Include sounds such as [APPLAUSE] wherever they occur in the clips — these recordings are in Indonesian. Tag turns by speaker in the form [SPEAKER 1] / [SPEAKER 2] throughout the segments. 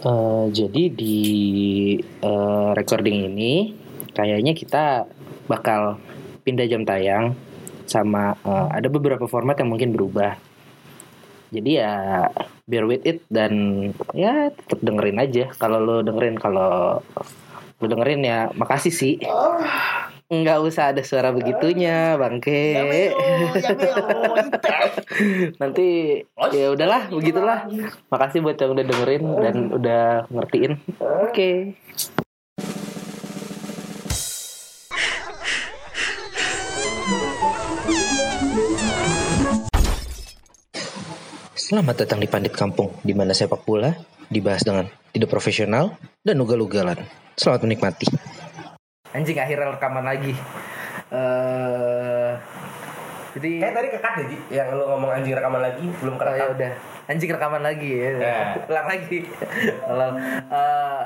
[SPEAKER 1] Eh, jadi di eh, recording ini kayaknya kita bakal pindah jam tayang sama eh, ada beberapa format yang mungkin berubah. Jadi ya bear with it dan ya tetap dengerin aja. Kalau lo dengerin kalau lo dengerin ya makasih sih. Nggak usah ada suara begitunya, bangke.
[SPEAKER 2] Eh.
[SPEAKER 1] Nanti ya udahlah, begitulah. Makasih buat yang udah dengerin dan udah ngertiin. Oke. Selamat datang di Pandit Kampung, di mana sepak bola dibahas dengan tidak profesional dan ugal-ugalan. Selamat menikmati. Anjing akhirnya rekaman lagi. eh jadi
[SPEAKER 3] Kayak tadi kekat ya, Ji? Iya. Yang lu ngomong anjing rekaman lagi, belum
[SPEAKER 1] Oh, ya
[SPEAKER 3] kerekam.
[SPEAKER 1] udah. Anjing rekaman lagi ya.
[SPEAKER 3] Ya.
[SPEAKER 1] Ulang lagi. [LAUGHS] Ulang. Eh,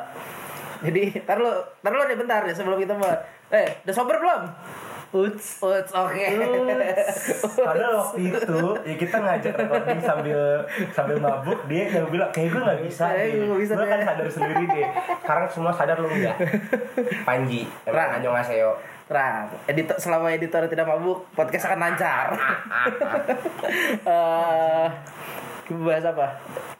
[SPEAKER 1] jadi, tar lu, tar lu deh bentar deh sebelum kita mau. Eh, udah sober belum? Uts, uts, oke. [LAUGHS]
[SPEAKER 3] Padahal waktu itu ya kita ngajak recording sambil sambil mabuk dia yang bilang kayak gue nggak bisa
[SPEAKER 1] Kayak
[SPEAKER 3] deh.
[SPEAKER 1] gue nggak bisa
[SPEAKER 3] Gue kan
[SPEAKER 1] deh."
[SPEAKER 3] sadar sendiri deh. Sekarang semua sadar lu ya.
[SPEAKER 1] [LAUGHS]
[SPEAKER 3] nggak? Panji,
[SPEAKER 1] Ra.
[SPEAKER 3] emang anjong aseo.
[SPEAKER 1] Terang, editor, selama editor tidak mabuk, podcast akan
[SPEAKER 3] [LAUGHS]
[SPEAKER 1] lancar. Eh, bahas apa?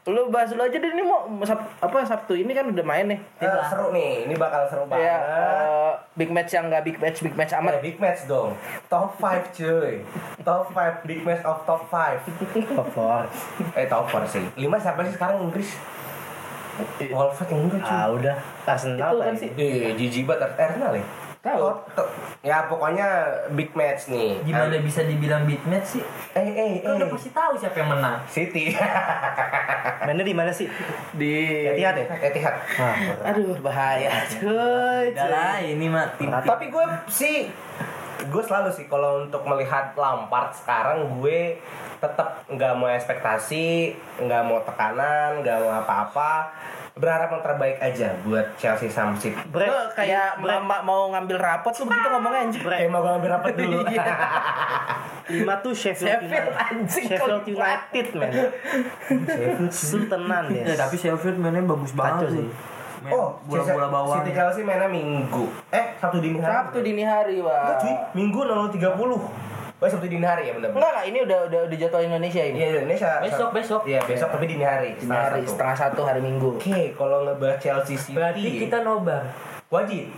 [SPEAKER 1] Lu bahas lu aja deh ini mau Sab- apa Sabtu ini kan udah main nih.
[SPEAKER 3] Eh, seru nih, ini bakal seru banget.
[SPEAKER 1] Ya, eh, big match yang gak big match, big match amat.
[SPEAKER 3] Eh, big match dong. Top 5 cuy. Top 5 big match of top 5. top 4. Eh top 4 sih. 5 siapa sih sekarang Inggris?
[SPEAKER 1] Iya.
[SPEAKER 3] Wolves yang Inggris cuy.
[SPEAKER 4] udah Arsenal
[SPEAKER 1] Itu kan
[SPEAKER 4] lah
[SPEAKER 1] sih.
[SPEAKER 3] Di jijik banget Arsenal ya.
[SPEAKER 1] Tahu.
[SPEAKER 3] Kotok. Ya pokoknya big match nih.
[SPEAKER 2] Gimana bisa dibilang beat match sih?
[SPEAKER 3] Eh eh eh.
[SPEAKER 2] Kan udah pasti tahu siapa yang menang.
[SPEAKER 3] City.
[SPEAKER 4] mainnya di mana sih
[SPEAKER 1] Di
[SPEAKER 4] Etihad ya
[SPEAKER 3] Etihad.
[SPEAKER 2] Ah,
[SPEAKER 1] Aduh bahaya cuy.
[SPEAKER 2] Udah lah, ini mah tim
[SPEAKER 3] Tapi gue sih gue selalu sih kalau untuk melihat Lampard sekarang gue tetap nggak mau ekspektasi, nggak mau tekanan, nggak mau apa-apa. Berharap yang terbaik aja buat Chelsea sama City.
[SPEAKER 4] Brek
[SPEAKER 1] Lo kayak
[SPEAKER 4] Brek.
[SPEAKER 1] mama mau ngambil rapot lu begitu ngomongnya anjing.
[SPEAKER 3] Eh, mau gue ambil rapat dulu.
[SPEAKER 4] lima tuh Sheffield
[SPEAKER 1] Sheffield
[SPEAKER 4] United
[SPEAKER 1] anjing
[SPEAKER 4] Sheffield
[SPEAKER 1] kelihatan.
[SPEAKER 4] United men Sultanan ya
[SPEAKER 1] eh,
[SPEAKER 2] Ya, tapi Sheffield mainnya bagus banget
[SPEAKER 4] Kacau sih.
[SPEAKER 2] sih. Main
[SPEAKER 3] [LAUGHS] oh,
[SPEAKER 2] bola-bola bawah.
[SPEAKER 3] City Chelsea mainnya Minggu. Eh, Sabtu dini hari.
[SPEAKER 1] Sabtu dini hari,
[SPEAKER 3] Enggak
[SPEAKER 1] Wah.
[SPEAKER 3] cuy, Minggu 00.30 Oh Sabtu dini hari ya bener-bener
[SPEAKER 1] Enggak, enggak, ini udah udah udah jadwal Indonesia ini.
[SPEAKER 3] Iya Indonesia
[SPEAKER 2] Besok, besok.
[SPEAKER 3] Iya besok tapi dini hari
[SPEAKER 1] Dini hari
[SPEAKER 3] satu.
[SPEAKER 1] setengah satu hari Minggu.
[SPEAKER 3] Oke kalau ngebahas Chelsea City
[SPEAKER 2] Berarti kita nobar.
[SPEAKER 3] Wajib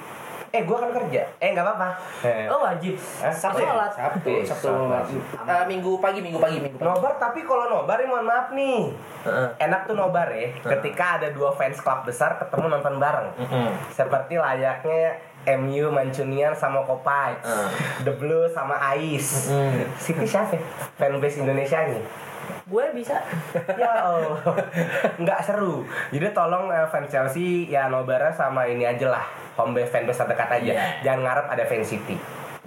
[SPEAKER 3] Eh gua kan kerja Eh nggak apa-apa Eh,
[SPEAKER 2] Oh, wajib.
[SPEAKER 3] Eh, Sabtu ya?
[SPEAKER 2] Sholat.
[SPEAKER 1] Sabtu,
[SPEAKER 3] Eh,
[SPEAKER 1] Sabtu.
[SPEAKER 3] Sabtu.
[SPEAKER 1] Eh, minggu pagi, minggu pagi, minggu pagi.
[SPEAKER 3] Nobar tapi kalau nobar ya mohon maaf nih
[SPEAKER 2] Heeh.
[SPEAKER 3] Enak tuh nobar ya Ketika ada dua fans club besar ketemu nonton bareng
[SPEAKER 2] Heeh.
[SPEAKER 3] Seperti layaknya MU Mancunian sama Kopai
[SPEAKER 2] Heeh.
[SPEAKER 3] The Blue sama Ais
[SPEAKER 2] Heeh.
[SPEAKER 3] City siapa ya? Fanbase Indonesia nih
[SPEAKER 2] Gue bisa.
[SPEAKER 3] ya Allah nggak seru jadi tolong eh, fans Chelsea ya nobarnya sama ini aja lah home base fan base terdekat aja
[SPEAKER 2] Iya.
[SPEAKER 3] jangan ngarep ada fans City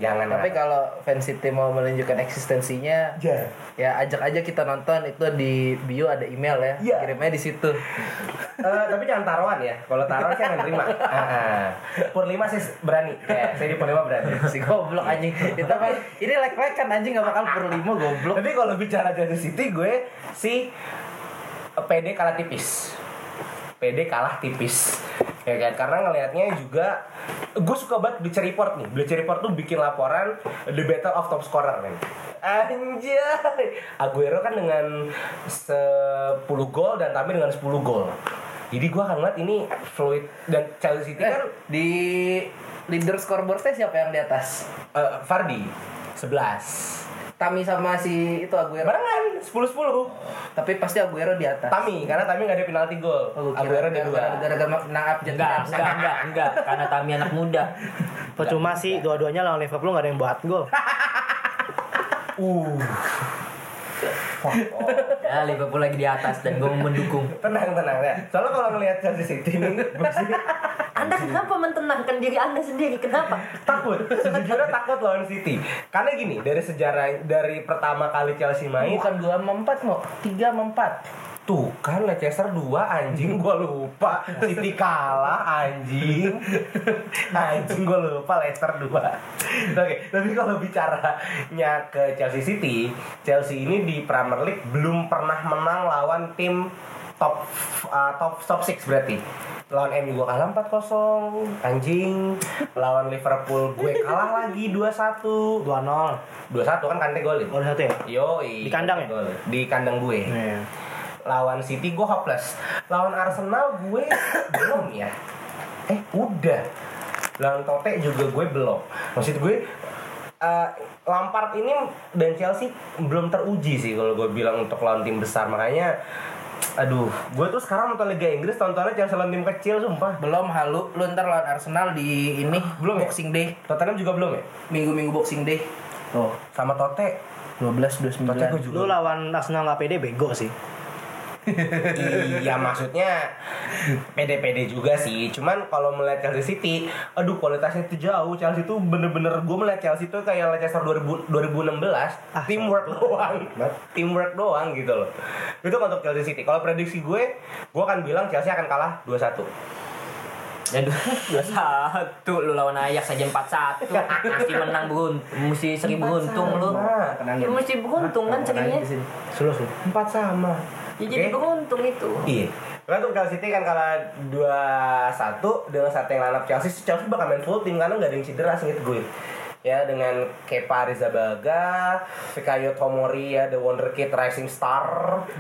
[SPEAKER 3] jangan
[SPEAKER 1] Tapi
[SPEAKER 3] ngarep.
[SPEAKER 1] kalau fans City mau menunjukkan eksistensinya,
[SPEAKER 3] Ya.
[SPEAKER 1] ya ajak aja kita nonton itu di bio ada email ya.
[SPEAKER 3] Iya.
[SPEAKER 1] Kirimnya di situ.
[SPEAKER 3] Eh, tapi jangan taruhan ya kalau taruhan saya nggak terima Ah, ah. Purnima saya berani ya, saya di Purnima berani
[SPEAKER 1] Si goblok anjing. Kita kan ini lek-lekan anjing gak bakal berlima goblok.
[SPEAKER 3] tapi kalau bicara dari City gue si eh, PD kalah tipis PD kalah tipis ya kan karena ngelihatnya juga gue suka banget Bleacher Report nih Bleacher Report tuh bikin laporan the battle of top scorer men anjay Aguero kan dengan 10 gol dan Tami dengan 10 gol jadi gue akan ngeliat ini fluid dan Chelsea City
[SPEAKER 1] Eh,
[SPEAKER 3] kan
[SPEAKER 1] di leader scoreboardnya siapa yang di atas?
[SPEAKER 3] eh, Vardy 11
[SPEAKER 1] Tami sama si itu Aguero.
[SPEAKER 3] barengan 10-10
[SPEAKER 1] Tapi pasti Aguero di atas.
[SPEAKER 3] Tami karena Tami nggak ada penalti gol.
[SPEAKER 1] Oh, gua kira
[SPEAKER 3] Aguero di
[SPEAKER 1] gara-gara-
[SPEAKER 3] dua.
[SPEAKER 1] Gara-gara menang abjad.
[SPEAKER 2] Enggak, enggak, enggak, enggak. Karena Tami anak muda.
[SPEAKER 4] percuma sih dua-duanya lawan Liverpool nggak ada yang buat
[SPEAKER 2] [LAUGHS]
[SPEAKER 4] gol
[SPEAKER 3] Uh.
[SPEAKER 2] Ya, Liverpool lagi di atas dan gue mendukung.
[SPEAKER 3] Tenang tenang ya. Soalnya kalau ngelihat Chelsea City
[SPEAKER 1] [LAUGHS]
[SPEAKER 3] ini gue sih
[SPEAKER 2] Anda kenapa mentenangkan diri Anda sendiri? Kenapa?
[SPEAKER 3] takut. Sejujurnya takut lawan City. Karena gini dari sejarah dari pertama kali Chelsea main
[SPEAKER 1] Bukan 2 sama 4 mau, 3 sama 4.
[SPEAKER 3] tuh kan Leicester 2 anjing gua lupa City kalah anjing Nah, anjing gua lupa Leicester 2 oke tapi kalau bicaranya ke Chelsea City Chelsea ini di Premier League belum pernah menang lawan tim top uh, top top 6 berarti. Lawan MU gue kalah 4-0, anjing. Lawan Liverpool gue kalah lagi 2-1.
[SPEAKER 5] 2-0. Oh,
[SPEAKER 3] 2-1 kan Kante golin.
[SPEAKER 5] udah satu ya?
[SPEAKER 3] Yoi.
[SPEAKER 5] Di kandang ya?
[SPEAKER 3] Gol. Di kandang gue.
[SPEAKER 5] Iya.
[SPEAKER 3] Lawan City gue hopeless. Lawan Arsenal gue [COUGHS] belum ya. Eh udah. Lawan Tote juga gue belum. Maksud gue eh, Lampard ini dan Chelsea belum teruji sih kalau gue bilang untuk lawan tim besar makanya aduh gue tuh sekarang nonton Liga Inggris tontonnya Chelsea lawan tim kecil sumpah
[SPEAKER 6] Belum halu, lu ntar lawan Arsenal di ini
[SPEAKER 3] Belum ya?
[SPEAKER 6] Boxing Day,
[SPEAKER 3] Tottenham juga belum ya Oh.
[SPEAKER 6] minggu-minggu Boxing Day. Tuh,
[SPEAKER 3] sama Tote
[SPEAKER 6] 12
[SPEAKER 3] Tote gue
[SPEAKER 6] 29.
[SPEAKER 3] Kan juga
[SPEAKER 5] Lu lawan Arsenal nggak pede bego sih.
[SPEAKER 3] iya maksudnya pede-pede juga sih cuman kalau melihat Chelsea City aduh kualitasnya itu jauh Chelsea itu bener-bener gue melihat Chelsea itu kayak Leicester 2000, 2016
[SPEAKER 5] Ah,
[SPEAKER 3] teamwork doang teamwork doang gitu loh itu untuk Chelsea City kalau prediksi gue gue akan bilang Chelsea akan kalah 2-1
[SPEAKER 2] Ya dua satu lu lawan Ajax aja empat satu mesti menang beruntung mesti seri
[SPEAKER 5] Iya,
[SPEAKER 2] beruntung lu
[SPEAKER 3] nah tenang
[SPEAKER 7] Ya mesti beruntung
[SPEAKER 3] Nah,
[SPEAKER 7] kan ceritanya.
[SPEAKER 5] Suluh suluh.
[SPEAKER 3] empat sama
[SPEAKER 7] Ya jadi
[SPEAKER 3] Oke?
[SPEAKER 7] beruntung itu.
[SPEAKER 3] Iya. Karena untuk Chelsea City kan kalah 2-1 dengan satu yang lineup Chelsea, Chelsea bakal main full tim karena nggak ada yang cedera sengit gue. Ya dengan Kepa Arrizabalaga, Fikayo Tomori ya, the wonder kid rising star.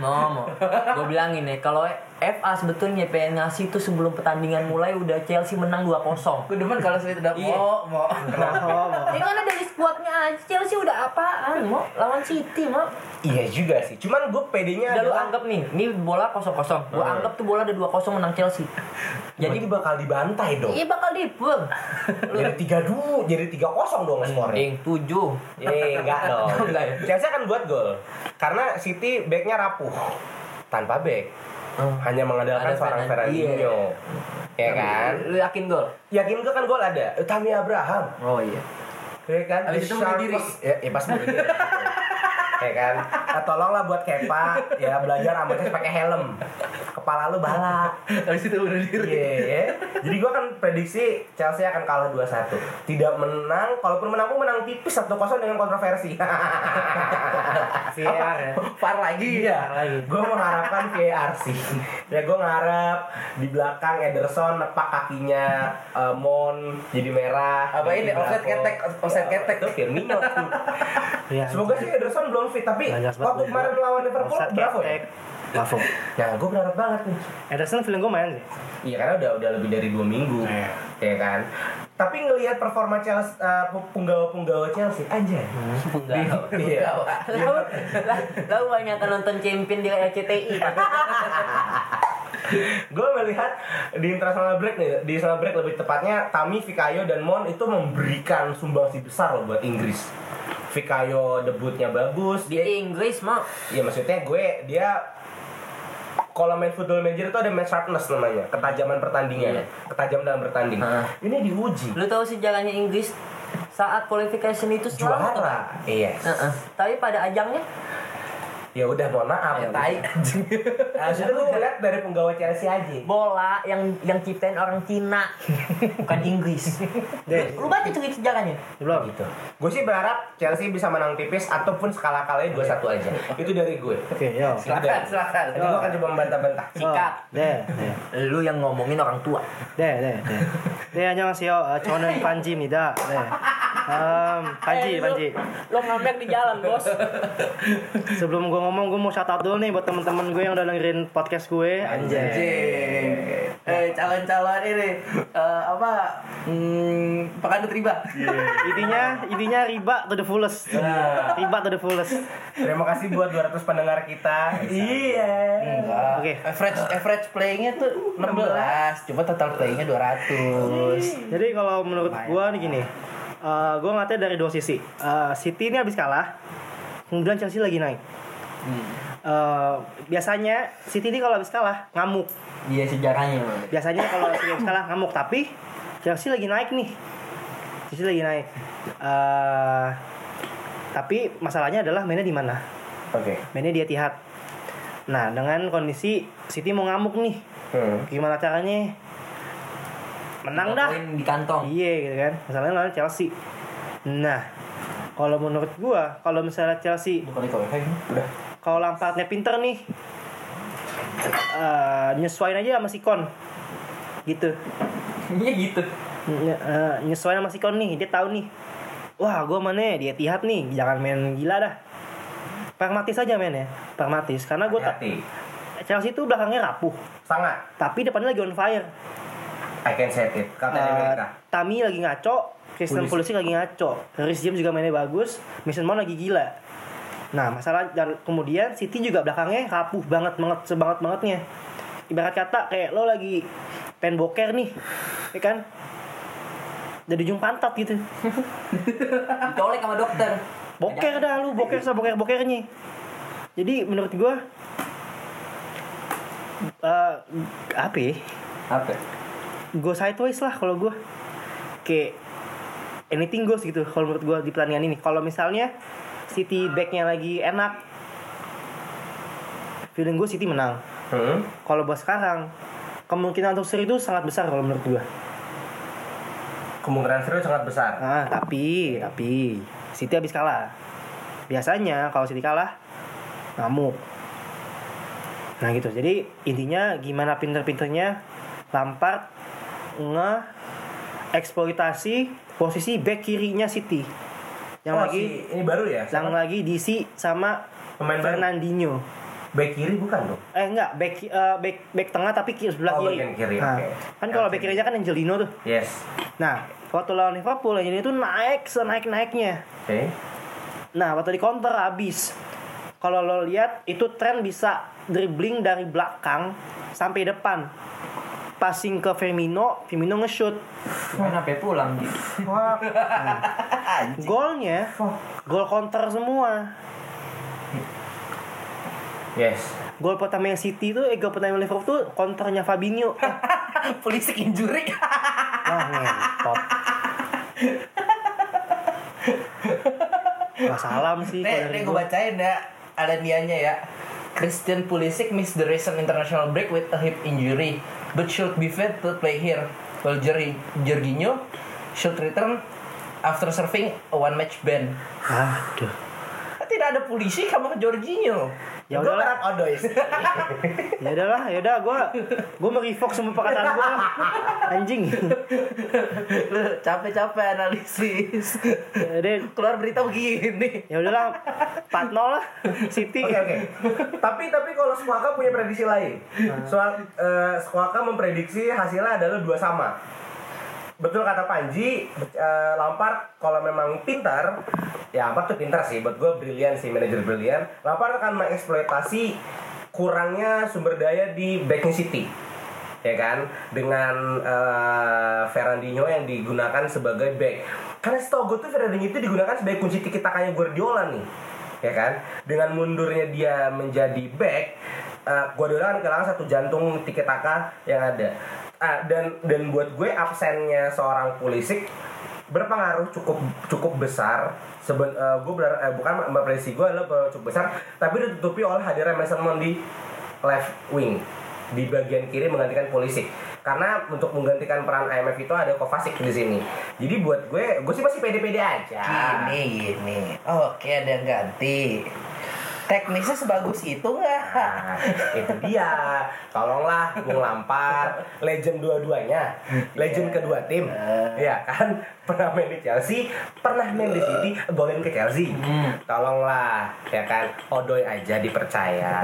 [SPEAKER 2] Ngomong, gue bilangin ya kalau FA sebetulnya pengen ngasih itu sebelum pertandingan mulai udah Chelsea menang 2-0
[SPEAKER 6] Gue demen kalau Sweet udah
[SPEAKER 2] Iya.
[SPEAKER 6] mau mau.
[SPEAKER 5] Oh, mau.
[SPEAKER 7] Ya karena dari skuadnya aja Chelsea udah apaan, mau lawan City, mau.
[SPEAKER 3] Iya juga sih. Cuman gue pedenya
[SPEAKER 2] Udah lu
[SPEAKER 3] adalah
[SPEAKER 2] anggap nih, ini bola 0-0 Gue
[SPEAKER 3] Hmm.
[SPEAKER 2] anggap tuh bola ada 2-0 menang Chelsea
[SPEAKER 3] jadi
[SPEAKER 2] Jadi
[SPEAKER 3] bakal dibantai dong.
[SPEAKER 7] Iya bakal dibuang.
[SPEAKER 3] Jadi 3-2, jadi 3-0 dong skornya.
[SPEAKER 2] Ding, 7
[SPEAKER 3] Eh, enggak dong.
[SPEAKER 2] Iya. [LAUGHS] Enggak ya?
[SPEAKER 3] Chelsea akan buat gol. Karena City backnya rapuh. Tanpa back.
[SPEAKER 2] Hmm.
[SPEAKER 3] Hanya mengandalkan
[SPEAKER 2] Ada Iya.
[SPEAKER 3] seorang
[SPEAKER 2] Fernand-
[SPEAKER 3] Fernandinho. Ya kan?
[SPEAKER 2] Lu yakin gol?
[SPEAKER 3] Yakin gue kan gol ada. Utami Abraham.
[SPEAKER 2] Oh iya
[SPEAKER 3] Ya kan?
[SPEAKER 6] Habis itu bunuh diri.
[SPEAKER 3] Sharpest- Ya, ya pas bunuh diri. ya kan? Ah, tolonglah buat Kepa ya belajar rambutnya pakai helm. Kepala lu bala.
[SPEAKER 6] Habis itu bunuh
[SPEAKER 3] Iya,
[SPEAKER 6] diri.
[SPEAKER 3] ya. Jadi gua kan prediksi Chelsea akan kalah 2-1. Tidak menang, kalaupun menang pun menang tipis 1-0 dengan kontroversi. [LAUGHS]
[SPEAKER 5] VR
[SPEAKER 2] [LAUGHS]
[SPEAKER 5] ya.
[SPEAKER 6] Par lagi.
[SPEAKER 3] Iya, gue mengharapkan VAR sih. Ya gue ngarep di belakang Ederson nepak kakinya eh, Mon jadi merah.
[SPEAKER 6] Apa ini? Offset ketek, offset ketek.
[SPEAKER 3] Itu Firmino. tuh.
[SPEAKER 5] Iya.
[SPEAKER 3] Semoga sih Ederson belum fit tapi
[SPEAKER 5] Banyak banget.
[SPEAKER 3] waktu kemarin lawan Liverpool
[SPEAKER 5] Offside,
[SPEAKER 3] Bravo ya.
[SPEAKER 5] ketek. Bravo.
[SPEAKER 3] Nah, gue berharap banget nih.
[SPEAKER 5] Ederson feeling gue main sih.
[SPEAKER 3] Iya karena udah udah lebih dari dua minggu,
[SPEAKER 5] Iya.
[SPEAKER 3] ya kan. Tapi ngelihat performa Chelsea, eh, penggawa-penggawa Chelsea aja.
[SPEAKER 2] Enggak
[SPEAKER 3] Iya.
[SPEAKER 2] Lalu, lalu banyak nonton champion di RCTI
[SPEAKER 3] gue melihat di international break nih di international break lebih tepatnya Tami, Fikayo dan Mon itu memberikan sumbangsi besar loh buat Inggris. Fikayo debutnya bagus,
[SPEAKER 2] Di
[SPEAKER 8] Iya.
[SPEAKER 3] dia
[SPEAKER 2] Inggris mau
[SPEAKER 3] ya maksudnya gue dia kalau main football manager itu ada match sharpness namanya, ketajaman pertandingan,
[SPEAKER 2] Iya.
[SPEAKER 3] ketajaman dalam bertanding.
[SPEAKER 2] Heeh.
[SPEAKER 3] Ini diuji.
[SPEAKER 2] Lu tahu sejarahnya Inggris saat qualification itu selalu
[SPEAKER 3] Juara. Iya.
[SPEAKER 2] Heeh. Tapi pada ajangnya
[SPEAKER 3] Ya udah mohon maaf.
[SPEAKER 2] Ya udah. [LAUGHS]
[SPEAKER 3] tai. Nah, itu gue melihat dari penggawa Chelsea aja.
[SPEAKER 2] bola yang yang ciptain orang Cina bukan Inggris. Lu baca cerita sejarahnya?
[SPEAKER 5] Belum.
[SPEAKER 3] gitu. Gue sih berharap Chelsea bisa menang tipis ataupun skala kalanya 2-1 aja. Itu dari gue.
[SPEAKER 5] Oke, yo.
[SPEAKER 6] Silakan, silakan.
[SPEAKER 3] Jadi gue akan coba membantah-bantah.
[SPEAKER 2] Sikat.
[SPEAKER 5] Oh, Deh, deh.
[SPEAKER 2] Lu yang ngomongin orang tua.
[SPEAKER 5] 네, 네, 네. 네, 안녕하세요. 아, 저는 반지입니다. 네. 음,
[SPEAKER 7] Eh,
[SPEAKER 5] 반지, 반지.
[SPEAKER 2] Lu ngamek di jalan, Bos.
[SPEAKER 5] Sebelum gue ngomong, gue mau shout out dulu nih buat temen-temen gue yang udah dengerin podcast gue.
[SPEAKER 3] Iya,
[SPEAKER 6] Anjing. Eh, calon-calon ini eh, apa? Hmm, pekan riba.
[SPEAKER 8] Iya.
[SPEAKER 5] Intinya, intinya riba to the fullest. Riba to the fullest.
[SPEAKER 3] Terima kasih buat 200 pendengar kita. iya.
[SPEAKER 5] Oke.
[SPEAKER 6] Average average playingnya tuh 16, cuma total playingnya 200.
[SPEAKER 5] Hmm. Jadi kalau menurut gue nih gini, eh gue ngatanya dari dua sisi. Eh, City ini habis kalah, kemudian Chelsea lagi naik. Eh, biasanya City ini kalau habis kalah ngamuk.
[SPEAKER 2] Iya sejarahnya, Bang.
[SPEAKER 5] biasanya kalau Chelsea habis kalah ngamuk tapi Chelsea lagi naik nih Chelsea lagi naik Eh, tapi masalahnya adalah mainnya di mana
[SPEAKER 3] Oke.
[SPEAKER 5] mainnya di Etihad nah dengan kondisi City mau ngamuk nih
[SPEAKER 3] Hmm.
[SPEAKER 5] gimana caranya menang dah
[SPEAKER 2] Poin di kantong.
[SPEAKER 5] Iya gitu kan. Masalahnya lawan Chelsea. Nah, kalau menurut gua, kalau misalnya Chelsea
[SPEAKER 6] Bukan di kau, hey, udah.
[SPEAKER 5] kalau Lampardnya pinter nih. Eh eh, nyesuaiin aja sama si Kon gitu
[SPEAKER 2] Iya gitu.
[SPEAKER 5] Nye- eh, nyesuaiin sama si Kon nih dia tahu nih wah gue mana ya? dia tihat nih jangan main gila dah pragmatis aja men ya pragmatis karena gue tak
[SPEAKER 3] Hati.
[SPEAKER 5] Chelsea itu belakangnya rapuh
[SPEAKER 3] Sangat.
[SPEAKER 5] tapi depannya lagi on fire
[SPEAKER 3] I can set it. Kata
[SPEAKER 5] Eh,
[SPEAKER 3] Amerika.
[SPEAKER 5] Tami lagi ngaco Kristen Pulisic lagi ngaco Harris James juga mainnya bagus Mason Mount lagi gila nah masalah dan kemudian City juga belakangnya rapuh banget banget sebanget bangetnya ibarat kata kayak lo lagi pengen boker nih ya kan dari ujung pantat gitu
[SPEAKER 2] Dicolek sama dokter.
[SPEAKER 5] boker dah lu boker sama boker bokernya jadi menurut gua eh apa ya
[SPEAKER 2] Apa?
[SPEAKER 5] go sideways lah kalau gue kayak anything goes gitu kalau menurut gue di pertandingan ini kalau misalnya City backnya lagi enak feeling gue City menang
[SPEAKER 3] Hmm.
[SPEAKER 5] kalau buat sekarang kemungkinan untuk seri itu sangat besar kalau menurut gue
[SPEAKER 3] Kemungkinan seru sangat besar.
[SPEAKER 5] ah tapi tapi City habis kalah biasanya kalau City kalah ngamuk nah gitu jadi intinya gimana pinter-pinternya Lampard nge eksploitasi posisi back kirinya City yang
[SPEAKER 3] oh,
[SPEAKER 5] lagi
[SPEAKER 3] si- ini baru ya?
[SPEAKER 5] yang
[SPEAKER 3] Siapa?
[SPEAKER 5] lagi diisi sama
[SPEAKER 3] Pemain baru?
[SPEAKER 5] Fernandinho
[SPEAKER 3] Back kiri bukan dong?
[SPEAKER 5] eh enggak back ki- eh, back back tengah tapi kiri sebelah
[SPEAKER 3] Oh,
[SPEAKER 5] kiri,
[SPEAKER 3] bagian kiri,
[SPEAKER 5] Nah,
[SPEAKER 3] oke.
[SPEAKER 5] kan kalau back kirinya kan Angelino tuh
[SPEAKER 3] Yes.
[SPEAKER 5] nah waktu lawan Liverpool Angelino tuh naik senaik naiknya
[SPEAKER 3] Oke.
[SPEAKER 5] Nah, waktu di counter habis. Kalau lo lihat itu tren bisa dribbling dari belakang sampai depan. Passing ke Firmino, Firmino nge-shoot.
[SPEAKER 2] Main sampai pulang.
[SPEAKER 5] Golnya gol counter semua.
[SPEAKER 3] Yes.
[SPEAKER 5] Gol pertama City itu eh gol pertama Liverpool tuh counternya Fabinho.
[SPEAKER 8] [LAUGHS] Polisi injury.
[SPEAKER 5] [LAUGHS] Wah, ngentot. Wah, salam sih. kalau gitu.
[SPEAKER 8] Nih,
[SPEAKER 5] dari
[SPEAKER 8] nih gue
[SPEAKER 5] gua.
[SPEAKER 8] bacain ya ada dianya ya. Christian Pulisic missed the recent international break with a hip injury, but should be fit to play here. While Jor- Jorginho should return after serving a one match ban.
[SPEAKER 5] Aduh.
[SPEAKER 8] Tidak ada polisi sama Jorginho.
[SPEAKER 5] Ya
[SPEAKER 8] Gua
[SPEAKER 3] oh,
[SPEAKER 5] udahlah.
[SPEAKER 8] harap
[SPEAKER 5] [LAUGHS]
[SPEAKER 8] Odois.
[SPEAKER 5] Ya udahlah, ya udah gua gua merevoke semua perkataan gua. lah. Anjing.
[SPEAKER 8] Lu capek-capek analisis.
[SPEAKER 5] Ya udah,
[SPEAKER 8] Keluar berita begini.
[SPEAKER 5] ya udahlah 4-0 lah City
[SPEAKER 3] Oke oke. tapi tapi kalau Squawka punya prediksi lain.
[SPEAKER 5] Nah.
[SPEAKER 3] Soal eh, Squawka memprediksi hasilnya adalah dua sama. Betul kata Panji, eh, Lampard kalau memang pintar, ya Lampard tuh pintar sih. Buat gue brilian sih, manajer brilian. Lampard akan mengeksploitasi kurangnya sumber daya di backing City. Ya kan, dengan eh, Fernandinho yang digunakan sebagai back. Karena setahu gue tuh Fernandinho itu digunakan sebagai kunci tiki takanya Guardiola nih. Ya kan, dengan mundurnya dia menjadi back, eh, Guardiola kan kehilangan satu jantung tiki taka yang ada. Ah, dan dan buat gue absennya seorang Pulisic berpengaruh cukup cukup besar seben eh, gue benar eh, bukan memprediksi gue adalah berpengaruh cukup besar tapi ditutupi oleh hadirnya Mason Mount di left wing di bagian kiri menggantikan Pulisic karena untuk menggantikan peran IMF itu ada Kovacic di sini jadi buat gue gue sih masih pede-pede aja
[SPEAKER 8] Gini gini. Oke ada yang ganti. Teknisnya sebagus itu nggak?
[SPEAKER 3] Nah, itu dia tolonglah Bung Lampard legend dua-duanya legend kedua tim ya kan pernah main di Chelsea pernah main di City golin ke Chelsea tolonglah ya kan Odoy aja dipercaya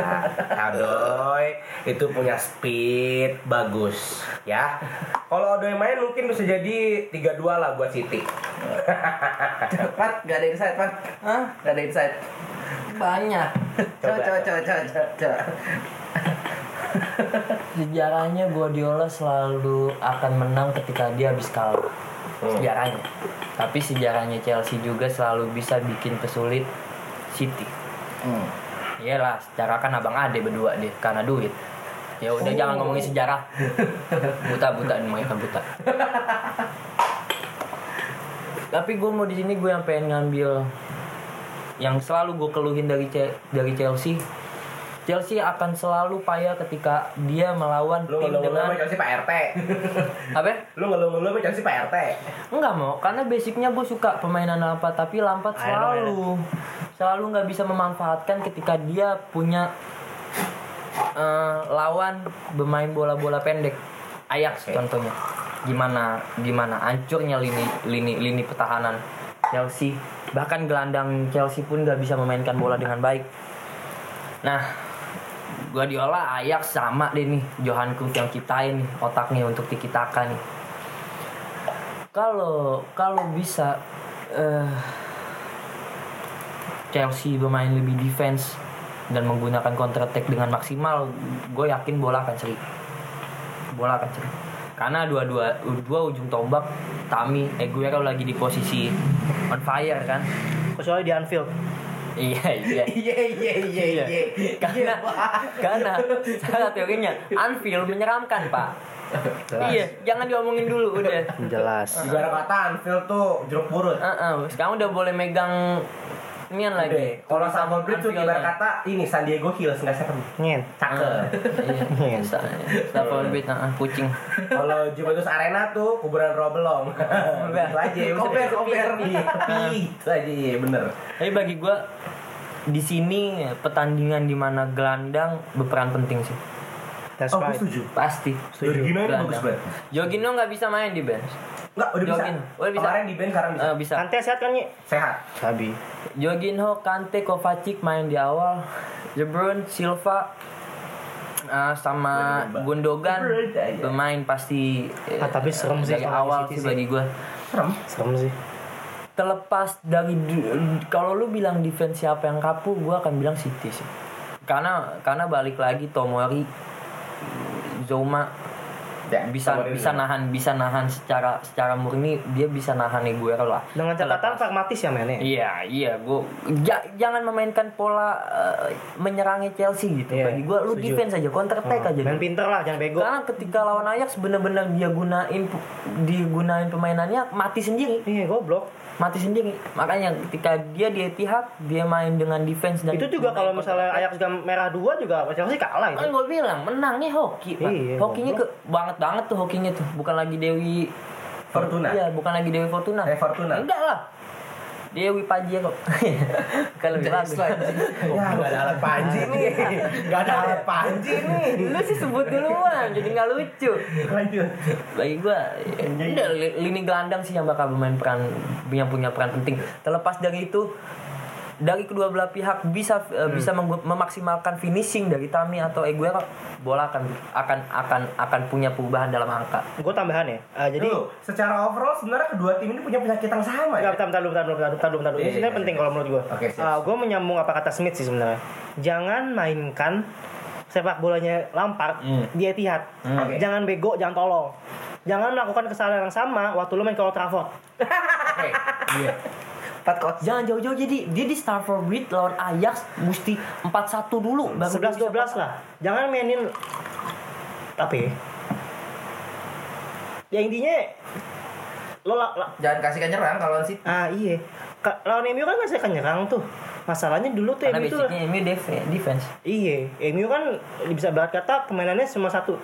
[SPEAKER 3] Odoy itu punya speed bagus ya kalau Odoy main mungkin bisa jadi 3-2 lah buat City
[SPEAKER 8] Pat, gak ada insight, Pat. Hah? Gak ada insight.
[SPEAKER 2] Banyak.
[SPEAKER 8] Coba, coba, coba, coba, coba, coba.
[SPEAKER 2] Sejarahnya Guardiola selalu akan menang ketika dia habis kalah.
[SPEAKER 8] Hmm.
[SPEAKER 2] Sejarahnya. Tapi sejarahnya Chelsea juga selalu bisa bikin pesulit City.
[SPEAKER 8] Hmm.
[SPEAKER 2] Iyalah, sejarah kan abang ade berdua deh karena duit. Ya udah
[SPEAKER 8] Oh.
[SPEAKER 2] jangan ngomongin sejarah. buta buta kan buta. Tapi gue mau di sini gue yang pengen ngambil yang selalu gue keluhin dari Ce- dari Chelsea. Chelsea akan selalu payah ketika dia melawan
[SPEAKER 3] lu ya? ngeluh-ngeluh
[SPEAKER 2] tim dengan
[SPEAKER 3] sama Chelsea Pak RT
[SPEAKER 2] apa? ya?
[SPEAKER 3] lu ngeluh-ngeluh sama Chelsea Pak RT
[SPEAKER 2] Enggak mau, karena basicnya gue suka pemainan apa tapi Lampard selalu selalu nggak bisa memanfaatkan ketika dia punya eh, lawan bermain bola-bola pendek. Ajax contohnya. Gimana gimana hancurnya lini lini lini pertahanan Chelsea. Bahkan gelandang Chelsea pun gak bisa memainkan bola dengan baik. Nah, Guardiola Ajax sama deh nih Johan Cruyff yang kitain nih otaknya untuk dikitakan nih. Kalau kalau bisa eh Chelsea bermain lebih defense dan menggunakan counter attack dengan maksimal, gue yakin bola akan seri. Bola akan seri. Karena dua-dua dua ujung tombak Tami Aguero lagi di posisi on fire kan.
[SPEAKER 5] kecuali di Anfield
[SPEAKER 2] Iya, [LAUGHS] iya.
[SPEAKER 9] Iya iya iya iya.
[SPEAKER 2] karena karena salah teorinya Anfield menyeramkan, Pak. Iya, jangan diomongin dulu udah.
[SPEAKER 10] jelas
[SPEAKER 3] [LAUGHS] Ibarat kata Anfield tuh jeruk purut.
[SPEAKER 2] Eh, eh, sekarang udah boleh megang nian lagi.
[SPEAKER 3] Oke, Kalau sama Bridge tuh ibarat
[SPEAKER 2] Anfield-nya.
[SPEAKER 3] kata ini San Diego Hills nggak serem.
[SPEAKER 5] Nyen. [LAUGHS]
[SPEAKER 3] Cakep.
[SPEAKER 2] Ah,
[SPEAKER 5] gitu.
[SPEAKER 2] Iya. Stafford Bridge, ah, ah, kucing.
[SPEAKER 3] [LAUGHS] Kalau Juventus Arena tuh kuburan Robelong. Itu aja. Koper, koper. Itu aja, iya, bener.
[SPEAKER 2] Tapi bagi gue di sini ya, pertandingan di mana gelandang berperan penting sih.
[SPEAKER 5] That's
[SPEAKER 3] Oh, gue
[SPEAKER 5] right.
[SPEAKER 3] setuju.
[SPEAKER 2] Pasti.
[SPEAKER 3] Jorginho ini bagus banget.
[SPEAKER 2] Jorginho nggak bisa main di bench.
[SPEAKER 3] Enggak, udah bisa.
[SPEAKER 2] Jorginho. Udah bisa.
[SPEAKER 3] Kemarin di band sekarang bisa.
[SPEAKER 2] Eh, bisa.
[SPEAKER 5] Kante sehat kan Nyi?
[SPEAKER 3] Sehat.
[SPEAKER 10] sabi
[SPEAKER 2] Jorginho, Kante, Kovacic main di awal. De Bruyne, Silva, eh, sama Gundogan bermain pasti. eh,
[SPEAKER 5] Ah, tapi serem sih
[SPEAKER 2] dari
[SPEAKER 5] kalau di
[SPEAKER 2] awal
[SPEAKER 5] City
[SPEAKER 2] sih
[SPEAKER 5] sih.
[SPEAKER 2] bagi gue.
[SPEAKER 3] Serem.
[SPEAKER 5] serem sih
[SPEAKER 2] Terlepas dari du- kalau lu bilang defense siapa yang kapu, gue akan bilang City sih. Karena karena balik lagi Tomori, Zoma Ya, bisa bisa nahan bisa nahan secara secara murni dia bisa nahan Aguero lah
[SPEAKER 5] dengan catatan
[SPEAKER 2] Terlepas-
[SPEAKER 5] pragmatis ya mainnya
[SPEAKER 2] Iya, iya, gua ja- jangan memainkan pola eh, menyerangnya Chelsea gitu.
[SPEAKER 5] Iya,
[SPEAKER 2] Bagi gua lu
[SPEAKER 5] setuju. Hmm.
[SPEAKER 2] defense aja, counter attack aja. dulu.
[SPEAKER 5] main pinter lah jangan bego
[SPEAKER 2] Karena ketika lawan Ajax benar-benar dia gunain digunain pemainannya mati sendiri,
[SPEAKER 5] iya goblok
[SPEAKER 2] mati sendiri. Makanya ketika dia di Etihad, dia main dengan defense dan
[SPEAKER 5] itu juga
[SPEAKER 2] gunain
[SPEAKER 5] kalau
[SPEAKER 2] counter
[SPEAKER 5] misalnya
[SPEAKER 2] attack.
[SPEAKER 5] Ajax gam merah dua juga Chelsea kalah
[SPEAKER 2] kan
[SPEAKER 5] itu
[SPEAKER 2] gue bilang menangnya hoki, Pak.
[SPEAKER 5] Iya,
[SPEAKER 2] hokinya ke banget banget tuh hokinya tuh, bukan lagi Dewi
[SPEAKER 3] Fortuna.
[SPEAKER 2] Iya, bukan lagi Dewi Fortuna.
[SPEAKER 3] Eh, Fortuna.
[SPEAKER 2] Enggak lah. Dewi Pajero. [LAUGHS] Kalau lebih bagus.
[SPEAKER 3] Ya, nggak ada alat panji nih. [LAUGHS] Nggak ada alat panji nih.
[SPEAKER 2] Lu sih sebut duluan, jadi nggak lucu.
[SPEAKER 3] Lanjut.
[SPEAKER 2] Bagi gua, ya, udah, li- lini gelandang sih yang bakal bermain peran yang punya peran penting. Terlepas dari itu, dari kedua belah pihak bisa eh, bisa menggu- memaksimalkan finishing dari Tami atau Aguero, bola akan akan akan akan punya perubahan dalam angka.
[SPEAKER 5] gue tambahan ya Ah, jadi
[SPEAKER 3] Lu, secara overall sebenarnya kedua tim ini punya penyakit yang sama
[SPEAKER 5] Enggak,
[SPEAKER 3] ya.
[SPEAKER 5] bentar, bentar dulu, bentar dulu, bentar dulu, bentar dulu, bentar dulu. Ini
[SPEAKER 3] Iya,
[SPEAKER 5] sebenarnya
[SPEAKER 3] iya,
[SPEAKER 5] penting kalau menurut Ah, gue.
[SPEAKER 3] Oke, siap,
[SPEAKER 5] gue menyambung apa kata Smith sih sebenarnya. Jangan mainkan sepak bolanya Lampard di Etihad.
[SPEAKER 3] Hmm. Oke.
[SPEAKER 5] Jangan bego, jangan tolol. Jangan melakukan kesalahan yang sama waktu lu main ke Old Trafford.
[SPEAKER 9] Empat kot.
[SPEAKER 2] Jangan jauh-jauh jadi dia di Stamford Bridge lawan Ajax mesti 4-1 dulu baru dia
[SPEAKER 5] 11
[SPEAKER 2] bisa
[SPEAKER 5] 12 lah. Jangan mainin tapi ya intinya lo la- la-
[SPEAKER 9] Jangan kasihkan nyerang kalau sih.
[SPEAKER 5] ah iya Ka- lawan MU kan nggak nyerang tuh masalahnya dulu tuh
[SPEAKER 2] Karena
[SPEAKER 5] MU tuh
[SPEAKER 2] basicnya ini def- defense.
[SPEAKER 5] Iya, MU kan bisa berat kata pemainannya cuma satu.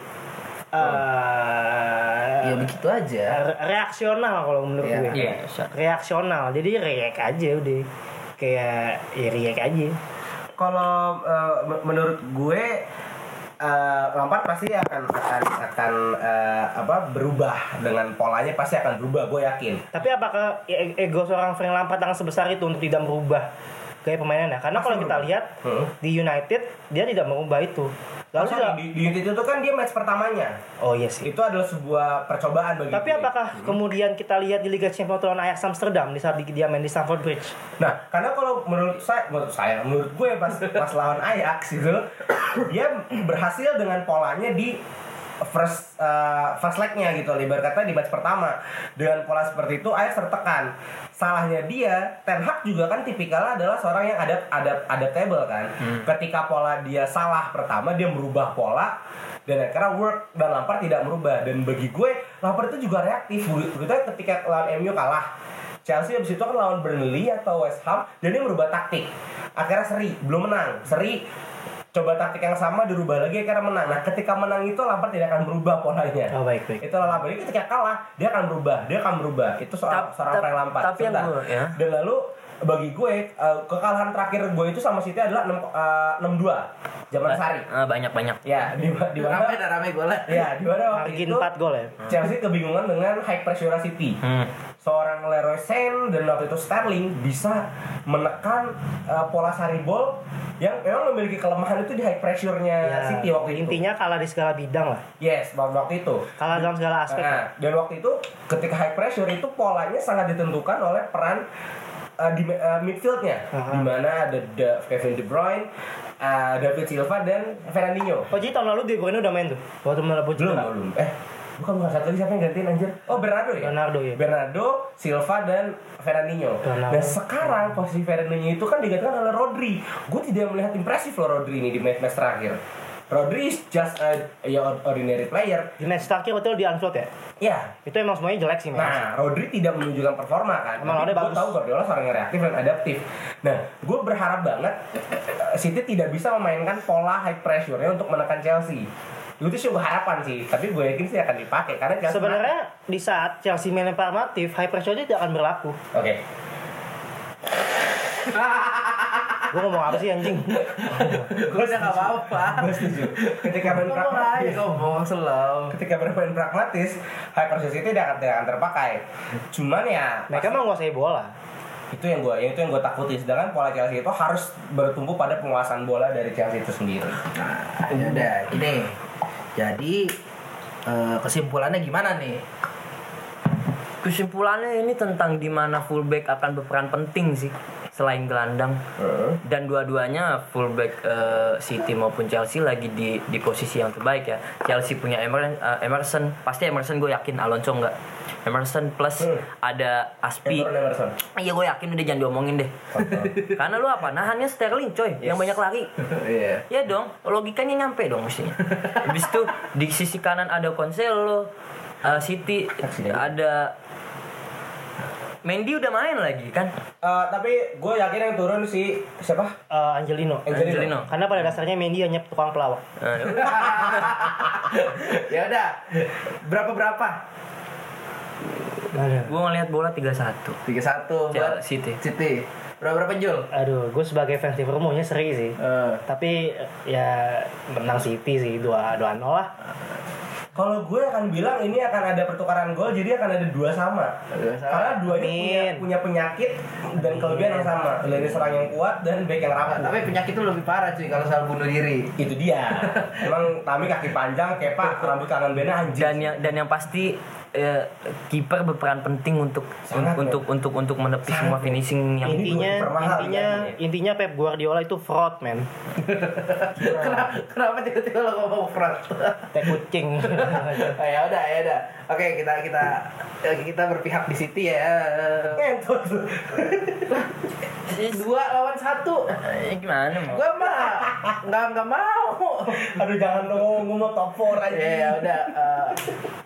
[SPEAKER 5] Eh
[SPEAKER 9] Ya begitu
[SPEAKER 3] Iya,
[SPEAKER 9] aja.
[SPEAKER 5] re- reaksional kalau menurut
[SPEAKER 9] Iya.
[SPEAKER 5] gue.
[SPEAKER 2] Iya, sure.
[SPEAKER 5] Reaksional. Jadi react aja udah. Kayak ya react aja.
[SPEAKER 3] Kalau eh, men- menurut gue eh, Lampard pasti akan akan akan eh, apa berubah dengan polanya pasti akan berubah gue yakin.
[SPEAKER 5] Tapi apakah e- ego seorang Frank Lampard yang sebesar itu untuk tidak merubah gaya permainannya? Karena kalau kita lihat
[SPEAKER 3] Heeh.
[SPEAKER 9] Hmm.
[SPEAKER 5] di United dia tidak merubah itu. Lalu
[SPEAKER 3] Lalu
[SPEAKER 5] dia-
[SPEAKER 3] di, di United itu kan dia match pertamanya.
[SPEAKER 5] Oh iya sih.
[SPEAKER 3] Itu adalah sebuah percobaan bagi
[SPEAKER 5] Tapi
[SPEAKER 3] gue.
[SPEAKER 5] apakah kemudian kita lihat di Liga Champions lawan Ajax Amsterdam di saat di- dia main di Stamford Bridge?
[SPEAKER 3] Nah, karena kalau menurut saya, menurut saya, menurut gue pas pas lawan Ajax gitu, dia berhasil dengan polanya di first uh, first leg-nya gitu, lebar kata di match pertama. Dengan pola seperti itu Ajax tertekan. Salahnya dia, Ten Hag juga kan tipikalnya adalah seorang yang adapt adapt adaptable kan. Ketika pola dia salah pertama, dia merubah pola dan akhirnya work dan Lampard tidak merubah dan bagi gue Lampard itu juga reaktif gitu ketika lawan MU kalah Chelsea abis itu kan lawan Burnley atau West Ham dan dia merubah taktik akhirnya seri belum menang seri coba taktik yang sama dirubah lagi akhirnya menang nah ketika menang itu Lampard tidak akan berubah polanya
[SPEAKER 5] Oh baik baik.
[SPEAKER 3] itu Lampard Jadi ketika kalah dia akan berubah dia akan berubah itu soal
[SPEAKER 2] Tap-
[SPEAKER 3] seorang
[SPEAKER 2] tap-
[SPEAKER 3] Frank Lampard
[SPEAKER 2] tapi yang
[SPEAKER 3] Sebentar.
[SPEAKER 2] gue- ya.
[SPEAKER 3] dan lalu bagi gue eh, kekalahan terakhir gue itu sama City adalah 6 6-2 zaman Sari.
[SPEAKER 2] banyak banyak
[SPEAKER 3] Ya, di di mana
[SPEAKER 11] Rame dah rame gue lah.
[SPEAKER 3] ya di mana waktu
[SPEAKER 5] Margin
[SPEAKER 3] itu
[SPEAKER 5] 4 gol ya.
[SPEAKER 3] Chelsea kebingungan dengan high pressure City.
[SPEAKER 2] hmm.
[SPEAKER 3] Seorang Leroy Sane dan waktu itu Sterling bisa menekan eh, pola Sari ball yang memang memiliki kelemahan itu di high pressure-nya
[SPEAKER 5] Ya,
[SPEAKER 3] City waktu itu.
[SPEAKER 5] intinya kalah di segala bidang lah.
[SPEAKER 3] Yes, waktu itu.
[SPEAKER 5] Kalah dalam segala aspek.
[SPEAKER 3] Nah, dan waktu itu ketika high pressure itu polanya sangat ditentukan oleh peran uh, di uh, midfieldnya,
[SPEAKER 5] Aha.
[SPEAKER 3] di mana ada Da- Kevin De Bruyne, uh, David Silva dan Fernandinho.
[SPEAKER 5] Oh jadi tahun lalu De Bruyne udah main tuh. Waktu melawan
[SPEAKER 3] Belum
[SPEAKER 5] Portugal.
[SPEAKER 3] belum. Eh, bukan bukan satu lagi siapa yang gantiin anjir? Oh Bernardo ya.
[SPEAKER 5] Bernardo ya.
[SPEAKER 3] Bernardo, Silva dan Fernandinho.
[SPEAKER 5] Bernardo.
[SPEAKER 3] Dan sekarang posisi Fernandinho itu kan digantikan oleh Rodri. Gue tidak melihat impresif loh Rodri ini di match-match terakhir. Rodri is just a, a ordinary player.
[SPEAKER 5] Di match terakhir betul di Anfield ya.
[SPEAKER 3] Ya,
[SPEAKER 5] Itu emang semuanya jelek sih memang.
[SPEAKER 3] Nah, Rodri tidak menunjukkan performa kan.
[SPEAKER 5] Iya. Emang
[SPEAKER 3] Tapi
[SPEAKER 5] Rodri
[SPEAKER 3] gua
[SPEAKER 5] bagus.
[SPEAKER 3] tahu Guardiola seorang yang reaktif dan adaptif. Nah, gue berharap banget eh, City tidak bisa memainkan pola high pressure-nya untuk menekan Chelsea. Itu sih gue harapan sih, tapi gue yakin sih akan dipakai karena Chelsea
[SPEAKER 5] Sebenarnya di saat Chelsea main informatif, high pressure itu tidak akan berlaku.
[SPEAKER 3] Oke.
[SPEAKER 5] Gue ngomong apa sih anjing?
[SPEAKER 11] Gue udah gak
[SPEAKER 3] [LAUGHS]
[SPEAKER 11] apa-apa.
[SPEAKER 3] Gue setuju. Ketika main
[SPEAKER 11] Ngomong aja
[SPEAKER 3] pragmatis,
[SPEAKER 11] ngomong selalu.
[SPEAKER 3] ketika bermain pragmatis, high pressure City tidak akan, tidak akan terpakai. Cuman ya
[SPEAKER 5] Mereka
[SPEAKER 3] pasti-
[SPEAKER 5] mah nguasai bola.
[SPEAKER 3] itu yang gue itu yang gue takuti sedangkan pola Chelsea itu harus bertumpu pada penguasaan bola dari Chelsea itu sendiri
[SPEAKER 11] Nah, ya udah gini. Jadi eh, kesimpulannya gimana nih?
[SPEAKER 2] kesimpulannya ini tentang di mana fullback akan berperan penting sih selain gelandang dan dua-duanya fullback eh, City maupun Chelsea lagi di di posisi yang terbaik ya Chelsea punya Emerson, eh, Emerson. pasti Emerson gue yakin Alonso enggak Emerson plus
[SPEAKER 3] Hmm.
[SPEAKER 2] ada Aspi
[SPEAKER 3] Cameron Emerson.
[SPEAKER 2] iya gue yakin udah jangan diomongin deh karena lu apa nahannya Sterling coy yang banyak lari
[SPEAKER 11] Iya.
[SPEAKER 2] Ya dong, logikanya nyampe dong mestinya. Habis itu di sisi kanan ada Cancelo, eh, City ada Mendy udah main lagi kan?
[SPEAKER 3] Eh, tapi gue yakin yang turun si siapa?
[SPEAKER 5] Eh, Angelino.
[SPEAKER 3] Angelino.
[SPEAKER 2] Angelino.
[SPEAKER 5] Karena pada dasarnya Mendy hanya tukang pelawak.
[SPEAKER 2] Eh, udah.
[SPEAKER 11] ya udah. Berapa berapa?
[SPEAKER 2] Gua ngeliat bola 3-1.
[SPEAKER 11] 3-1 buat
[SPEAKER 2] Chelsea City.
[SPEAKER 11] City. Berapa berapa Jul?
[SPEAKER 5] Aduh, gue sebagai fans Liverpool maunya seri sih.
[SPEAKER 11] Eh,
[SPEAKER 5] Tapi eh, ya menang City sih 2 2 0 lah.
[SPEAKER 3] Kalau gue akan bilang ini akan ada pertukaran gol, jadi akan ada dua sama.
[SPEAKER 11] Dua sama.
[SPEAKER 3] Karena duanya
[SPEAKER 5] Amin.
[SPEAKER 3] punya, punya penyakit dan kelebihan yang sama. Lini serang yang kuat dan back yang rapuh.
[SPEAKER 11] tapi penyakit itu lebih parah cuy kalau soal bunuh diri.
[SPEAKER 3] itu
[SPEAKER 11] [LAUGHS]
[SPEAKER 3] dia. Emang Tami kaki panjang, kepa, rambut kanan bena anjing.
[SPEAKER 2] Dan yang dan yang pasti eh, kiper berperan penting untuk
[SPEAKER 3] Sangat,
[SPEAKER 2] untuk
[SPEAKER 11] ya.
[SPEAKER 2] untuk untuk menepis semua finishing yang
[SPEAKER 3] Ini
[SPEAKER 5] Intinya
[SPEAKER 3] dua dipermahal,
[SPEAKER 5] intinya
[SPEAKER 3] ya.
[SPEAKER 5] intinya Pep Guardiola itu fraud, man.
[SPEAKER 2] Iya.
[SPEAKER 11] kenapa kenapa tiba-tiba lo ngomong
[SPEAKER 2] [LAUGHS]
[SPEAKER 11] front?
[SPEAKER 5] Teh [LAUGHS] kucing.
[SPEAKER 11] Oh, ya udah ya udah. Oke kita kita kita berpihak di City ya.
[SPEAKER 3] Ngentot lu.
[SPEAKER 11] Dua lawan satu.
[SPEAKER 2] Eh, gimana mau?
[SPEAKER 11] Gua mah nggak nggak mau.
[SPEAKER 3] Aduh jangan dong, gue mau top 4
[SPEAKER 11] Ya
[SPEAKER 3] aja.
[SPEAKER 11] ya udah. eh,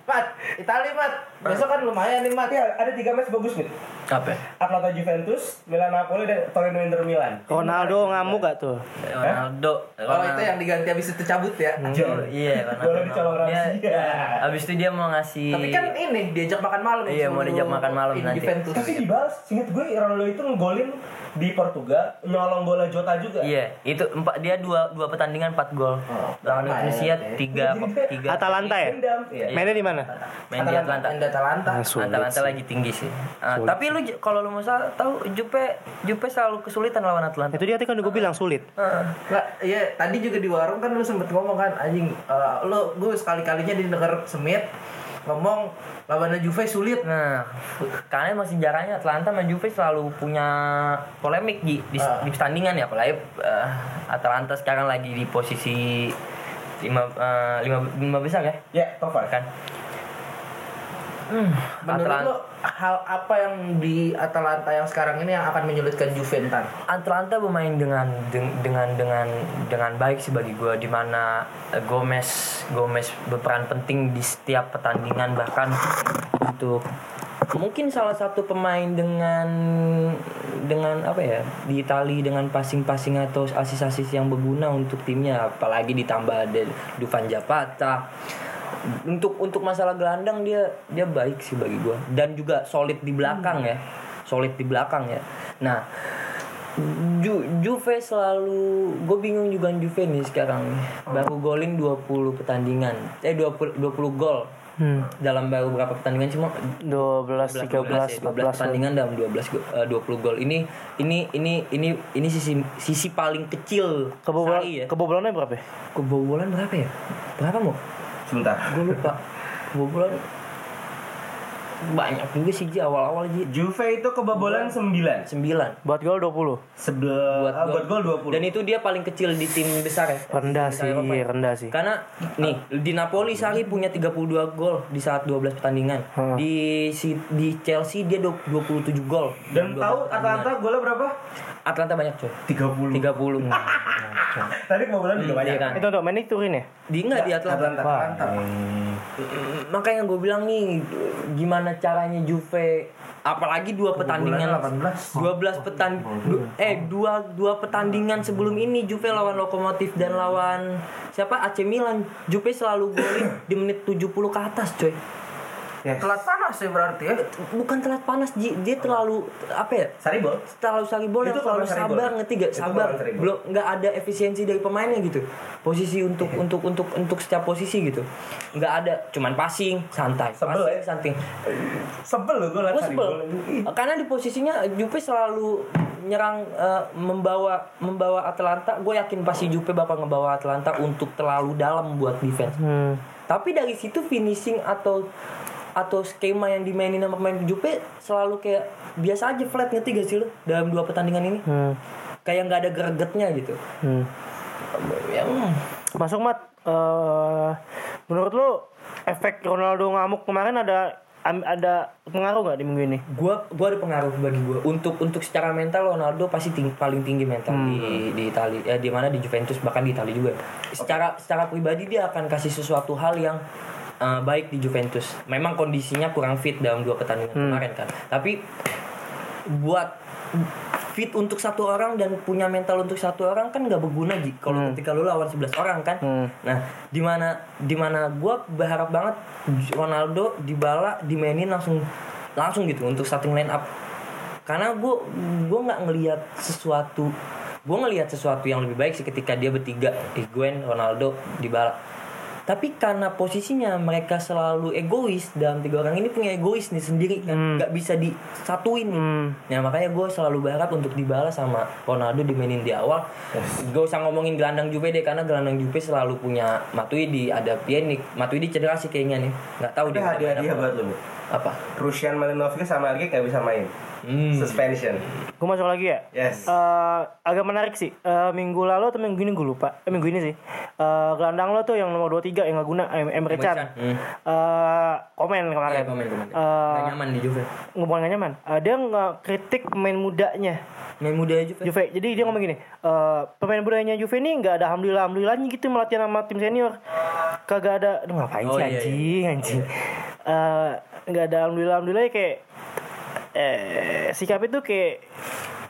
[SPEAKER 11] mat, Itali mat. Besok kan lumayan nih mat.
[SPEAKER 2] Iya.
[SPEAKER 3] Tapi ada tiga match bagus nih.
[SPEAKER 2] Apa? ya?
[SPEAKER 3] Atlanta Juventus, Milan Napoli dan Torino Inter Milan.
[SPEAKER 5] Ronaldo ngamuk gak tuh?
[SPEAKER 2] Ronaldo.
[SPEAKER 11] Oh itu yang diganti habis itu cabut ya.
[SPEAKER 3] Jangan.
[SPEAKER 11] [LAUGHS]
[SPEAKER 2] Iya, Ronaldo.
[SPEAKER 3] Bola dicolong
[SPEAKER 2] Dia-
[SPEAKER 3] rahasia.
[SPEAKER 2] Abis itu dia mau ngasih
[SPEAKER 11] Tapi kan ini diajak makan malam.
[SPEAKER 2] Iya, mau
[SPEAKER 11] sebelum
[SPEAKER 2] diajak makan malam
[SPEAKER 11] ini
[SPEAKER 2] nanti.
[SPEAKER 11] Juventus.
[SPEAKER 3] Tapi dibalas, singkat gue Ronaldo itu ngegolin di Portugal, nyolong bola Jota juga.
[SPEAKER 2] Iya, itu empat dia dua dua pertandingan empat gol. Lawan
[SPEAKER 11] apa ya,
[SPEAKER 2] Rusia
[SPEAKER 11] oke. [LAUGHS]
[SPEAKER 2] tiga tiga.
[SPEAKER 5] Atalanta ya?
[SPEAKER 3] Dendam. Iya.
[SPEAKER 5] Mainnya di mana?
[SPEAKER 2] Main di Atlanta.
[SPEAKER 11] Anda Atalanta.
[SPEAKER 12] Ah, sulit
[SPEAKER 2] Atalanta
[SPEAKER 12] sih.
[SPEAKER 2] lagi tinggi sih. Ah, tapi lu j- kalau lu mau sa- tahu Jupe Jupe selalu kesulitan lawan Atlanta.
[SPEAKER 5] Itu dia tadi kan gue bilang sulit.
[SPEAKER 2] Ah,
[SPEAKER 11] Lah, iya tadi juga di warung kan lu sempet ngomong kan anjing eh, lu gue sekali-kalinya didengar Smith ngomong lawannya Juve sulit
[SPEAKER 2] Nah, karena emang sejarahnya Atlanta sama Juve selalu punya polemik di di,
[SPEAKER 11] Ah.
[SPEAKER 2] di pertandingan ya, apalagi eh, Atalanta sekarang lagi di posisi lima eh, lima, lima besar ya,
[SPEAKER 3] Ya, top five.
[SPEAKER 2] kan? Hmm,
[SPEAKER 11] Menurut
[SPEAKER 2] Atalanta-
[SPEAKER 11] lo hal apa yang di Atalanta yang sekarang ini yang akan menyulitkan Juve ntar?
[SPEAKER 2] Atlanta bermain dengan deng- dengan dengan dengan baik sih bagi gue di mana eh, Gomez Gomez berperan penting di setiap pertandingan bahkan untuk mungkin salah satu pemain dengan dengan apa ya di Itali dengan passing-passing atau asis-asis yang berguna untuk timnya apalagi ditambah ada Duvan Zapata untuk untuk masalah gelandang dia dia baik sih bagi gue dan juga solid di belakang ya solid di belakang ya Nah, Ju- Juve selalu gue bingung juga Juve nih sekarang baru golin 20 pertandingan eh 20 20 gol
[SPEAKER 5] Hmm.
[SPEAKER 2] dalam baru berapa pertandingan cuma
[SPEAKER 5] 12, 13,
[SPEAKER 2] 14
[SPEAKER 5] 14.
[SPEAKER 2] pertandingan dalam 12 go- eh, 20 gol ini ini ini ini ini sisi sisi paling kecil
[SPEAKER 5] Kebobolan,
[SPEAKER 2] Sarri ya
[SPEAKER 5] kebobolannya berapa ya?
[SPEAKER 2] kebobolan berapa ya berapa mau
[SPEAKER 3] Sebentar.
[SPEAKER 2] gue lupa kebobolan banyak juga sih Ji awal-awal Ji
[SPEAKER 3] Juve itu kebobolan 9.
[SPEAKER 2] 9
[SPEAKER 5] Buat gol 20.
[SPEAKER 3] Sebelah buat,
[SPEAKER 2] gol.
[SPEAKER 3] gol 20.
[SPEAKER 2] dan itu dia paling kecil di tim besar ya
[SPEAKER 5] Rendah sih,
[SPEAKER 2] Misalnya apa ya?
[SPEAKER 5] rendah sih.
[SPEAKER 2] Karena nih di Napoli Sarri punya 32 gol di saat 12 pertandingan.
[SPEAKER 5] Hmm.
[SPEAKER 2] Di si- di Chelsea dia du- 27 gol.
[SPEAKER 3] dan
[SPEAKER 2] Dalam 12
[SPEAKER 3] tahu Hmm.
[SPEAKER 2] pertandingan.
[SPEAKER 3] Atlanta golnya berapa?
[SPEAKER 2] Atlanta banyak coy.
[SPEAKER 3] 30.
[SPEAKER 2] 30.
[SPEAKER 3] Tadi kebobolan juga banyak.
[SPEAKER 2] Iya kan?
[SPEAKER 5] Itu untuk Manik Turin ya?
[SPEAKER 2] Di enggak di Atlanta.
[SPEAKER 3] Atlanta.
[SPEAKER 5] Wah.
[SPEAKER 3] Atlanta.
[SPEAKER 2] Makanya gue bilang nih gimana caranya Juve apalagi dua pertandingan
[SPEAKER 3] 18.
[SPEAKER 2] 12 petan du- eh dua dua pertandingan sebelum ini Juve lawan Lokomotif dan lawan siapa AC Milan Juve selalu golin di menit 70 ke atas coy
[SPEAKER 11] iya.
[SPEAKER 3] Telat panas sih berarti ya.
[SPEAKER 2] bukan telat panas Ji. dia terlalu apa ya
[SPEAKER 3] Sari bol.
[SPEAKER 2] terlalu saribol yang
[SPEAKER 3] Itu
[SPEAKER 2] terlalu
[SPEAKER 3] kalau Saribol.
[SPEAKER 2] sabar ngerti gak
[SPEAKER 3] Itu
[SPEAKER 2] sabar
[SPEAKER 3] kalau Saribol.
[SPEAKER 2] belum nggak ada efisiensi dari pemainnya gitu posisi untuk
[SPEAKER 3] Iya.
[SPEAKER 2] untuk untuk untuk setiap posisi gitu nggak ada cuman passing santai
[SPEAKER 3] Sebel
[SPEAKER 2] passing,
[SPEAKER 3] ya?
[SPEAKER 2] santai
[SPEAKER 3] Sebel lo gue liat Sari
[SPEAKER 2] gue
[SPEAKER 3] Iya.
[SPEAKER 2] sebel
[SPEAKER 3] bol.
[SPEAKER 2] karena di posisinya Juve selalu nyerang eh, membawa membawa Atlanta gue yakin pasti Juve bakal ngebawa Atlanta untuk terlalu dalam buat defense
[SPEAKER 5] Hmm.
[SPEAKER 2] tapi dari situ finishing atau atau skema yang dimainin sama pemain Juve selalu kayak biasa aja flat ngerti gak sih lo dalam dua pertandingan ini
[SPEAKER 5] Hmm.
[SPEAKER 2] kayak nggak ada gregetnya gitu
[SPEAKER 5] Hmm.
[SPEAKER 2] ya, hmm.
[SPEAKER 5] Masuk Mat. Eh, menurut lu efek Ronaldo ngamuk kemarin ada am- ada pengaruh nggak di minggu ini?
[SPEAKER 2] gua gua ada pengaruh bagi gua untuk untuk secara mental Ronaldo pasti ting- paling tinggi mental di di Itali ya di mana di Juventus bahkan di Itali juga secara secara pribadi dia akan kasih sesuatu hal yang uh, baik di Juventus memang kondisinya kurang fit dalam dua pertandingan kemarin kan tapi buat fit untuk satu orang dan punya mental untuk satu orang kan nggak berguna Ji. kalau ketika lu lawan 11 orang kan nah dimana dimana gue berharap banget Ronaldo dibala dimainin langsung langsung gitu untuk starting line up karena gue gue nggak ngelihat sesuatu gue ngelihat sesuatu yang lebih baik sih ketika dia bertiga Higuain Ronaldo dibala tapi karena posisinya mereka selalu egois dalam tiga orang ini punya egois nih sendiri
[SPEAKER 3] Hmm.
[SPEAKER 2] kan nggak bisa disatuin nih. Nah makanya gue selalu berharap untuk dibalas sama Ronaldo dimainin di awal. Gak usah ngomongin gelandang Juve deh karena gelandang Juve selalu punya Matuidi ada Pjanic. Matuidi cedera sih kayaknya nih. Nggak tahu
[SPEAKER 3] Tapi
[SPEAKER 2] dia
[SPEAKER 3] hadiah hadiah
[SPEAKER 2] apa.
[SPEAKER 3] buat lo. Bu.
[SPEAKER 2] apa.
[SPEAKER 3] Rusian Malinovski sama Ergic nggak bisa main.
[SPEAKER 2] Hmm.
[SPEAKER 3] Suspension.
[SPEAKER 5] Gue masuk lagi ya.
[SPEAKER 3] Yes.
[SPEAKER 5] Eh, agak menarik sih. Eh, minggu lalu atau minggu ini gue lupa. Eh, minggu ini sih. Eh, gelandang lo tuh yang nomor 23 yang nggak guna eh, em Emre Can.
[SPEAKER 2] Hmm.
[SPEAKER 5] Eh, komen
[SPEAKER 2] Iya,
[SPEAKER 5] kemarin.
[SPEAKER 2] komen komen.
[SPEAKER 5] Eh,
[SPEAKER 2] Nggak nyaman di Juve.
[SPEAKER 5] ngomong nggak nyaman. Eh, dia ngekritik pemain mudanya
[SPEAKER 2] Main muda Juve.
[SPEAKER 5] Juve. Jadi dia ngomong gini, eh, pemain mudanya Juve ini nggak ada alhamdulillah alhamdulillahnya gitu melatih sama tim senior. Kagak ada, aduh ngapain
[SPEAKER 2] Oh,
[SPEAKER 5] sih
[SPEAKER 2] iya, iya.
[SPEAKER 5] anjing, anjing. Eh, Nggak ada alhamdulillah alhamdulillah kayak eh, sikap itu kayak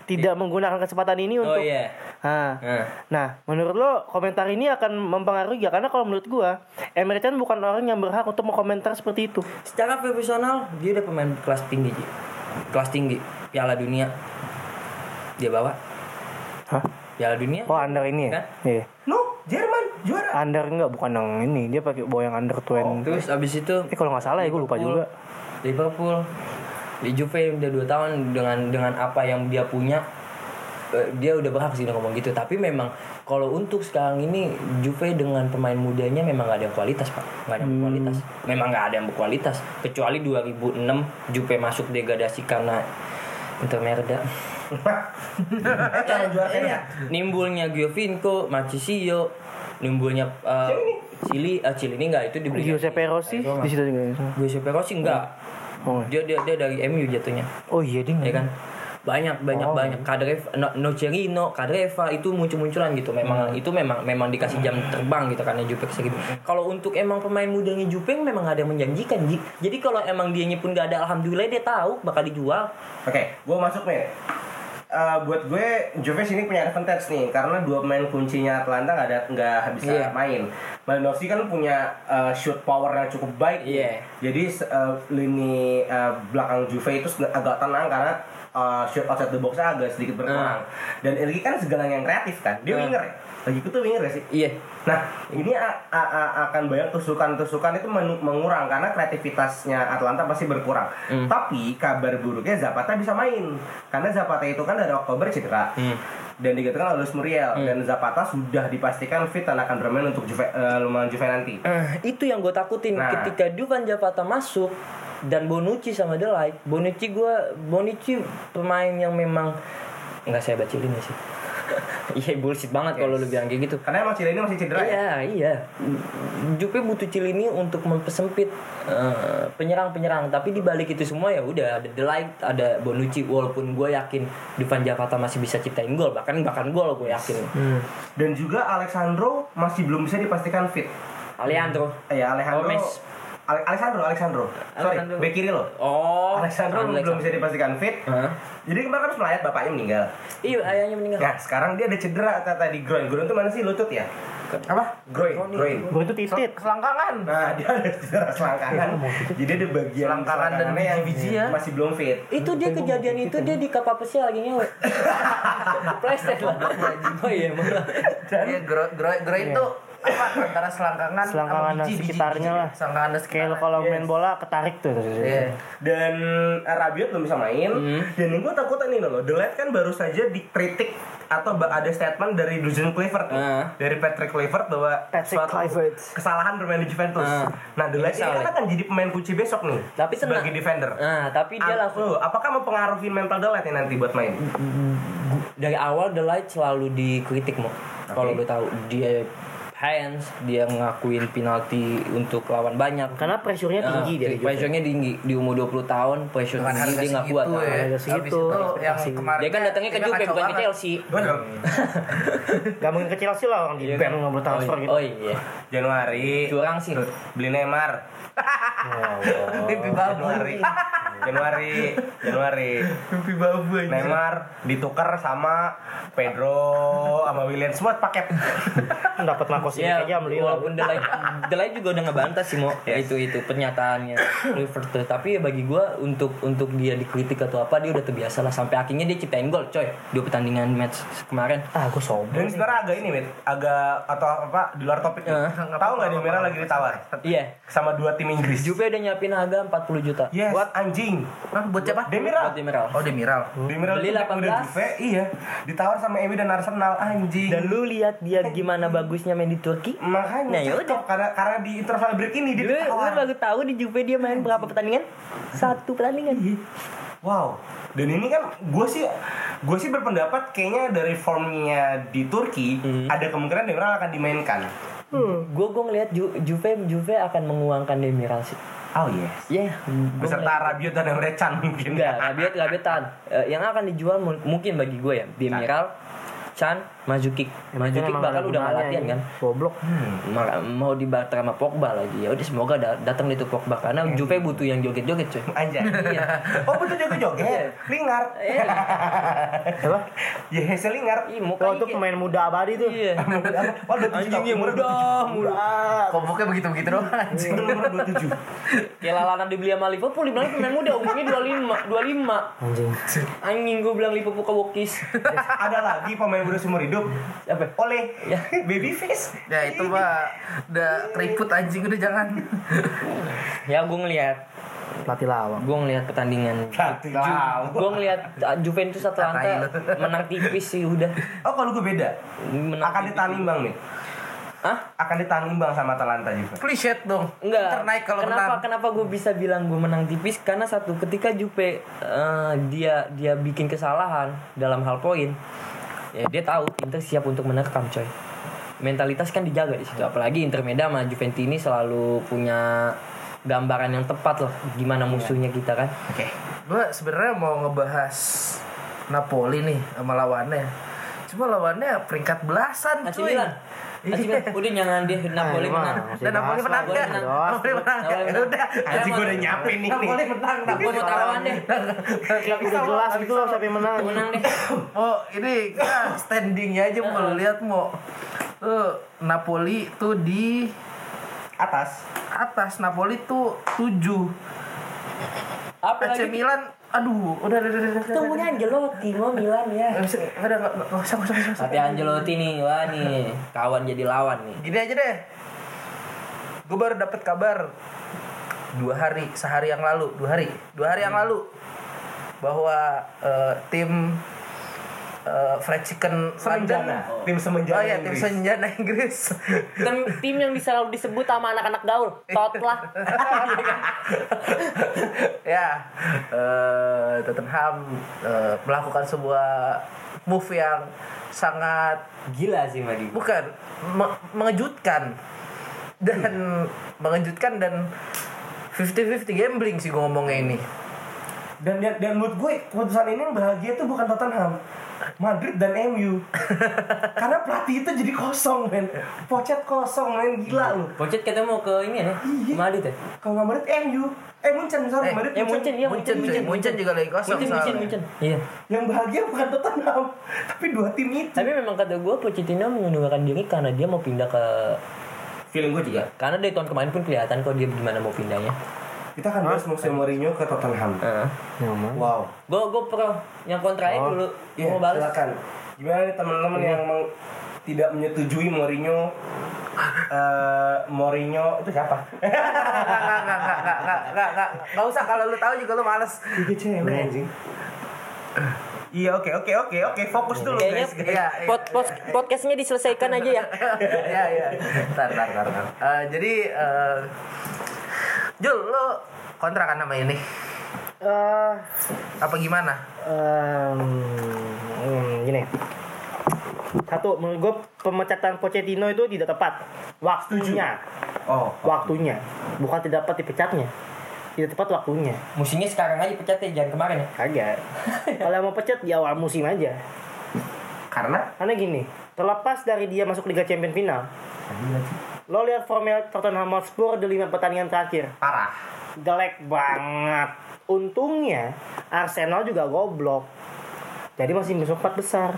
[SPEAKER 5] tidak menggunakan kesempatan ini
[SPEAKER 2] Oh
[SPEAKER 5] untuk
[SPEAKER 2] iya.
[SPEAKER 5] Ah.
[SPEAKER 2] Nah.
[SPEAKER 5] Nah, menurut lo komentar ini akan mempengaruhi ya? Karena kalau menurut gua, Emre Can bukan orang yang berhak untuk mengkomentar seperti itu.
[SPEAKER 2] Secara profesional dia udah pemain kelas tinggi Ji. Kelas tinggi Piala Dunia dia bawa.
[SPEAKER 5] Hah?
[SPEAKER 2] Piala Dunia.
[SPEAKER 5] Oh, under ini ya?
[SPEAKER 2] Kan?
[SPEAKER 5] Iya.
[SPEAKER 3] No, Jerman juara. [LAUGHS] Eh,
[SPEAKER 5] Under enggak, bukan yang ini. Dia pakai bawa yang under 20.
[SPEAKER 2] Terus abis itu
[SPEAKER 5] Eh, kalau nggak salah ya, gue lupa
[SPEAKER 2] Liverpool-
[SPEAKER 5] juga.
[SPEAKER 2] Liverpool di Juve udah 2 tahun dengan dengan apa yang dia punya eh, dia udah berhak sih ngomong gitu tapi memang kalau untuk sekarang ini Juve dengan pemain mudanya memang gak ada yang kualitas pak nggak ada yang
[SPEAKER 5] Hmm.
[SPEAKER 2] kualitas memang nggak ada yang berkualitas kecuali 2006 Juve masuk degradasi karena Inter Merda
[SPEAKER 3] Eh, calon juara ya.
[SPEAKER 2] nimbulnya Giovinco Marchisio nimbulnya eh, Cili eh, Cili ini nggak itu dibeli
[SPEAKER 5] Iya, Giuseppe Rossi
[SPEAKER 2] Arizona.
[SPEAKER 5] di situ juga.
[SPEAKER 2] Giuseppe Rossi enggak
[SPEAKER 5] Oh,
[SPEAKER 2] dia, dia dia dari MU jatuhnya
[SPEAKER 5] oh iya dia
[SPEAKER 2] ya
[SPEAKER 5] nggak.
[SPEAKER 2] kan banyak banyak banyak Kadreva no, Nocerino Kadreva itu muncul munculan gitu memang itu memang memang dikasih jam terbang gitu karena Juve segitu kalau untuk emang pemain mudanya Juve memang nggak ada yang menjanjikan Ji. jadi kalau emang dianya pun nggak ada alhamdulillah dia tahu bakal dijual
[SPEAKER 3] Oke, gue masuk men. eh, buat gue Juve sini punya advantage nih karena dua pemain kuncinya Atlanta nggak ada nggak bisa
[SPEAKER 2] Iya.
[SPEAKER 3] main. Malinowski kan punya eh, shoot power yang cukup baik.
[SPEAKER 2] Iya.
[SPEAKER 3] Jadi se- eh, lini eh, belakang Juve itu sed- agak tenang karena eh, shoot outside the box agak sedikit berkurang. Dan Inzaghi kan segalang yang kreatif kan. Dia winger ya. Lagi itu winger ya sih.
[SPEAKER 2] Iya.
[SPEAKER 3] Nah, ini a- a- a- akan banyak tusukan-tusukan itu menu- mengurang karena kreativitasnya Atlanta pasti berkurang. Tapi kabar buruknya Zapata bisa main karena Zapata itu kan dari Oktober cedera. Dan digantikan oleh Luis Muriel dan Zapata sudah dipastikan fit dan akan bermain untuk Juve, eh, lawan Juve nanti.
[SPEAKER 2] Ah, itu yang gue takutin
[SPEAKER 3] Nah.
[SPEAKER 2] ketika Duvan Zapata masuk dan Bonucci sama Delight. Bonucci gue Bonucci pemain yang memang nggak saya bacilin ya sih. [LAUGHS] Iya bullshit banget kalau lu bilang kayak gitu.
[SPEAKER 3] Karena emang Chile ini masih cedera ya.
[SPEAKER 2] Iya, iya. Jupe butuh Cilini untuk mempersempit eh, penyerang-penyerang, tapi di balik itu semua ya udah ada Delight, ada Bonucci walaupun gue yakin Duvan Zapata masih bisa ciptain gol, bahkan bahkan gol gue yakin.
[SPEAKER 3] Hmm. Dan juga Alexandro masih belum bisa dipastikan fit.
[SPEAKER 2] Alejandro.
[SPEAKER 3] Eh, ya Alejandro.
[SPEAKER 2] Gomez.
[SPEAKER 3] Ale- Alexandro, Alexandro. Sorry,
[SPEAKER 2] Alexandro.
[SPEAKER 3] bek kiri loh.
[SPEAKER 2] Oh,
[SPEAKER 3] Alexandro, belum bisa dipastikan fit.
[SPEAKER 2] Hah?
[SPEAKER 3] Jadi kemarin kan melayat bapaknya meninggal.
[SPEAKER 2] Iya, ayahnya meninggal.
[SPEAKER 3] Nah, sekarang dia ada cedera kata di groin. Groin itu mana sih lutut ya? Apa? Groin. Groin.
[SPEAKER 5] Gue itu titit.
[SPEAKER 11] selangkangan
[SPEAKER 3] Nah, dia ada cedera selangkangan. Jadi ada bagian
[SPEAKER 11] Selangkangan dan
[SPEAKER 3] selangkangannya yang
[SPEAKER 11] biji-biji ya.
[SPEAKER 3] masih belum fit.
[SPEAKER 2] Itu dia kejadian itu dia di kapal pesi lagi ngewe.
[SPEAKER 3] [LAUGHS]
[SPEAKER 2] Pleset lah. Oh iya, malah.
[SPEAKER 11] Iya, gro gro gro itu apa antara selangkangan
[SPEAKER 5] Selangkangan
[SPEAKER 11] sama
[SPEAKER 5] dan
[SPEAKER 11] biji, biji,
[SPEAKER 5] sekitarnya
[SPEAKER 11] biji.
[SPEAKER 5] lah.
[SPEAKER 11] selangkangan dan
[SPEAKER 5] Kayak
[SPEAKER 11] sekitarnya
[SPEAKER 5] kalau main bola ketarik tuh.
[SPEAKER 11] Iya.
[SPEAKER 3] Dan eh, Rabiot belum bisa main. Dan gue takut ini loh. Delet kan baru saja dikritik atau ba- ada statement dari Dustin Clifford nih.
[SPEAKER 2] Ah.
[SPEAKER 3] dari Patrick Clifford bahwa
[SPEAKER 5] Patrick
[SPEAKER 3] suatu
[SPEAKER 5] Clifford.
[SPEAKER 3] kesalahan bermain di Juventus.
[SPEAKER 2] Ah.
[SPEAKER 3] Nah, Delet ini
[SPEAKER 2] Salah.
[SPEAKER 3] kan akan jadi pemain kunci besok nih.
[SPEAKER 2] Tapi tenang.
[SPEAKER 3] sebagai defender.
[SPEAKER 2] Nah, tapi dia
[SPEAKER 3] Ap-
[SPEAKER 2] langsung
[SPEAKER 3] tuh, apakah mempengaruhi mental Delet nih nanti buat main?
[SPEAKER 2] dari awal The Light selalu dikritik mau kalau lu tahu dia hands dia ngakuin penalti untuk lawan banyak
[SPEAKER 5] Karena iya, pressure-nya tinggi
[SPEAKER 2] Ah,
[SPEAKER 5] dia Gitu. di Juve.
[SPEAKER 2] pressure-nya tinggi di umur 20 tahun pressure
[SPEAKER 11] Dengan
[SPEAKER 2] tinggi
[SPEAKER 11] harga
[SPEAKER 2] dia nggak
[SPEAKER 11] segitu
[SPEAKER 2] kuat kan?
[SPEAKER 11] ya.
[SPEAKER 5] Harga segitu.
[SPEAKER 11] Habis itu yang
[SPEAKER 5] Ekspektasi.
[SPEAKER 11] kemarin
[SPEAKER 2] dia kan datangnya ke
[SPEAKER 11] kita
[SPEAKER 2] Juve
[SPEAKER 11] kacau
[SPEAKER 2] bukan ke
[SPEAKER 11] banget.
[SPEAKER 2] Chelsea
[SPEAKER 5] Gak mungkin ke Chelsea lah orang di
[SPEAKER 2] Iya
[SPEAKER 5] band
[SPEAKER 2] kan?
[SPEAKER 5] nggak boleh transfer
[SPEAKER 2] oh,
[SPEAKER 5] gitu.
[SPEAKER 2] oh iya
[SPEAKER 3] Januari
[SPEAKER 2] curang sih
[SPEAKER 3] beli Neymar [LAUGHS]
[SPEAKER 11] mimpi babu
[SPEAKER 3] Januari Januari Januari
[SPEAKER 11] mimpi babu aja.
[SPEAKER 3] Neymar ditukar sama Pedro sama William semua paket
[SPEAKER 5] Dapat Marcos ini
[SPEAKER 2] Ya,
[SPEAKER 5] aja beli lah.
[SPEAKER 2] walaupun Delay, [LAUGHS] Delay juga udah ngebantah sih mau itu itu pernyataannya Clifford tuh. Tapi ya bagi gua untuk untuk dia dikritik atau apa dia udah terbiasa lah sampai akhirnya dia ciptain gol coy dua pertandingan match kemarin.
[SPEAKER 5] Ah, gue sombong.
[SPEAKER 3] dan sebenarnya agak ini Mit agak atau apa di luar
[SPEAKER 2] Eh,
[SPEAKER 3] topik nih. tahu nggak di Merah lagi ditawar
[SPEAKER 2] Iya,
[SPEAKER 3] sama dua tim Inggris
[SPEAKER 2] Juve udah nyiapin harga 40 juta.
[SPEAKER 3] yes buat anjing
[SPEAKER 11] Hah, buat siapa
[SPEAKER 3] Demiral
[SPEAKER 2] Buat Demiral.
[SPEAKER 11] oh Demiral
[SPEAKER 3] Demiral
[SPEAKER 2] Beli
[SPEAKER 3] itu back muda
[SPEAKER 2] 18.
[SPEAKER 3] Juve iya ditawar sama MU dan Arsenal anjing
[SPEAKER 2] Dan lu lihat dia gimana bagusnya main di Turki? Nah,
[SPEAKER 3] makanya
[SPEAKER 2] ya
[SPEAKER 3] cocok karena karena di international break ini dia
[SPEAKER 2] Lu, lu
[SPEAKER 3] ditawar
[SPEAKER 2] baru tahu di Juve dia main berapa pertandingan? Satu pertandingan.
[SPEAKER 3] Wow, dan ini kan gue sih gue sih berpendapat kayaknya dari formnya di Turki ada kemungkinan Demiral akan dimainkan.
[SPEAKER 2] Gue gue ngelihat Ju- Juve Juve akan menguangkan Demiral sih.
[SPEAKER 3] Oh yes.
[SPEAKER 2] Ya,
[SPEAKER 3] Beserta Rabiot dan Emre Can mungkin. [LAUGHS]
[SPEAKER 2] Enggak, Rabiot, Rabiot tahan. Eh, yang akan dijual mu- mungkin bagi gue ya, Demiral, Chan, Mazuki. Mazuki
[SPEAKER 5] kan Emang
[SPEAKER 2] bakal
[SPEAKER 5] ya. ada
[SPEAKER 2] udah nggak
[SPEAKER 5] gunanya
[SPEAKER 2] latihan
[SPEAKER 5] ini.
[SPEAKER 2] kan.
[SPEAKER 5] Goblok.
[SPEAKER 2] Maka- mau dibarter sama Pogba lagi. Ya udah semoga da- datang itu Pogba karena Juve butuh yang joget-joget coy.
[SPEAKER 3] Anjay.
[SPEAKER 2] Iya.
[SPEAKER 3] oh betul joget joget. Lingard.
[SPEAKER 2] Eh,
[SPEAKER 5] Siapa?
[SPEAKER 3] ya Hazel Lingard.
[SPEAKER 2] ih, mukanya
[SPEAKER 5] Oh, itu
[SPEAKER 2] kayak- gitu.
[SPEAKER 5] pemain muda abadi tuh.
[SPEAKER 2] Iya.
[SPEAKER 3] Wah, udah tujuh
[SPEAKER 2] Anjingnya
[SPEAKER 3] umurnya
[SPEAKER 2] muda, muda.
[SPEAKER 11] komuknya begitu begitu doang anjing
[SPEAKER 3] Umurnya dua tujuh.
[SPEAKER 2] Kayak Ya, lalanan dibeli sama Liverpool, dibilang pemain muda, umurnya 25, 25.
[SPEAKER 5] Anjing.
[SPEAKER 2] Anjing gue bilang Liverpool ke Wokis.
[SPEAKER 3] Ada lagi pemain muda seumur hidup.
[SPEAKER 2] Apa?
[SPEAKER 3] Oleh
[SPEAKER 2] Ya.
[SPEAKER 3] [LAUGHS] Babyface.
[SPEAKER 11] ya itu mah udah keriput anjing udah jangan
[SPEAKER 2] Ya gue ngelihat,
[SPEAKER 5] Latih lawang.
[SPEAKER 2] gue ngelihat pertandingan.
[SPEAKER 3] Satu
[SPEAKER 2] Gue ngelihat uh, Juventus Atlanta
[SPEAKER 11] Katain lu.
[SPEAKER 2] menang tipis sih udah.
[SPEAKER 3] Oh kalau gue beda.
[SPEAKER 2] Menang
[SPEAKER 3] Akan
[SPEAKER 2] tipis.
[SPEAKER 3] ditahan imbang nih.
[SPEAKER 2] Hah?
[SPEAKER 3] Akan ditahan imbang sama Atalanta juga.
[SPEAKER 11] please shit dong
[SPEAKER 2] Enggak.
[SPEAKER 11] Inter naik kalau
[SPEAKER 2] kenapa
[SPEAKER 11] menang
[SPEAKER 2] kenapa gue bisa bilang gue menang tipis karena satu ketika Jupe eh, dia dia bikin kesalahan dalam hal poin, ya dia tahu Inter siap untuk menerkam coy. Mentalitas kan dijaga di situ. Apalagi Inter Meda sama Juventus ini selalu punya gambaran yang tepat lah
[SPEAKER 11] Iya.
[SPEAKER 2] gimana musuhnya kita kan.
[SPEAKER 11] Oke, gue sebenarnya mau ngebahas
[SPEAKER 5] Iya.
[SPEAKER 11] Napoli nih sama lawannya. Cuma lawannya peringkat belasan
[SPEAKER 2] AC
[SPEAKER 11] cuy.
[SPEAKER 2] Milan. Anjing
[SPEAKER 11] Iya.
[SPEAKER 2] kan, udah jangan dia Napoli menang.
[SPEAKER 5] Dan Napoli menang
[SPEAKER 2] enggak?
[SPEAKER 5] Napoli menang.
[SPEAKER 2] Udah,
[SPEAKER 3] Anjing gue udah nyiapin nih.
[SPEAKER 11] Napoli menang,
[SPEAKER 2] Gue
[SPEAKER 11] Napoli
[SPEAKER 2] mau taruhan deh.
[SPEAKER 11] [LAUGHS]
[SPEAKER 5] Udah jelas gitu loh siapa yang menang.
[SPEAKER 2] Iya, Menang deh.
[SPEAKER 11] Mo, Oh, ini kita standingnya aja mau lihat Mo. Tuh, Napoli tuh di
[SPEAKER 3] Atas.
[SPEAKER 11] atas Napoli tuh 7.
[SPEAKER 2] Apa lagi?
[SPEAKER 11] AC Milan aduh, udah udah udah udah. udah.
[SPEAKER 13] Tunggunya Angelotti mau Milan ya.
[SPEAKER 11] Nggak bisa, nggak ada, nggak nggak- nggak usah, nggak usah, nggak usah.
[SPEAKER 2] Tapi Angelotti nih, wah nih, kawan jadi lawan nih.
[SPEAKER 11] Gini aja deh. Gue baru dapet kabar dua hari, sehari yang lalu, dua hari, dua hari yang
[SPEAKER 3] Hmm.
[SPEAKER 11] lalu bahwa eh, tim eh, Fried Chicken
[SPEAKER 3] Semenjana.
[SPEAKER 11] London-
[SPEAKER 3] Tim semenjana
[SPEAKER 11] Oh iya, tim
[SPEAKER 3] Inggris.
[SPEAKER 11] Senjana Inggris.
[SPEAKER 5] Tim, tim yang selalu disebut sama anak-anak gaul, Totlah.
[SPEAKER 11] ya eh, Tottenham eh, melakukan sebuah move yang sangat
[SPEAKER 2] Gila sih Madi.
[SPEAKER 11] bukan me- mengejutkan dan mengejutkan dan 50-50 gambling sih gue ngomongnya ini
[SPEAKER 3] Dan dan, dan menurut gue keputusan ini yang bahagia tuh bukan Tottenham. Madrid dan
[SPEAKER 2] [LAUGHS]
[SPEAKER 3] MU. Karena pelatih itu jadi kosong, men. Pocet kosong, men. Gila lu.
[SPEAKER 2] Pocet kita mau ke ini ya,
[SPEAKER 3] Iya.
[SPEAKER 2] ke Madrid ya.
[SPEAKER 3] Kalau nggak Madrid, MU. Eh, Munchen, sorry.
[SPEAKER 11] Eh,
[SPEAKER 3] Madrid,
[SPEAKER 2] Ya Munchen, iya
[SPEAKER 11] Muncen
[SPEAKER 2] Munchen, Munchen, Munchen.
[SPEAKER 11] juga lagi
[SPEAKER 2] Munchen,
[SPEAKER 11] kosong
[SPEAKER 3] ya?
[SPEAKER 2] Munchen,
[SPEAKER 11] soalnya.
[SPEAKER 2] Munchen. Iya.
[SPEAKER 3] Yang bahagia bukan Tottenham. [LAUGHS] Tapi dua tim itu.
[SPEAKER 2] Tapi memang kata gue Pochettino mengundurkan diri karena dia mau pindah ke
[SPEAKER 3] Feeling gue juga.
[SPEAKER 2] karena dari tahun kemarin pun kelihatan kok dia gimana mau pindahnya.
[SPEAKER 3] Kita akan bahas musim Mourinho ke Tottenham.
[SPEAKER 2] Heeh.
[SPEAKER 3] Wow.
[SPEAKER 2] Gue gue pro yang kontrain dulu
[SPEAKER 3] Iya,
[SPEAKER 2] mau Iya. balas.
[SPEAKER 3] silakan. Gimana nih teman-teman yang meng- tidak menyetujui
[SPEAKER 2] [LAUGHS]
[SPEAKER 3] Mourinho eh Mourinho itu siapa?
[SPEAKER 11] Nggak, nggak, nggak, nggak, nggak, nggak, nggak, nggak. Nggak usah kalau lu tahu juga lu males
[SPEAKER 3] Tiga cewek anjing.
[SPEAKER 11] iya oke oke oke oke fokus dulu
[SPEAKER 5] Kayaknya
[SPEAKER 11] guys Iya, iya. [LAUGHS]
[SPEAKER 5] pod, pod, podcastnya diselesaikan aja ya.
[SPEAKER 11] ya ya tar tar tar, tar. Eh, jadi eh, Jul lo kontra kan sama ini
[SPEAKER 5] Eh,
[SPEAKER 11] apa gimana
[SPEAKER 5] em, hmm, gini. Satu, menurut gue pemecatan Pochettino itu tidak tepat. Waktunya.
[SPEAKER 3] Oh,
[SPEAKER 5] Waktunya. Bukan tidak tepat dipecatnya. Tidak tepat waktunya.
[SPEAKER 2] Musimnya sekarang aja pecatnya jangan kemarin ya. [LAUGHS]
[SPEAKER 5] Kagak. Kalau mau pecat di awal musim aja.
[SPEAKER 3] karena
[SPEAKER 5] Karena gini, terlepas dari dia masuk Liga Champions final.
[SPEAKER 11] Iya,
[SPEAKER 5] Lo lihat formel Tottenham Hotspur di lima pertandingan terakhir.
[SPEAKER 11] parah
[SPEAKER 5] Jelek banget. Untungnya Arsenal juga goblok. Jadi masih masuk empat besar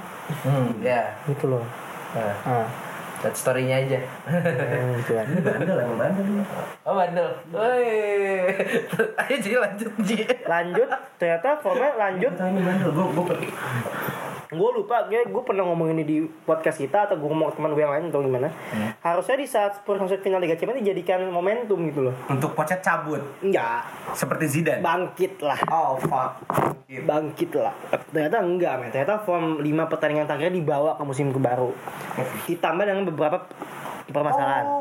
[SPEAKER 11] hmm, ya
[SPEAKER 5] gitu loh.
[SPEAKER 11] Eh,
[SPEAKER 5] Ah,
[SPEAKER 11] that story-nya aja
[SPEAKER 5] eh, gitu
[SPEAKER 11] [LAUGHS]
[SPEAKER 5] kan.
[SPEAKER 3] bandel emang bandel dia.
[SPEAKER 11] oh bandel woi [LAUGHS] ayo Ji, lanjut Ji
[SPEAKER 5] Lanjut, ternyata formel lanjut.
[SPEAKER 3] Kita ini bandel, gue gue
[SPEAKER 5] Gue lupa, gue, gue pernah ngomong ini di podcast kita atau gue ngomong ke teman gue yang lain atau gimana. Harusnya di saat Spurs masuk final Liga Champions dijadikan momentum gitu loh.
[SPEAKER 3] untuk pocet cabut
[SPEAKER 5] Enggak,
[SPEAKER 3] seperti Zidane.
[SPEAKER 5] bangkit lah.
[SPEAKER 3] oh fuck. Gitu.
[SPEAKER 5] bangkit lah ternyata enggak men ternyata form 5 pertandingan terakhir dibawa ke musim kebaru ditambah dengan beberapa permasalahan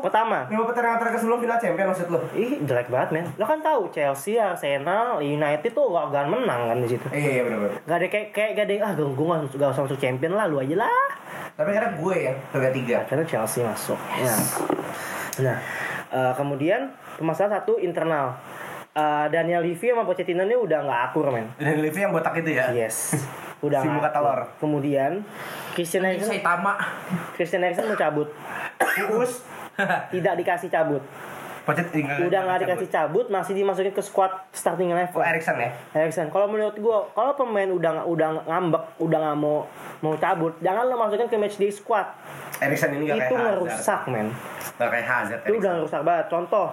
[SPEAKER 3] Oh.
[SPEAKER 5] pertama
[SPEAKER 3] Lima pertandingan terakhir sebelum final champion maksud lo?
[SPEAKER 5] ih jelek banget men lo kan tahu Chelsea Arsenal United tuh gak akan menang kan di situ
[SPEAKER 3] Iya, iya benar
[SPEAKER 5] gak ada kayak kayak gak ada yang, ah gue gue gak, gak usah masuk champion lah lu aja lah
[SPEAKER 3] Tapi karena gue ya, tiga tiga.
[SPEAKER 5] akhirnya Chelsea masuk nah, nah eh, kemudian permasalahan satu internal Eh, Daniel Levy sama Pochettino ini udah nggak akur men
[SPEAKER 3] Dan Livi yang botak itu ya.
[SPEAKER 5] Yes.
[SPEAKER 3] [LAUGHS]
[SPEAKER 5] Udah.
[SPEAKER 3] Si
[SPEAKER 5] nggak
[SPEAKER 3] muka
[SPEAKER 5] akur.
[SPEAKER 3] telur.
[SPEAKER 5] Kemudian Christian Eriksen
[SPEAKER 11] Saitama
[SPEAKER 5] Christian Eriksen mau cabut.
[SPEAKER 3] Uus,
[SPEAKER 5] Tidak dikasih cabut.
[SPEAKER 3] pocet tinggal.
[SPEAKER 5] Udah nggak dikasih cabut, masih dimasukin ke squad starting
[SPEAKER 3] Kok
[SPEAKER 5] level.
[SPEAKER 3] Erikson ya?
[SPEAKER 5] Eriksen, kalau menurut gua, kalau pemain udah nggak- udah ngambek, udah nggak mau mau cabut, jangan lo masukin ke match day squad.
[SPEAKER 3] Erikson ini gak Iya, kayak
[SPEAKER 5] Itu
[SPEAKER 3] Hazard.
[SPEAKER 5] ngerusak, men.
[SPEAKER 3] Gak kayak Hazard.
[SPEAKER 5] Itu udah ngerusak banget. Contoh,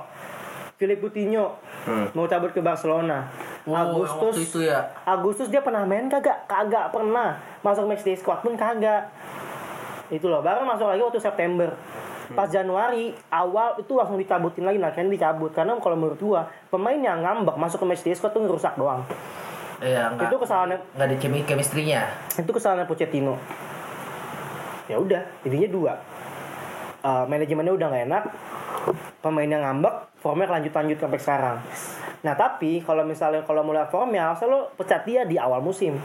[SPEAKER 5] Philip Coutinho
[SPEAKER 3] Hmm.
[SPEAKER 5] mau cabut ke Barcelona. Agustus
[SPEAKER 11] Oh, waktu itu ya
[SPEAKER 5] Agustus dia pernah main kagak? Kagak pernah. Masuk match day squad pun kagak. Itu loh, baru masuk lagi waktu September. Pas Januari awal itu langsung dicabutin lagi, nah akhirnya dicabut karena kalau menurut gua pemain yang ngambek masuk ke match day squad tuh ngerusak doang.
[SPEAKER 1] Iya,
[SPEAKER 11] ya
[SPEAKER 1] Nah,
[SPEAKER 11] nggak
[SPEAKER 5] Itu kesalahan
[SPEAKER 11] nggak ada chemi chemistry-nya
[SPEAKER 5] itu kesalahan Pochettino. Ya udah, intinya dua. Eh, manajemennya udah nggak enak, pemainnya ngambek, formnya lanjut-lanjut sampai sekarang. Nah tapi kalau misalnya kalau mulai formnya, harusnya lo pecat dia di awal musim.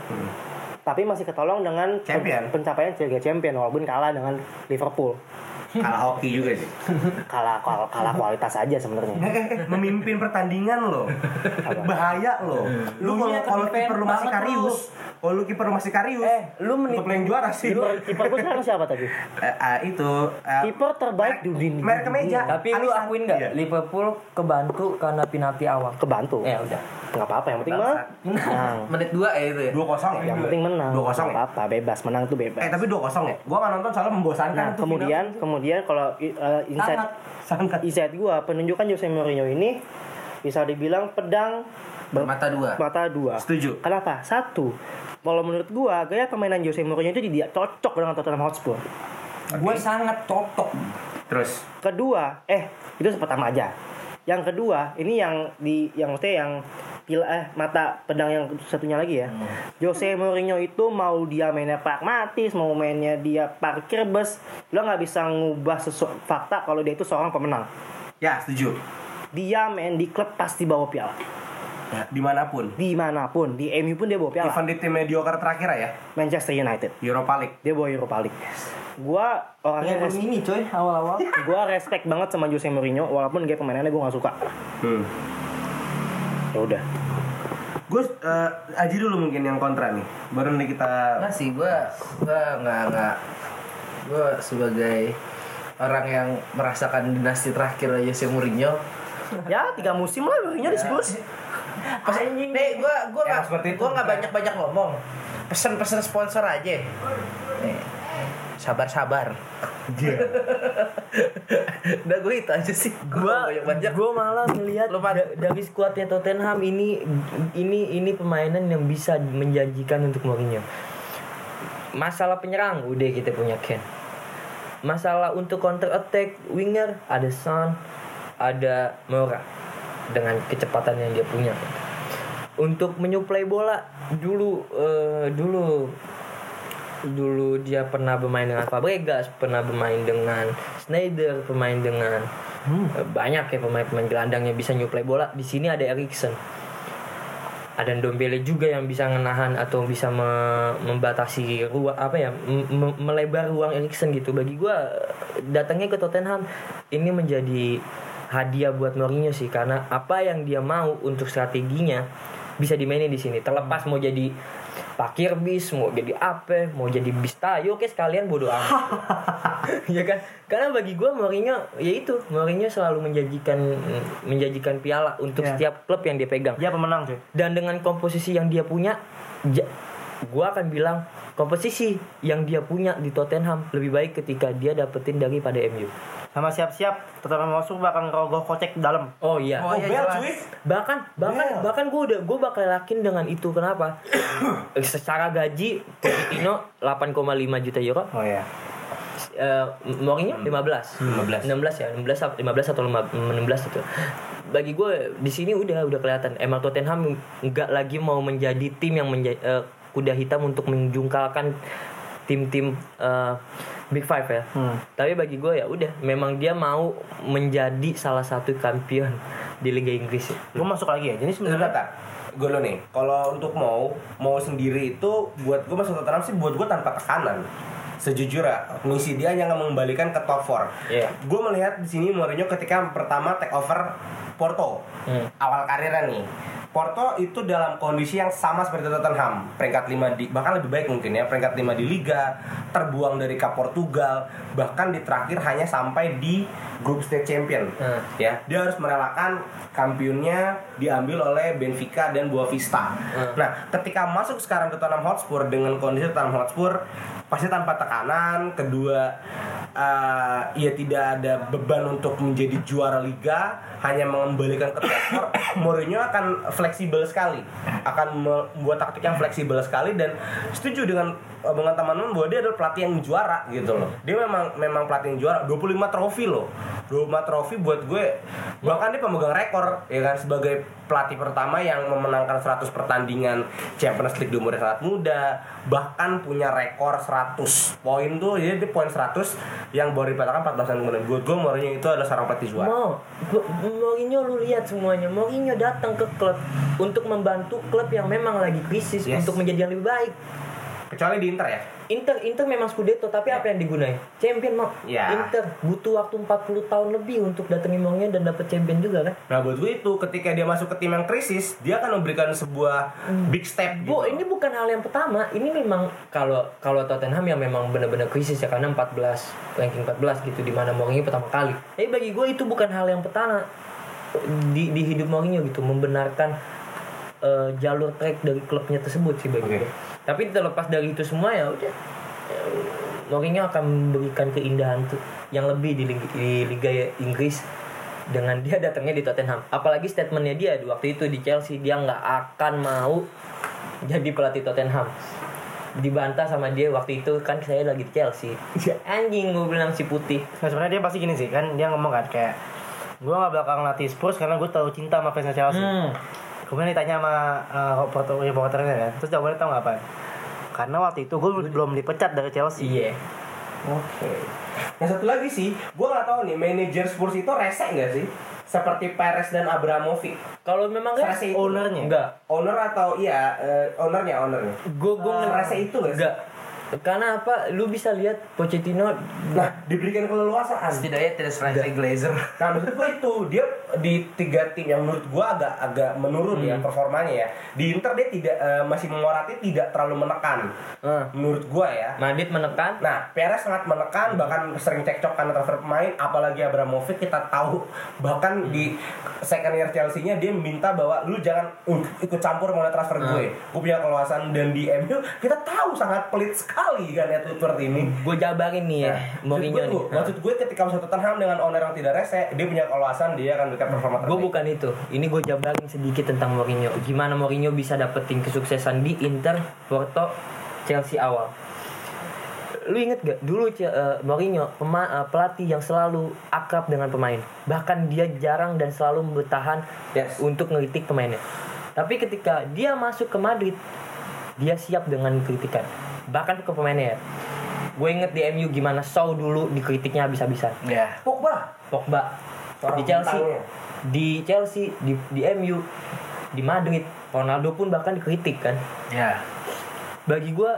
[SPEAKER 5] Tapi masih ketolong dengan pen-
[SPEAKER 3] Hmm. Champion.
[SPEAKER 5] pencapaian Liga Champion walaupun kalah dengan Liverpool.
[SPEAKER 3] Kalah hoki juga sih.
[SPEAKER 5] Kalah kalah, kalah kualitas aja sebenarnya.
[SPEAKER 3] [LAUGHS] Eh, eh, eh, memimpin pertandingan lo bahaya lo lu
[SPEAKER 2] Lu
[SPEAKER 3] kalau
[SPEAKER 2] iya,
[SPEAKER 3] kalau
[SPEAKER 2] keren
[SPEAKER 3] kiper lu masih
[SPEAKER 2] banget lu.
[SPEAKER 3] karius Kalau lu kiper masih karius,
[SPEAKER 14] Eh, lu menit-
[SPEAKER 3] tetap yang juara sih.
[SPEAKER 5] Kiper kiper gue sekarang siapa tadi?
[SPEAKER 3] Eh, ah, itu eh,
[SPEAKER 5] Kiper terbaik di dunia.
[SPEAKER 3] merek kemeja.
[SPEAKER 2] Tapi lu
[SPEAKER 3] Alisan.
[SPEAKER 2] akuin nggak
[SPEAKER 3] Ya, Iya.
[SPEAKER 2] Liverpool kebantu karena penalti awal?
[SPEAKER 5] Kebantu.
[SPEAKER 2] Ya udah.
[SPEAKER 5] Enggak apa-apa yang penting mah. Menang.
[SPEAKER 11] Menit 2 ya itu ya.
[SPEAKER 3] Dua kosong.
[SPEAKER 5] Yang penting menang.
[SPEAKER 3] Dua kosong. ya?
[SPEAKER 5] Nggak apa-apa, bebas menang tuh bebas.
[SPEAKER 3] Eh tapi dua kosong ya. Gua nggak nonton soalnya membosankan.
[SPEAKER 5] Nah,
[SPEAKER 3] tuh
[SPEAKER 5] kemudian kemudian kalau uh, insight
[SPEAKER 3] final. sangat.
[SPEAKER 5] insight gua penunjukan Jose Mourinho ini bisa dibilang pedang
[SPEAKER 11] Mata dua.
[SPEAKER 5] mata dua.
[SPEAKER 3] Setuju.
[SPEAKER 5] Kenapa? Satu, kalau menurut gua gaya permainan Jose Mourinho itu dia cocok dengan Tottenham Hotspur.
[SPEAKER 2] Gue sangat cocok.
[SPEAKER 3] Terus.
[SPEAKER 5] Kedua, eh itu pertama aja. Yang kedua, ini yang di yang maksudnya yang pil- eh mata pedang yang satunya lagi ya.
[SPEAKER 2] Hmm.
[SPEAKER 5] Jose Mourinho itu mau dia mainnya pragmatis, mau mainnya dia parkir bus, lo nggak bisa ngubah sesuatu fakta kalau dia itu seorang pemenang.
[SPEAKER 3] Ya setuju.
[SPEAKER 5] Dia main di klub pasti bawa piala.
[SPEAKER 3] Ya, dimanapun.
[SPEAKER 5] Dimanapun, di MU pun dia bawa piala.
[SPEAKER 3] Even di tim mediocre terakhir ya,
[SPEAKER 5] Manchester United,
[SPEAKER 3] Europa League.
[SPEAKER 5] dia bawa Europa League. Gua orangnya res-
[SPEAKER 2] ini coy awal-awal.
[SPEAKER 5] gua respect banget sama Jose Mourinho walaupun gaya permainannya gua nggak suka.
[SPEAKER 3] Hmm.
[SPEAKER 5] Ya udah.
[SPEAKER 3] Gue eh, Aji dulu mungkin yang kontra nih. Baru nih kita
[SPEAKER 11] Enggak sih, gue gue nggak nggak gue sebagai orang yang merasakan dinasti terakhir Jose Mourinho.
[SPEAKER 5] Ya, tiga musim lah Mourinho di Spurs.
[SPEAKER 11] Pas, nih gue gue nggak gue nggak banyak banyak ngomong. Pesan-pesan sponsor aja. [LAUGHS] Nih, sabar-sabar. Udah gue itu aja sih.
[SPEAKER 2] Gue
[SPEAKER 11] [LAUGHS] banyak banyak.
[SPEAKER 2] gue malah ngelihat
[SPEAKER 11] Lu, Pat.
[SPEAKER 2] da- dari skuadnya Tottenham ini ini ini pemainan yang bisa menjanjikan untuk Mourinho. Masalah penyerang udah kita punya Ken. Masalah untuk counter attack winger ada Son, ada Moura dengan kecepatan yang dia punya. Untuk menyuplai bola dulu eh, dulu dulu dia pernah bermain dengan Fabregas, pernah bermain dengan Schneider, bermain dengan eh, banyak ya pemain-pemain gelandang yang bisa nyuplai bola. Di sini ada Erikson. Ada Ndombele juga yang bisa menahan atau bisa me- membatasi ruang apa ya, m- m- melebar ruang Erikson gitu. Bagi gua eh, datangnya ke Tottenham ini menjadi hadiah buat Mourinho sih karena apa yang dia mau untuk strateginya bisa dimainin di sini terlepas mau jadi parkir bis mau jadi apa mau jadi bis tayo oke sekalian bodo amat ya kan karena bagi gue Mourinho ya itu Mourinho selalu menjanjikan menjanjikan piala untuk setiap klub yang dia pegang
[SPEAKER 5] Dia pemenang cuy.
[SPEAKER 2] dan dengan komposisi yang dia punya ja- gua akan bilang komposisi yang dia punya di Tottenham lebih baik ketika dia dapetin daripada MU
[SPEAKER 5] Sama siap-siap Tottenham Hotspur bakal ngerogoh kocek dalam.
[SPEAKER 2] oh iya
[SPEAKER 11] Oh, iya, jelas.
[SPEAKER 2] bahkan
[SPEAKER 5] Iya.
[SPEAKER 2] bahkan bahkan gue udah gue bakal yakin dengan itu
[SPEAKER 5] [COUGHS]
[SPEAKER 2] kenapa secara gaji Pochettino 8,5 juta euro
[SPEAKER 5] Oh iya. Hmm.
[SPEAKER 2] eh Mourinho 15 15 16 ya 16 ap- 15 atau lima- 16 itu bagi gue di sini udah udah kelihatan emang Tottenham nggak lagi mau menjadi tim yang menja- eh, kuda hitam untuk menjungkalkan tim-tim eh, Big Five ya
[SPEAKER 5] Hmm.
[SPEAKER 2] tapi bagi gue ya udah memang dia mau menjadi salah satu kampion di Liga Inggris ya.
[SPEAKER 5] Gue masuk lagi ya. Jadi sebenarnya
[SPEAKER 3] Sebentar, gue lo nih. Kalau untuk mau mau sendiri itu buat gue masuk Tottenham sih buat gue tanpa tekanan. Sejujurnya, misi dia yang mengembalikan ke top 4
[SPEAKER 2] Iya.
[SPEAKER 3] Gue melihat di sini Mourinho ketika pertama take over Porto awal karirnya nih. Porto itu dalam kondisi yang sama seperti Tottenham, peringkat 5 di bahkan lebih baik mungkin ya, peringkat 5 di liga, terbuang dari Cup Portugal, bahkan di terakhir hanya sampai di grup stage champion. Ya, dia harus merelakan kampionnya diambil oleh Benfica dan Boavista. Nah, ketika masuk sekarang ke Tottenham Hotspur dengan kondisi Tottenham Hotspur pasti tanpa tekanan, kedua eh, ia tidak ada beban untuk menjadi juara liga, hanya mengembalikan ke top four, [COUGHS] Mourinho akan fleksibel sekali, akan me- membuat taktik yang fleksibel sekali dan setuju dengan eh, dengan teman-teman bahwa dia adalah pelatih yang juara gitu loh.
[SPEAKER 2] Hmm.
[SPEAKER 3] Dia memang memang pelatih yang juara, 25 trofi loh. 25 trofi buat gue bahkan dia pemegang rekor ya kan sebagai pelatih pertama yang memenangkan 100 pertandingan Champions League di umur yang sangat muda bahkan punya rekor 100 poin tuh jadi di poin 100 yang baru dipatahkan 14 tahun kemudian buat gue Mourinho itu adalah seorang pelatih juara
[SPEAKER 2] Mau, Gua- Mourinho lu lihat semuanya. Mourinho datang ke klub untuk membantu klub yang memang lagi krisis
[SPEAKER 3] Yes.
[SPEAKER 2] untuk menjadi yang lebih baik.
[SPEAKER 3] kecuali di Inter ya
[SPEAKER 2] Inter Inter memang Scudetto tapi apa yang digunain? Champion mak.
[SPEAKER 3] Ya.
[SPEAKER 2] Inter butuh waktu 40 tahun lebih untuk datengin Mourinho dan dapet champion juga kan?
[SPEAKER 3] Nah buat gue itu ketika dia masuk ke tim yang krisis dia akan memberikan sebuah big step gitu.
[SPEAKER 2] Hmm. Bu, ini bukan hal yang pertama. Ini memang kalau kalau Tottenham yang memang benar-benar krisis ya karena 14 ranking 14 gitu di mana Mourinho pertama kali. Tapi bagi gue itu bukan hal yang pertama di di hidup Mourinho gitu membenarkan eh, jalur track dari klubnya tersebut sih bagi gue. Tapi terlepas dari itu semua ya udah eh, Mourinho akan memberikan keindahan tuh yang lebih di, lig- di Liga Inggris dengan dia datangnya di Tottenham. Apalagi statementnya dia di waktu itu di Chelsea dia nggak akan mau jadi pelatih Tottenham dibantah sama dia waktu itu kan saya lagi di Chelsea
[SPEAKER 3] Iya.
[SPEAKER 2] anjing gue bilang si putih
[SPEAKER 5] Nah sebenarnya dia pasti gini sih kan dia ngomong kan kayak gue gak bakal ngelatih Spurs karena gue tahu cinta sama fansnya Chelsea.
[SPEAKER 2] hmm.
[SPEAKER 5] Kemudian ditanya sama uh, reporter reporternya kan, terus jawabannya tau gak apa? Karena waktu itu gue belum dipecat dari Chelsea.
[SPEAKER 2] iya
[SPEAKER 3] Nah satu lagi sih, gue nggak tahu nih manajer Spurs itu rese nggak sih? Seperti Perez dan Abramovich,
[SPEAKER 2] kalau memang kan
[SPEAKER 3] Serasi itu.
[SPEAKER 5] Ownernya.
[SPEAKER 2] enggak
[SPEAKER 3] owner atau iya eh, ownernya ownernya.
[SPEAKER 2] gue gue
[SPEAKER 11] Eh,
[SPEAKER 3] Serasa itu nggak sih?
[SPEAKER 2] enggak karena apa lu bisa lihat Pochettino
[SPEAKER 3] Nah diberikan keleluasaan.
[SPEAKER 11] Setidaknya tidak serasa Glazer.
[SPEAKER 3] Nah menurut gue itu dia di tiga tim yang menurut gue agak agak menurun
[SPEAKER 11] Hmm.
[SPEAKER 3] ya performanya ya. Di Inter dia tidak eh, masih Morata tidak terlalu menekan. Nah,
[SPEAKER 2] eh,
[SPEAKER 3] Menurut gue ya.
[SPEAKER 2] Madrid menekan
[SPEAKER 3] Nah, Perez sangat
[SPEAKER 2] Hmm.
[SPEAKER 3] menekan bahkan sering cekcok karena transfer pemain apalagi Abramovich kita tahu [LAUGHS] bahkan
[SPEAKER 2] Hmm.
[SPEAKER 3] di second year Chelsea-nya dia minta bahwa lu jangan ik- ikut campur mengenai transfer
[SPEAKER 2] Hmm.
[SPEAKER 3] gue. Gue punya keluasan dan di MU kita tahu sangat pelit sekali kan ya seperti ini.
[SPEAKER 2] gue jabarin nih ya
[SPEAKER 3] Nah, maksud
[SPEAKER 2] Mourinho
[SPEAKER 3] gue,
[SPEAKER 2] nih
[SPEAKER 3] tuh, maksud gue ketika satu Tottenham dengan owner yang tidak rese, dia punya keluasan dia akan berikan performa
[SPEAKER 2] Gue
[SPEAKER 3] terbaik.
[SPEAKER 2] bukan itu. Ini gue jabarin sedikit tentang Mourinho. Gimana Mourinho bisa dapetin kesuksesan di Inter, Porto, Chelsea awal. Lu inget gak dulu Ce- eh, Mourinho pema- eh, pelatih yang selalu akrab dengan pemain. Bahkan dia jarang dan selalu bertahan
[SPEAKER 3] Yes.
[SPEAKER 2] untuk ngelitik pemainnya. Tapi ketika dia masuk ke Madrid, dia siap dengan kritikan. Bahkan ke pemainnya ya. Gue inget di MU gimana Shaw dulu dikritiknya habis-habisan.
[SPEAKER 11] Ya.
[SPEAKER 3] Pogba.
[SPEAKER 2] Pogba
[SPEAKER 3] Seorang
[SPEAKER 2] di Chelsea
[SPEAKER 3] bintangnya.
[SPEAKER 2] di Chelsea di, di MU di Madrid Ronaldo pun bahkan dikritik kan
[SPEAKER 11] Ya.
[SPEAKER 2] bagi gue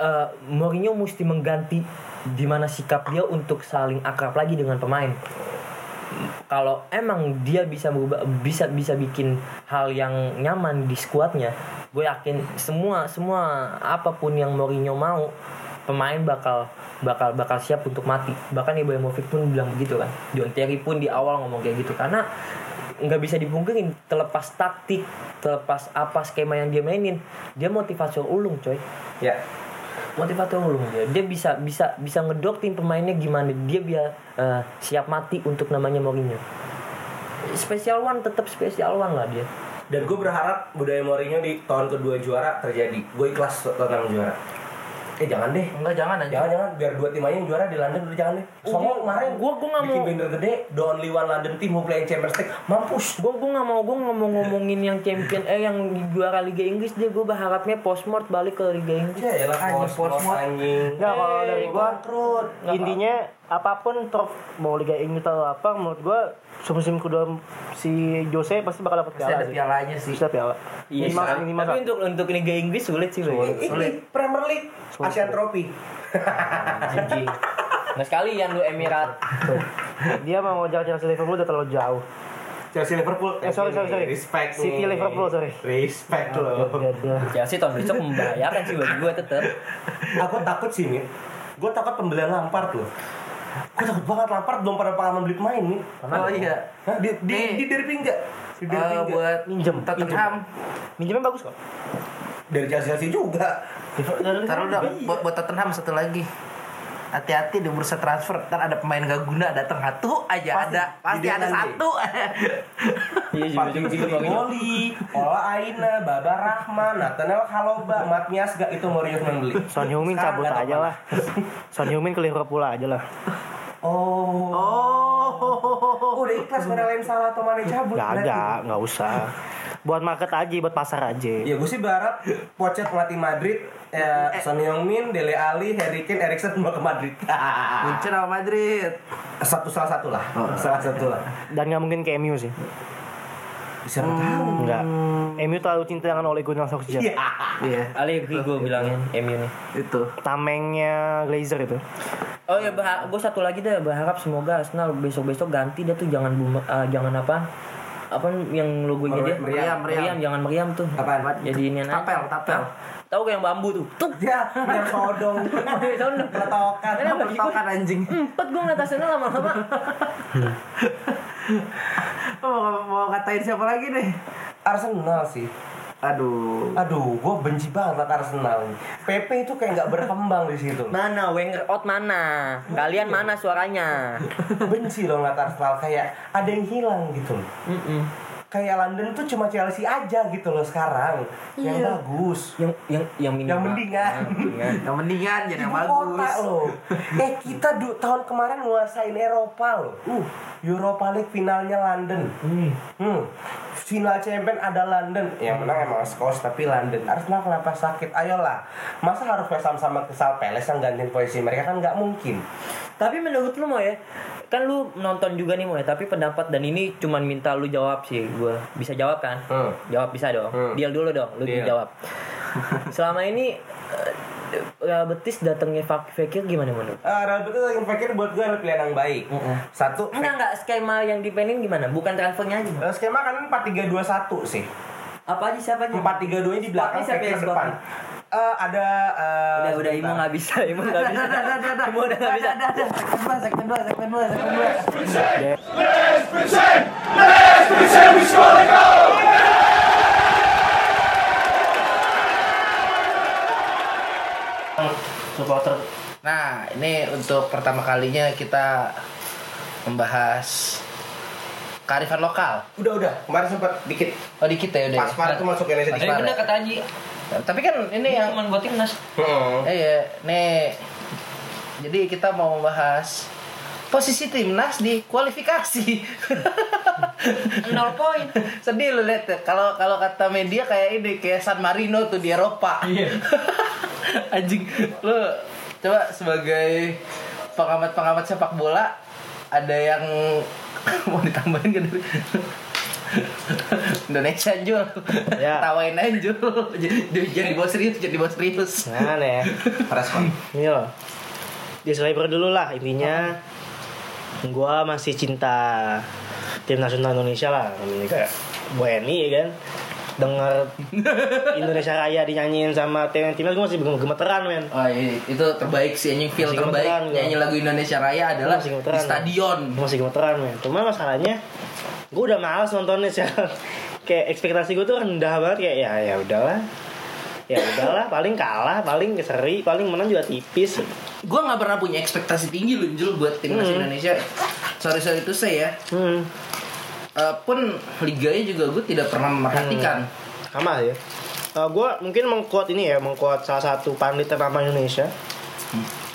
[SPEAKER 2] eh Mourinho mesti mengganti di mana sikap dia untuk saling akrab lagi dengan pemain kalau emang dia bisa berubah, bisa bisa bikin hal yang nyaman di skuadnya gue yakin semua semua apapun yang Mourinho mau pemain bakal bakal bakal siap untuk mati bahkan Ibrahimovic pun bilang begitu kan John Terry pun di awal ngomong kayak gitu karena nggak bisa dipungkiri terlepas taktik terlepas apa skema yang dia mainin dia motivator ulung coy
[SPEAKER 3] Ya.
[SPEAKER 2] motivator ulung dia dia bisa bisa bisa ngedoktin pemainnya gimana dia biar eh, siap mati untuk namanya Mourinho special one tetap special one lah dia
[SPEAKER 3] Dan gue berharap budaya Mourinho di tahun kedua juara terjadi. Gue ikhlas Tottenham juara. Eh jangan deh.
[SPEAKER 11] Enggak jangan aja.
[SPEAKER 3] Jangan jangan biar dua tim aja yang juara di London udah jangan deh. Soalnya kemarin
[SPEAKER 2] gua- gua nggak
[SPEAKER 3] bikin
[SPEAKER 2] mau-
[SPEAKER 3] banner gede the only one London team who play in Champions League. Mampus.
[SPEAKER 2] gue gue nggak mau gue ngomong ngomongin yang champion eh yang juara Liga Inggris dia gue berharapnya postmort balik ke Liga Inggris
[SPEAKER 3] Ya elah anjing
[SPEAKER 11] Portsmouth.
[SPEAKER 3] anjing.
[SPEAKER 5] Enggak kalau dari gue
[SPEAKER 3] Bangkrut.
[SPEAKER 5] intinya apapun top mau Liga Inggris atau apa menurut gue semusim kedua si Jose pasti bakal dapet
[SPEAKER 11] Pasti
[SPEAKER 5] piala
[SPEAKER 11] ada
[SPEAKER 5] sih.
[SPEAKER 11] pialanya sih.
[SPEAKER 5] Bisa piala. ya, minimal
[SPEAKER 2] Tapi-
[SPEAKER 5] minimal
[SPEAKER 2] Iya, tapi untuk untuk Liga Inggris sulit sih bagi gue.
[SPEAKER 3] Ini Premier League, Asian Trophy.
[SPEAKER 2] Anjing. Nah sekalian lu Emirat
[SPEAKER 5] dia mau ngejar Chelsea Liverpool udah terlalu jauh.
[SPEAKER 3] Chelsea Liverpool.
[SPEAKER 5] Eh, sorry, sorry, sorry.
[SPEAKER 3] Respect.
[SPEAKER 5] City
[SPEAKER 3] nih.
[SPEAKER 5] Liverpool, sorry.
[SPEAKER 3] Respect loh.
[SPEAKER 5] Udah.
[SPEAKER 2] Chelsea tahun besok membahayakan sih bagi gue tetap
[SPEAKER 3] Aku takut sih nih. Gue takut pembelian Lampard loh. Gue takut banget Lampard belum pada pengalaman beli pemain nih.
[SPEAKER 11] Oh iya.
[SPEAKER 3] Hah, di di,
[SPEAKER 11] Nih.
[SPEAKER 3] di derby enggak? Di derby
[SPEAKER 11] Eh,
[SPEAKER 3] enggak?
[SPEAKER 11] buat
[SPEAKER 5] Minjem,
[SPEAKER 11] Tottenham.
[SPEAKER 5] Minjemnya bagus kok.
[SPEAKER 3] Dari Chelsea Chelsea juga. [LAUGHS]
[SPEAKER 11] Taruh dong buat, buat Tottenham satu lagi. Hati-hati di bursa transfer, ntar ada pemain gak guna datang satu aja
[SPEAKER 3] Pasti.
[SPEAKER 11] ada pasti ada
[SPEAKER 3] Idean nanti.
[SPEAKER 11] satu. [LAUGHS]
[SPEAKER 2] Iya
[SPEAKER 3] Goli, Ola Aina, Baba Rahman, Nathaniel Haloba, Matias gak itu Mourinho yang beli.
[SPEAKER 5] Son Heung-min
[SPEAKER 3] Sekarang
[SPEAKER 5] cabut
[SPEAKER 3] nggak tahu
[SPEAKER 5] aja lah. Son Heung-min ke Liverpool aja lah.
[SPEAKER 3] Oh. Oh. Udah ikhlas merelain salah atau mana cabut.
[SPEAKER 5] Gagak, nggak usah. Buat market aja, buat pasar aja.
[SPEAKER 3] Ya gue sih berharap Pocet melatih Madrid, eh, Son Heung-min, Dele Alli, Harry Kane, Erikson semua ke Madrid.
[SPEAKER 11] Munchen sama Madrid.
[SPEAKER 3] [LAUGHS] satu salah satu lah, salah satu lah.
[SPEAKER 5] Dan nggak mungkin ke MU sih.
[SPEAKER 3] Siapa tahu?
[SPEAKER 5] Enggak. MU terlalu cinta dengan Ole Gunnar Solskjaer.
[SPEAKER 1] Iya.
[SPEAKER 2] Allegri gue bilangin MU nih.
[SPEAKER 1] Itu.
[SPEAKER 5] Tamengnya Glazer itu.
[SPEAKER 2] Oh ya, gue satu lagi deh berharap semoga Arsenal besok-besok ganti dia tuh jangan bumer, eh, jangan apa apa yang logonya dia
[SPEAKER 3] Meriam, meriam, meriam.
[SPEAKER 2] jangan meriam tuh
[SPEAKER 3] Apaan?
[SPEAKER 2] jadi ini
[SPEAKER 1] Tapel, tapel.
[SPEAKER 2] tahu gak yang bambu tuh [LAUGHS] tuh
[SPEAKER 3] Ya, yang sodong. Peletokan.
[SPEAKER 1] Eh,
[SPEAKER 2] Karena bagi gue
[SPEAKER 1] Tokan kan, anjing.
[SPEAKER 2] empat gue ngeliat Arsenal lama-lama
[SPEAKER 1] Oh, [LAUGHS] mau, mau katain siapa lagi deh?
[SPEAKER 3] Arsenal sih.
[SPEAKER 1] Aduh.
[SPEAKER 3] Aduh, gue benci banget sama Arsenal. PP itu kayak nggak berkembang di situ.
[SPEAKER 2] mana Wenger out mana kalian mana suaranya
[SPEAKER 3] Benci loh ngeliat Arsenal kayak ada yang hilang gitu. loh. Kayak London tuh cuma Chelsea aja gitu loh sekarang. Yang bagus.
[SPEAKER 2] yang yang yang minimal
[SPEAKER 3] Yang mendingan.
[SPEAKER 1] Yang mendingan jadi yang
[SPEAKER 3] Ibu kota
[SPEAKER 1] bagus.
[SPEAKER 3] loh. Eh kita du- tahun kemarin nguasain Eropa loh. Uh, Europa League finalnya London. Hmm. Final champion ada London. Yang menang emang Scots tapi London. Arsenal kenapa sakit? Ayolah. Masa harus sama-sama kesal Peles yang gantiin posisi mereka kan nggak mungkin.
[SPEAKER 2] Tapi menurut lu mau ya, kan lu nonton juga nih mau ya. Tapi pendapat dan ini cuman minta lu jawab sih, gua bisa jawab kan?
[SPEAKER 3] Hmm.
[SPEAKER 2] Jawab bisa dong.
[SPEAKER 3] Hmm.
[SPEAKER 2] Deal dulu dong, lu
[SPEAKER 3] Deal.
[SPEAKER 2] jawab. [LAUGHS] Selama ini eh, Real Betis datangnya Fak- Fekir gimana menurut?
[SPEAKER 3] Eh, Real Betis lagi pikir buat gue ada pilihan yang baik. Satu
[SPEAKER 2] Enggak enggak skema yang dipengen gimana? Bukan transfernya aja.
[SPEAKER 3] eh, skema kan 4-3-2-1 sih.
[SPEAKER 2] Apa aja siapa aja?
[SPEAKER 3] 4-3-2-nya di belakang,
[SPEAKER 2] Siapa yang
[SPEAKER 3] Fekir
[SPEAKER 2] sebab?
[SPEAKER 3] depan. Eh, ada eh,
[SPEAKER 2] Udah udah Imo
[SPEAKER 3] sebentar.
[SPEAKER 2] nggak bisa, Imo nggak
[SPEAKER 3] [LAUGHS]
[SPEAKER 2] bisa.
[SPEAKER 1] Dah, dah, dah, dah.
[SPEAKER 2] Imo udah nggak bisa.
[SPEAKER 1] Dah, dah, dah. Segmen dua, Oh, segmen dua, segmen dua, segmen dua.
[SPEAKER 5] Supporter
[SPEAKER 1] Nah, ini untuk pertama kalinya kita membahas kearifan lokal.
[SPEAKER 3] Udah udah, kemarin sempat dikit
[SPEAKER 1] Oh, dikit ya udah. ya?
[SPEAKER 3] Paspar tuh masuk Indonesia di
[SPEAKER 2] Tadi bener kata Haji,
[SPEAKER 1] Tapi kan ini yang
[SPEAKER 2] cuman buat timnas.
[SPEAKER 1] Eh, Iya, nih. Jadi kita mau membahas posisi timnas di kualifikasi.
[SPEAKER 2] Nol poin.
[SPEAKER 1] Sedih lu lihat ya. Kalau kalau kata media kayak ini kayak San Marino tuh di Eropa. [LAUGHS] Anjing, lu coba sebagai pengamat-pengamat sepak bola ada yang [LAUGHS] mau ditambahin gak dari [LAUGHS] Indonesia Jul
[SPEAKER 5] Ya.
[SPEAKER 1] Tawain aja Jul jadi, jadi bos serius Jadi bos serius
[SPEAKER 5] Nah, nih.
[SPEAKER 3] respon.
[SPEAKER 5] Ini loh. Disclaimer Iya. dulu lah intinya. Gua masih cinta tim nasional Indonesia lah. Ini kayak Bueni kan. Dengar Indonesia Raya dinyanyiin sama tim-timnya gue masih gemeteran men.
[SPEAKER 1] [LAUGHS] Oh iya, itu terbaik sih anjing feel
[SPEAKER 5] Masih
[SPEAKER 1] terbaik
[SPEAKER 5] gemeteran,
[SPEAKER 1] nyanyi
[SPEAKER 5] gua.
[SPEAKER 1] lagu Indonesia Raya adalah
[SPEAKER 5] Masih
[SPEAKER 1] di
[SPEAKER 5] gemeteran, gua.
[SPEAKER 1] stadion.
[SPEAKER 5] Gue masih gemeteran men. Cuma masalahnya gue udah males nontonnya [LAUGHS] sih. kayak ekspektasi gue tuh rendah banget kayak ya ya udahlah. Ya udahlah, paling kalah, paling seri, paling menang juga tipis.
[SPEAKER 1] Gue nggak pernah punya ekspektasi tinggi loh Jul buat timnas
[SPEAKER 5] Hmm.
[SPEAKER 1] Indonesia. Sorry sorry itu saya ya.
[SPEAKER 5] Hmm,
[SPEAKER 1] Eh, pun liganya juga gue tidak pernah memperhatikan.
[SPEAKER 5] sama ya. gue mungkin mengkuat ini ya, mengkuat salah satu pandit ternama Indonesia.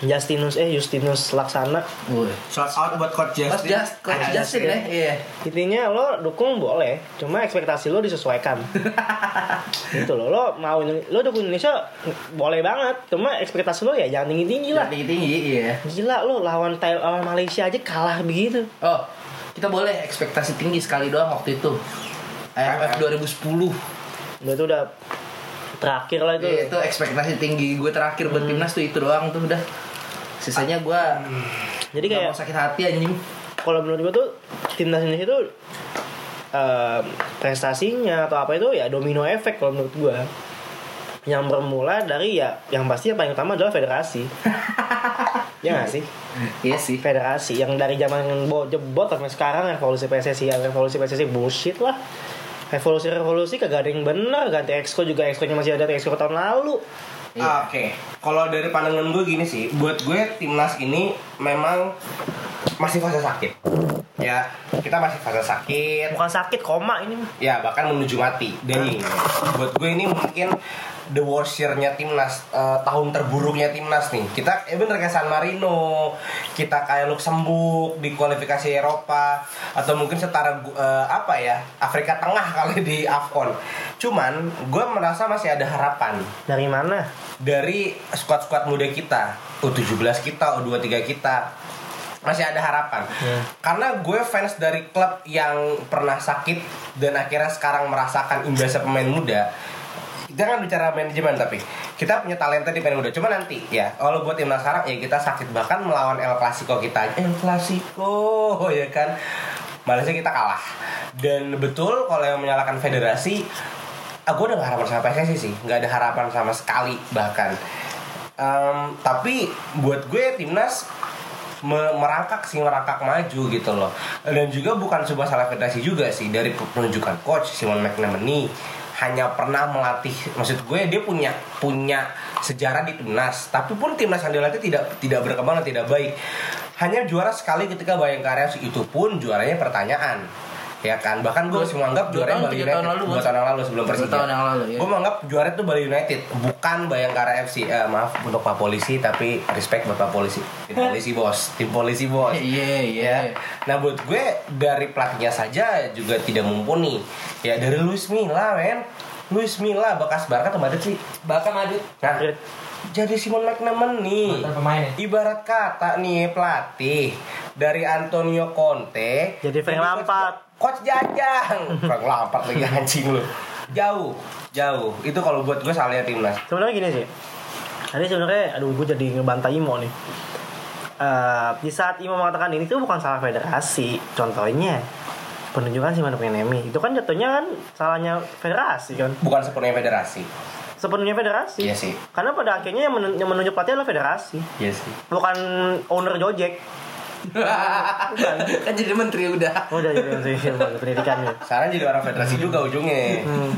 [SPEAKER 5] Justinus eh Justinus Laksana.
[SPEAKER 1] Woi.
[SPEAKER 3] Shout out buat Coach
[SPEAKER 1] Coach
[SPEAKER 3] Justin.
[SPEAKER 1] Just, Coach Justin
[SPEAKER 2] eh?
[SPEAKER 1] ya, iya.
[SPEAKER 5] Intinya lo dukung boleh, cuma ekspektasi lo disesuaikan. gitu lo, lo mau lo dukung Indonesia boleh banget, cuma ekspektasi lo ya jangan tinggi tinggi lah.
[SPEAKER 1] Tinggi tinggi, iya.
[SPEAKER 5] Gila lo lawan Thailand lawan Malaysia aja kalah begitu.
[SPEAKER 1] Oh, kita boleh ekspektasi tinggi sekali doang waktu itu. AFF 2010
[SPEAKER 5] Udah itu udah terakhir lah itu.
[SPEAKER 1] Iya, itu ekspektasi tinggi gue terakhir buat timnas tuh itu doang tuh udah sisanya gue
[SPEAKER 5] Jadi
[SPEAKER 1] nggak
[SPEAKER 5] kayak
[SPEAKER 1] mau sakit hati anjing
[SPEAKER 5] kalau menurut gue tuh timnas Indonesia tuh em, prestasinya atau apa itu ya domino efek kalau menurut gue yang bermula dari ya yang pasti yang paling utama adalah
[SPEAKER 1] [LAUGHS]
[SPEAKER 5] federasi ya nggak sih
[SPEAKER 1] iya sih
[SPEAKER 5] federasi yang dari zaman bo- jebot sampai sekarang revolusi PSSI ya revolusi PSSI bullshit lah revolusi revolusi kagak ada yang bener ganti exco juga exco nya masih ada exco tahun lalu
[SPEAKER 3] Ah, Oke, kalau dari pandangan gue gini sih, buat gue timnas ini memang masih fase sakit. Ya, kita masih fase sakit.
[SPEAKER 5] bukan sakit koma ini mah.
[SPEAKER 3] Ya, bahkan menuju mati. Dan buat gue ini mungkin the worst year-nya timnas, eh, tahun terburuknya timnas nih. Kita eh bener kayak San Marino, kita kayak Luxembourg di kualifikasi Eropa atau mungkin setara gu- eh, apa ya Afrika Tengah kali di Afcon. Cuman gue merasa masih ada harapan
[SPEAKER 5] dari mana
[SPEAKER 3] dari squad-squad muda kita U17 kita, U23 kita masih ada harapan karena gue fans dari klub yang pernah sakit dan akhirnya sekarang merasakan imbasnya pemain muda kita kan bicara manajemen tapi kita punya talenta di pemain muda cuma nanti ya kalau buat timnas sekarang ya kita sakit bahkan melawan El Clasico kita El Clasico [LAUGHS] ya kan Malaysia kita kalah dan betul kalau yang menyalahkan federasi aku Ah, udah gak harapan sama PSSI sih nggak ada harapan sama sekali bahkan Em, tapi buat gue timnas me- merangkak sih merangkak maju gitu loh dan juga bukan sebuah salah federasi juga sih dari penunjukan coach Simon McNamee hanya pernah melatih maksud gue dia punya punya sejarah di timnas tapi pun timnas yang dilatih tidak tidak berkembang dan tidak baik hanya juara sekali ketika Bayangkara FC, itu pun juaranya pertanyaan ya kan bahkan gue masih menganggap
[SPEAKER 11] Dua
[SPEAKER 3] juaranya
[SPEAKER 11] tahun,
[SPEAKER 3] Bali
[SPEAKER 11] tiga
[SPEAKER 3] United
[SPEAKER 11] tahun lalu,
[SPEAKER 3] dua
[SPEAKER 11] kan?
[SPEAKER 3] tahun yang lalu sebelum
[SPEAKER 11] Dua
[SPEAKER 3] Persija
[SPEAKER 11] tahun yang lalu, iya.
[SPEAKER 3] gue menganggap juara itu Bali United bukan Bayangkara FC Eh, maaf untuk Pak Polisi tapi respect buat Pak Polisi
[SPEAKER 11] [LAUGHS]
[SPEAKER 3] tim polisi bos tim polisi bos
[SPEAKER 11] Iya, iya.
[SPEAKER 3] ya. Nah buat gue dari pelatihnya saja juga tidak mumpuni. Ya dari Luis Milla men. Luis Milla bekas Barca atau Madrid sih?
[SPEAKER 2] Bahkan Madrid
[SPEAKER 3] Nah, jadi Simon McNamee
[SPEAKER 2] mantan pemain ya.
[SPEAKER 3] Ibarat kata nih pelatih dari Antonio Conte
[SPEAKER 5] Jadi Frank
[SPEAKER 3] coach-
[SPEAKER 5] Lampard.
[SPEAKER 3] Coach
[SPEAKER 5] [LAUGHS]
[SPEAKER 3] Jajang. Frank Lampard lagi anjing lu. Jauh, jauh. Itu kalau buat gue salahnya timnas.
[SPEAKER 5] sebenarnya gini sih tadi sebenarnya aduh gue jadi ngebantai Imo nih Eh, di saat Imo mengatakan ini itu bukan salah federasi contohnya penunjukan Simon Penemi itu kan jatuhnya kan salahnya federasi kan
[SPEAKER 3] Bukan sepenuhnya federasi.
[SPEAKER 5] sepenuhnya federasi
[SPEAKER 3] Iya sih.
[SPEAKER 5] karena pada akhirnya yang, menun- yang menunjuk pelatih adalah federasi
[SPEAKER 3] Iya sih.
[SPEAKER 5] bukan owner Gojek
[SPEAKER 11] [LAUGHS] kan jadi menteri udah.
[SPEAKER 5] oh dari [LAUGHS] pendidikannya
[SPEAKER 3] Sekarang jadi orang federasi juga ujungnya.
[SPEAKER 5] Hmm.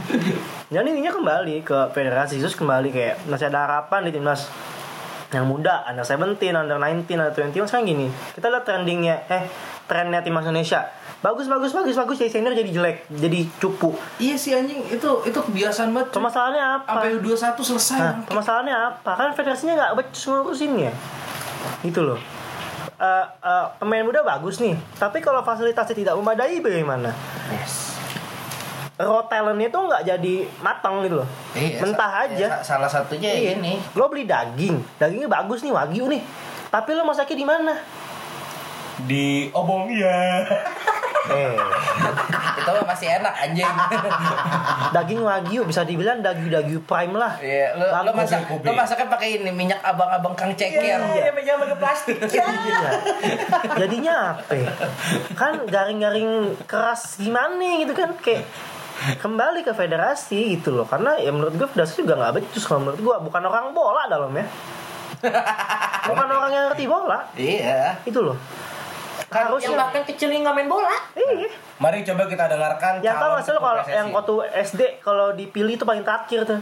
[SPEAKER 5] Dan intinya kembali ke federasi terus kembali kayak masih ada harapan di timnas yang muda under 17, under 19, under 21 sekarang gini kita lihat trendingnya eh trennya timnas Indonesia bagus bagus bagus bagus jadi senior jadi jelek jadi cupu
[SPEAKER 11] Iya sih anjing, itu itu kebiasaan banget. Cuma
[SPEAKER 5] permasalahannya apa
[SPEAKER 11] sampai 21 selesai.
[SPEAKER 5] Nah, permasalahannya apa kan federasinya nggak becus ngurusinnya gitu loh Eh, eh, pemain muda bagus nih tapi kalau fasilitasnya tidak memadai bagaimana
[SPEAKER 3] Yes.
[SPEAKER 5] raw talentnya tuh nggak jadi matang gitu loh
[SPEAKER 11] Iya,
[SPEAKER 5] mentah aja
[SPEAKER 11] Sa- Salah satunya ya ini.
[SPEAKER 5] Iya. Lo beli daging, dagingnya bagus nih wagyu nih. Tapi lo masaknya di mana?
[SPEAKER 3] Di obong iya.
[SPEAKER 5] Eh,
[SPEAKER 11] Itu mah masih enak
[SPEAKER 5] [LAUGHS]
[SPEAKER 11] anjing.
[SPEAKER 5] Daging wagyu bisa dibilang daging-daging prime lah.
[SPEAKER 11] Iya, lu, lu
[SPEAKER 5] Bagus,
[SPEAKER 11] masak lu masaknya pakai ini minyak abang-abang Kang Cekir.
[SPEAKER 5] ya. Iya,
[SPEAKER 11] minyak pakai plastik.
[SPEAKER 5] Iya. Jadinya apa? ya? Kan garing-garing keras gimana gitu kan kayak kembali ke federasi gitu loh karena ya menurut gue federasi juga nggak becus kalau menurut gue bukan orang bola dalamnya bukan orang yang ngerti bola
[SPEAKER 11] Iya.
[SPEAKER 5] itu loh
[SPEAKER 7] Yang
[SPEAKER 5] harusnya
[SPEAKER 7] bahkan kecil ini nggak main bola.
[SPEAKER 5] iya
[SPEAKER 3] Mari coba kita dengarkan
[SPEAKER 5] yang
[SPEAKER 3] calon
[SPEAKER 5] tau Ya, nggak sih lo
[SPEAKER 3] ketua
[SPEAKER 5] kalau
[SPEAKER 3] PSSI.
[SPEAKER 5] yang waktu SD kalau dipilih itu paling terakhir tuh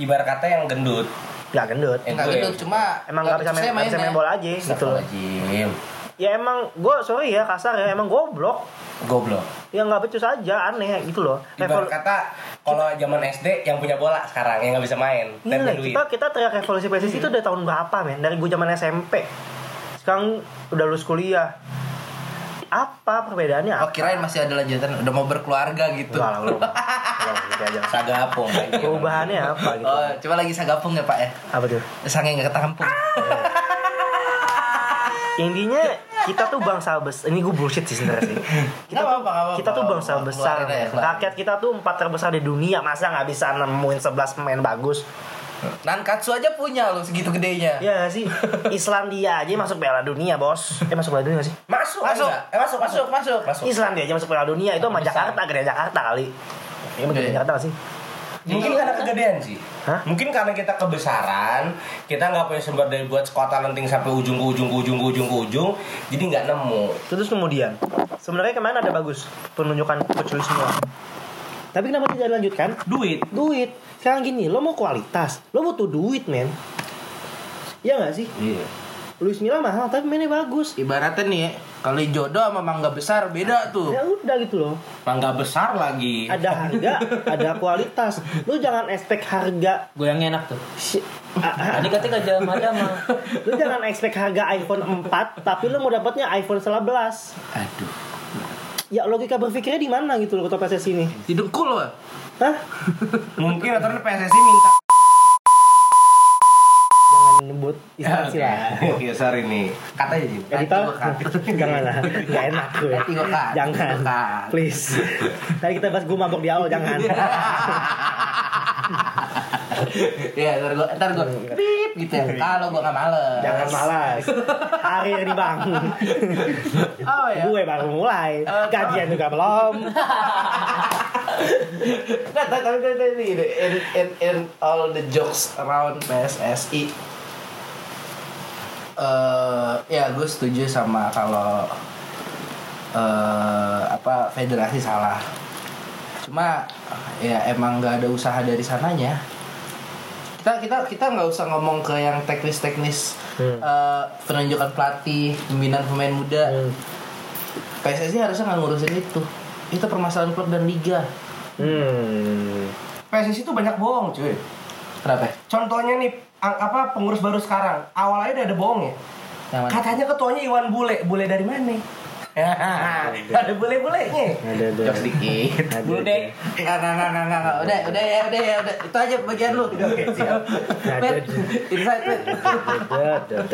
[SPEAKER 3] ibarat kata yang gendut.
[SPEAKER 5] Eh, nggak gendut
[SPEAKER 3] Yang
[SPEAKER 11] Enggak
[SPEAKER 3] gue.
[SPEAKER 11] gitu, cuma
[SPEAKER 5] emang nggak bisa main,
[SPEAKER 11] saya
[SPEAKER 5] nggak bisa main bola aja gitu loh
[SPEAKER 3] Astagfirullahaladzim.
[SPEAKER 5] ya emang gue sorry ya kasar ya emang goblok
[SPEAKER 3] Goblok.
[SPEAKER 5] ya nggak becus aja aneh gitu loh
[SPEAKER 3] Ibarat
[SPEAKER 5] Revol-
[SPEAKER 3] kata kalau zaman SD yang punya bola sekarang yang nggak bisa main
[SPEAKER 5] Iya
[SPEAKER 3] dan
[SPEAKER 5] lah,
[SPEAKER 3] berduit.
[SPEAKER 5] kita kita teriak revolusi PSSI itu dari tahun berapa men dari gue zaman SMP sekarang udah lulus kuliah apa perbedaannya apa
[SPEAKER 11] Oh kirain masih ada lanjutan udah mau berkeluarga gitu.
[SPEAKER 5] Enggak lah,
[SPEAKER 11] [LAUGHS]
[SPEAKER 5] belum. Belum, gitu aja.
[SPEAKER 3] Sagapung.
[SPEAKER 5] [LAUGHS] perubahannya apa gitu
[SPEAKER 11] Oh, coba lagi sagapung ya Pak ya.
[SPEAKER 5] apa tuh
[SPEAKER 11] Sange nggak ketampung.
[SPEAKER 5] [LAUGHS] intinya kita tuh bangsa besar ini gue bullshit sih sebenarnya
[SPEAKER 11] [LAUGHS]
[SPEAKER 5] sih kita
[SPEAKER 11] Nggak
[SPEAKER 5] tuh
[SPEAKER 11] apa-apa, nggak
[SPEAKER 5] kita tuh
[SPEAKER 11] apa-apa.
[SPEAKER 5] bangsa
[SPEAKER 11] Keluarin
[SPEAKER 5] besar
[SPEAKER 11] aja,
[SPEAKER 5] men.
[SPEAKER 11] keluarin.
[SPEAKER 5] rakyat kita tuh empat terbesar di dunia masa nggak bisa nemuin 11 pemain bagus
[SPEAKER 11] Nankatsu aja punya loh segitu gedenya.
[SPEAKER 5] Iya
[SPEAKER 11] [LAUGHS]
[SPEAKER 5] gak sih? Islandia aja masuk Piala Dunia, Bos. Eh masuk Piala Dunia gak sih?
[SPEAKER 3] Masuk,
[SPEAKER 11] Masuk.
[SPEAKER 3] Anda. Eh, masuk, masuk, masuk, masuk.
[SPEAKER 5] Islandia aja masuk Piala Dunia itu sama Jakarta, gede Jakarta kali. Iya, sama gede
[SPEAKER 11] Iya.
[SPEAKER 5] Jakarta gak sih?
[SPEAKER 3] Mungkin karena
[SPEAKER 11] kan
[SPEAKER 3] kegedean sih.
[SPEAKER 5] Hah?
[SPEAKER 3] Mungkin karena kita kebesaran, kita nggak punya sumber daya buat sekota lenting sampai ujung ke ujung ke ujung ke ujung ke ujung, jadi nggak nemu.
[SPEAKER 5] Terus kemudian, sebenarnya kemarin ada bagus penunjukan coach semua. Tapi kenapa tidak dilanjutkan?
[SPEAKER 3] Duit.
[SPEAKER 5] Duit. Sekarang gini, lo mau kualitas, lo butuh duit, men. Iya gak sih?
[SPEAKER 3] Iya.
[SPEAKER 5] Luis Milla mahal tapi mainnya bagus.
[SPEAKER 11] Ibaratnya nih, ya, kalau jodoh sama mangga besar beda tuh.
[SPEAKER 5] Ya udah gitu loh.
[SPEAKER 3] Mangga besar lagi.
[SPEAKER 5] Ada harga, ada kualitas. Lo jangan expect harga
[SPEAKER 2] Goyangnya enak tuh.
[SPEAKER 5] si-
[SPEAKER 2] Tadi katanya gajah mada mah.
[SPEAKER 3] [LAUGHS]
[SPEAKER 5] lu jangan expect harga iPhone 4 tapi lu mau dapatnya iPhone 11 aduh ya logika berpikirnya di mana gitu loh ketua PSSI ini
[SPEAKER 11] Hidungku loh.
[SPEAKER 5] hah
[SPEAKER 11] [LAUGHS]
[SPEAKER 3] Mungkin aturan PSSI minta
[SPEAKER 5] jangan
[SPEAKER 15] menyebut
[SPEAKER 2] Ya,
[SPEAKER 15] instansi lah.
[SPEAKER 1] Oke, sorry nih. Kata aja Jim.
[SPEAKER 3] Kan
[SPEAKER 15] Editor, [LAUGHS]
[SPEAKER 11] [LAUGHS]
[SPEAKER 15] jangan lah, nggak enak gue.
[SPEAKER 3] Nanti gue kan.
[SPEAKER 15] Jangan, please. Tadi kita bahas gue mabok di awal, jangan.
[SPEAKER 3] Ya, ntar gue, ntar gue, bip gitu ya. Kalau gue gak males.
[SPEAKER 15] Jangan malas. Karir nih bang.
[SPEAKER 3] Oh ya.
[SPEAKER 15] gue baru mulai.
[SPEAKER 3] Eh,
[SPEAKER 15] Gajian juga belum.
[SPEAKER 3] Nah, tapi tapi tapi tapi ini, in, in, in all the jokes around PSSI. eh ya gue setuju sama kalau eh apa federasi salah. Cuma ya emang nggak ada usaha dari sananya. Kita kita kita nggak usah ngomong ke yang teknis-teknis eh, penunjukan pelatih, pembinaan pemain muda. PSSI harusnya nggak ngurusin itu. Itu permasalahan klub dan liga.
[SPEAKER 1] PSSI itu banyak bohong, cuy.
[SPEAKER 3] Kenapa?
[SPEAKER 1] Contohnya nih, ang- apa pengurus baru sekarang, awalnya udah ada bohong ya.
[SPEAKER 3] Yang mana?
[SPEAKER 1] Katanya ketuanya Iwan Bule, Bule dari mana?
[SPEAKER 3] [LAUGHS]
[SPEAKER 1] ada bule-bulenya. Jokes dikit.
[SPEAKER 3] Bulu dek. Enggak, enggak, enggak, enggak, enggak. Udah, udah ya, udah ya, udah. Itu aja bagian lu. Oke, siap. Pet, insight, Pet.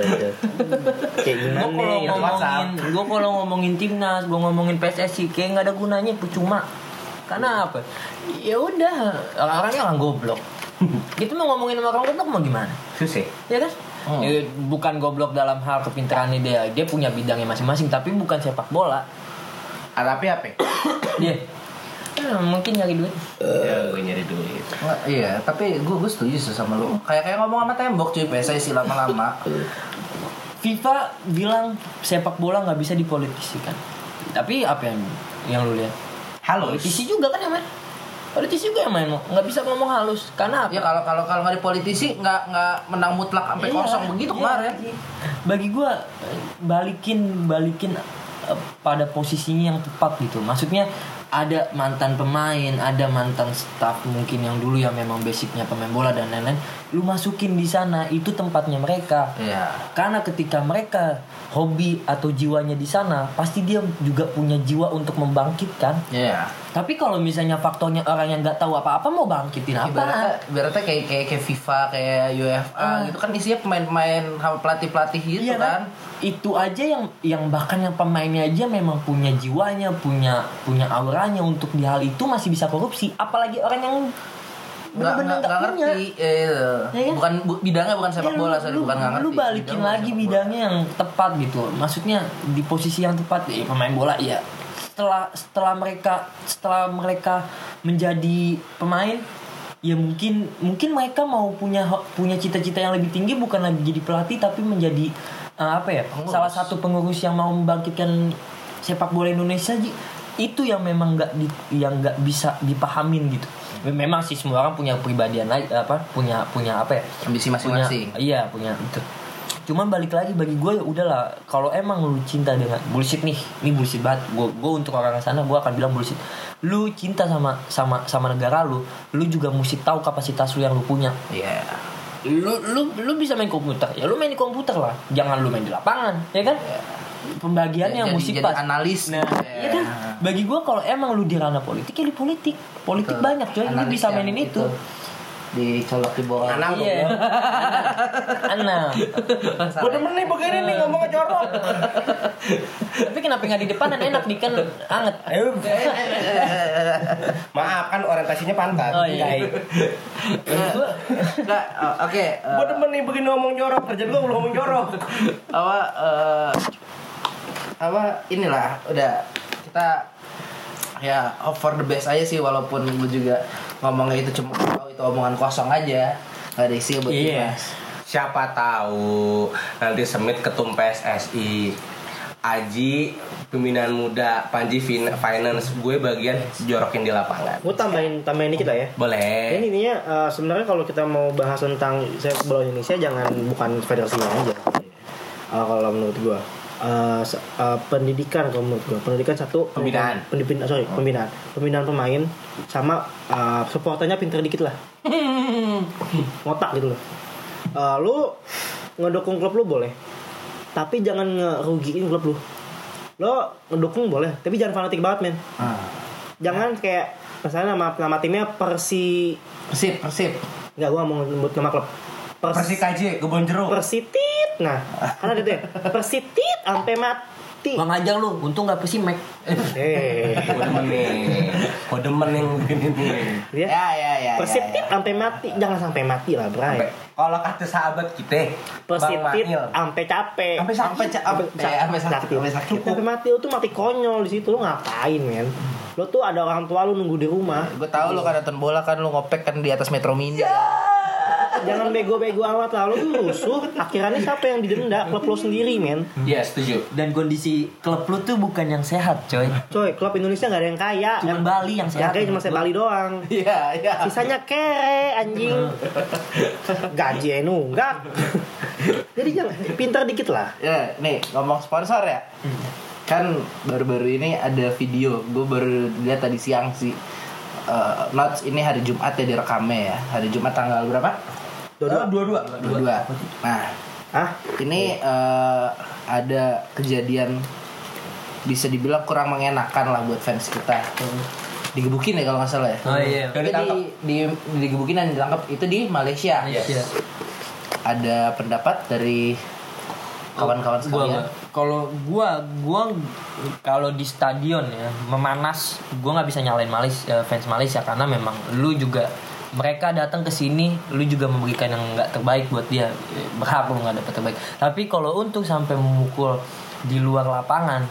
[SPEAKER 16] Kayak
[SPEAKER 2] Gue
[SPEAKER 16] gimana
[SPEAKER 2] kalau
[SPEAKER 16] nih?
[SPEAKER 2] ngomongin, gue kalau ngomongin timnas, gue ngomongin PSSI, kayak nggak ada gunanya, percuma. Karena apa? Ya udah, orang-orangnya orang goblok. [LAUGHS] Kita mau ngomongin sama orang goblok mau gimana?
[SPEAKER 1] Susah.
[SPEAKER 2] ya kan? Ya, bukan goblok dalam hal kepintarannya dia, dia punya bidangnya masing-masing, tapi bukan sepak bola.
[SPEAKER 3] Ah, Tapi apa?
[SPEAKER 2] Dia eh, mungkin nyari duit.
[SPEAKER 1] Ya, gue nyari duit.
[SPEAKER 3] Nggak, Iya, tapi gue gue setuju sih sama lu. Kayak kayak ngomong sama tembok cuy, PSSI lama-lama.
[SPEAKER 2] FIFA bilang sepak bola nggak bisa dipolitisikan. Tapi apa yang yang lu lihat?
[SPEAKER 1] Halo.
[SPEAKER 2] Politisi juga kan yang main. Politisi juga yang main, Mo. nggak bisa ngomong halus. Karena apa?
[SPEAKER 3] Ya kalau kalau kalau nggak dipolitisi nggak nggak menang mutlak sampai
[SPEAKER 2] Iya,
[SPEAKER 3] kosong begitu
[SPEAKER 2] iya.
[SPEAKER 3] kemarin.
[SPEAKER 2] Bagi gua eh, balikin balikin eh, pada posisinya yang tepat gitu. Maksudnya ada mantan pemain, ada mantan staff mungkin yang dulu yang memang basicnya pemain bola dan lain-lain. Lu masukin di sana itu tempatnya mereka.
[SPEAKER 3] Iya.
[SPEAKER 2] Karena ketika mereka hobi atau jiwanya di sana, pasti dia juga punya jiwa untuk membangkitkan.
[SPEAKER 3] Iya.
[SPEAKER 2] Tapi kalau misalnya faktornya orang yang nggak tahu apa-apa mau bangkitin apa?
[SPEAKER 3] Ibaratnya, ibaratnya kayak kayak kayak FIFA, kayak UEFA gitu kan isinya pemain-pemain sama pelatih-pelatih gitu
[SPEAKER 2] Ah. Iya
[SPEAKER 3] kan.
[SPEAKER 2] kan? Itu aja yang yang bahkan yang pemainnya aja memang punya jiwanya, punya punya auranya untuk di hal itu masih bisa korupsi, apalagi orang yang
[SPEAKER 3] nggak
[SPEAKER 2] benar-benar
[SPEAKER 3] nggak-
[SPEAKER 2] nggak
[SPEAKER 3] nggak
[SPEAKER 2] punya.
[SPEAKER 3] ngerti eh,
[SPEAKER 2] Ya kan?
[SPEAKER 3] bukan bu- bidangnya bukan sepak
[SPEAKER 2] Ya,
[SPEAKER 3] bola
[SPEAKER 2] lu-
[SPEAKER 3] sorry,
[SPEAKER 2] lu-
[SPEAKER 3] bukan nggak ngerti
[SPEAKER 2] Lu balikin
[SPEAKER 3] Bidangnya
[SPEAKER 2] lagi
[SPEAKER 3] bukan sepak
[SPEAKER 2] bidangnya yang tepat gitu. Maksudnya di posisi yang tepat ya, pemain bola ya. Setelah setelah mereka setelah mereka menjadi pemain ya mungkin mungkin mereka mau punya punya cita-cita yang lebih tinggi bukan lagi jadi pelatih tapi menjadi eh, apa ya salah satu pengurus yang mau membangkitkan sepak bola Indonesia Ji. itu yang memang nggak di- yang nggak bisa dipahamin gitu memang sih semua orang punya pribadian lain apa punya punya apa ya
[SPEAKER 3] bola. ambisi
[SPEAKER 2] punya
[SPEAKER 3] masing-masing
[SPEAKER 2] iya punya itu cuman balik lagi bagi gue ya udahlah kalau emang lu cinta dengan bullshit nih ini bullshit banget gue gue untuk orang sana gue akan bilang bullshit lu cinta sama sama sama negara lu lu juga mesti tahu kapasitas lu yang lu punya
[SPEAKER 3] iya
[SPEAKER 2] lu lu lu bisa main komputer ya lu main di komputer lah jangan lu main di lapangan ya kan pembagiannya yang
[SPEAKER 3] Iya. Jadi-
[SPEAKER 2] mesti
[SPEAKER 3] jadi
[SPEAKER 2] pas
[SPEAKER 3] analis
[SPEAKER 2] Nah,
[SPEAKER 3] gitu ya.
[SPEAKER 2] iya kan? Bagi gua kalau emang lu di ranah politik ya di politik. Politik
[SPEAKER 3] Betul.
[SPEAKER 2] banyak coy, lu
[SPEAKER 3] Analis
[SPEAKER 2] bisa
[SPEAKER 3] yang ya.
[SPEAKER 2] mainin itu.
[SPEAKER 3] dicolok di bawah
[SPEAKER 1] Anak
[SPEAKER 2] Iya. [LAUGHS] Enam.
[SPEAKER 3] Masalah.
[SPEAKER 1] Udah menit begini
[SPEAKER 3] ya?
[SPEAKER 1] nih ngomongnya jorok.
[SPEAKER 2] Tapi kenapa nggak di depan dan enak di kan anget.
[SPEAKER 5] Eh,
[SPEAKER 2] Ayo.
[SPEAKER 1] Maaf kan orientasinya pantat.
[SPEAKER 5] eh.
[SPEAKER 2] Oh iya.
[SPEAKER 3] Nggak, oh, oke eh,
[SPEAKER 1] Gue demen nih begini ngomong jorok, kerjaan gue belum ngomong jorok.
[SPEAKER 3] apa eh, apa inilah udah kita ya hope for the best aja sih walaupun gue juga ngomongnya itu cuma
[SPEAKER 1] oh,
[SPEAKER 3] tahu itu omongan kosong aja nggak ada isi buat
[SPEAKER 2] Iya.
[SPEAKER 3] kita.
[SPEAKER 1] Siapa tahu nanti Semit ketum PSSI. Aji pembinaan muda, Panji fin- finance, gue bagian jorokin di lapangan.
[SPEAKER 5] Gue tambahin tambahin dikit lah ya.
[SPEAKER 1] Boleh.
[SPEAKER 5] Ini intinya eh, sebenarnya kalau kita mau bahas tentang sepak bola Indonesia jangan bukan federasinya aja. Eh, kalau menurut gua Eh, se- eh, pendidikan kalau menurut gua pendidikan satu eh,
[SPEAKER 1] Pembinaan.
[SPEAKER 5] Pendipin- sorry pembinaan pembinaan pemain sama eh, supporternya pinter dikit lah ngotak gitu loh Eh, lu ngedukung klub lu boleh tapi jangan ngerugiin klub lu lo ngedukung boleh tapi jangan fanatik banget men
[SPEAKER 3] Ah.
[SPEAKER 5] jangan kayak misalnya nama, nama timnya Persi
[SPEAKER 3] Persib, persib.
[SPEAKER 5] Enggak, gua mau nyebut nama klub.
[SPEAKER 3] Persikaji, kebun jeruk.
[SPEAKER 5] Persitit. Nah, kan ada tuh ya. Persitit sampai mati.
[SPEAKER 2] Bang Ajang lu, untung gak pesi Mac.
[SPEAKER 5] Eh,
[SPEAKER 3] Gua demen nih. Gua demen yang begini nih.
[SPEAKER 5] Iya.
[SPEAKER 3] Ya ya ya.
[SPEAKER 5] Persitit
[SPEAKER 3] ya, ya.
[SPEAKER 5] sampai mati. Jangan sampai mati lah,
[SPEAKER 3] Sampai-
[SPEAKER 5] Bray.
[SPEAKER 3] Kalau kata sahabat kita,
[SPEAKER 5] Persitit
[SPEAKER 3] Bang Mail,
[SPEAKER 5] sampai capek.
[SPEAKER 3] Sampai sakit.
[SPEAKER 5] ca- Sampai
[SPEAKER 3] Ya, sampai
[SPEAKER 5] sampai
[SPEAKER 3] sakit,
[SPEAKER 5] sakit.
[SPEAKER 3] sampai sakit.
[SPEAKER 5] Sampai mati lu tuh mati konyol di situ lu ngapain, men? Lu tuh ada orang tua lu nunggu di rumah.
[SPEAKER 1] Gue tahu lo kan nonton bola kan lo ngopek kan di atas Metro Mini.
[SPEAKER 5] Jangan bego-bego amat lah lu tuh rusuh. Akhirannya siapa yang didenda? Klub lu sendiri, men.
[SPEAKER 3] Ya setuju.
[SPEAKER 2] Dan kondisi klub lu tuh bukan yang sehat, coy.
[SPEAKER 5] Coy, klub Indonesia nggak ada yang kaya.
[SPEAKER 2] Cuman
[SPEAKER 5] Yang-
[SPEAKER 2] Bali yang
[SPEAKER 5] Yang
[SPEAKER 2] sehat.
[SPEAKER 5] kaya cuma saya Bali doang.
[SPEAKER 1] Iya iya.
[SPEAKER 5] Sisanya kere anjing. Gaji aja nunggak. Jadi jangan pintar dikit lah.
[SPEAKER 1] Ya, nih ngomong sponsor ya. Kan baru-baru ini ada video, gue baru lihat tadi siang sih. Eh, Notes ini hari Jumat ya direkamnya ya. Hari Jumat tanggal berapa?
[SPEAKER 5] Dodo.
[SPEAKER 3] Dua-dua.
[SPEAKER 1] Dua. Nah,
[SPEAKER 5] Hah?
[SPEAKER 1] ini eh, ada kejadian bisa dibilang kurang mengenakan lah buat fans kita. Digebukin ya kalau nggak salah ya.
[SPEAKER 2] Oh iya.
[SPEAKER 1] Itu di, di, digebukin dan ditangkap itu di Malaysia.
[SPEAKER 2] Malaysia.
[SPEAKER 1] Ada pendapat dari kawan-kawan
[SPEAKER 2] Oh, Gua
[SPEAKER 1] sekalian.
[SPEAKER 2] nggak. Kalau gua gua kalau di stadion ya memanas, gua nggak bisa nyalain Malis eh, fans Malaysia karena memang lu juga mereka datang ke sini, lu juga memberikan yang nggak terbaik buat dia. Eh, Berhak lu nggak dapat terbaik. Tapi kalau untuk sampai memukul di luar lapangan,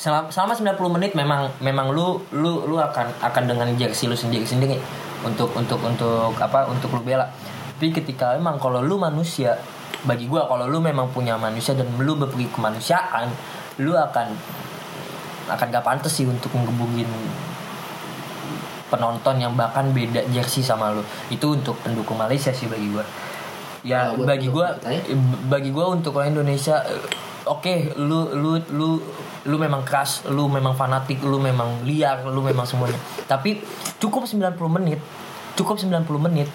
[SPEAKER 2] selama, selama 90 menit memang memang lu lu lu akan akan dengan jersey lu sendiri sendiri untuk untuk untuk apa untuk lu bela tapi ketika emang kalau lu manusia bagi gua kalau lu memang punya manusia dan lu berperi kemanusiaan lu akan akan gak pantas sih untuk ngebukin penonton yang bahkan beda jersey sama lu itu untuk pendukung Malaysia sih bagi gua ya
[SPEAKER 1] Kalau buat
[SPEAKER 2] bagi
[SPEAKER 1] pendukung
[SPEAKER 2] gua
[SPEAKER 1] kita ya?
[SPEAKER 2] bagi gua untuk orang Indonesia eh, oke lu lu lu lu memang keras lu memang fanatik lu memang liar lu memang semuanya tapi cukup 90 menit cukup 90 menit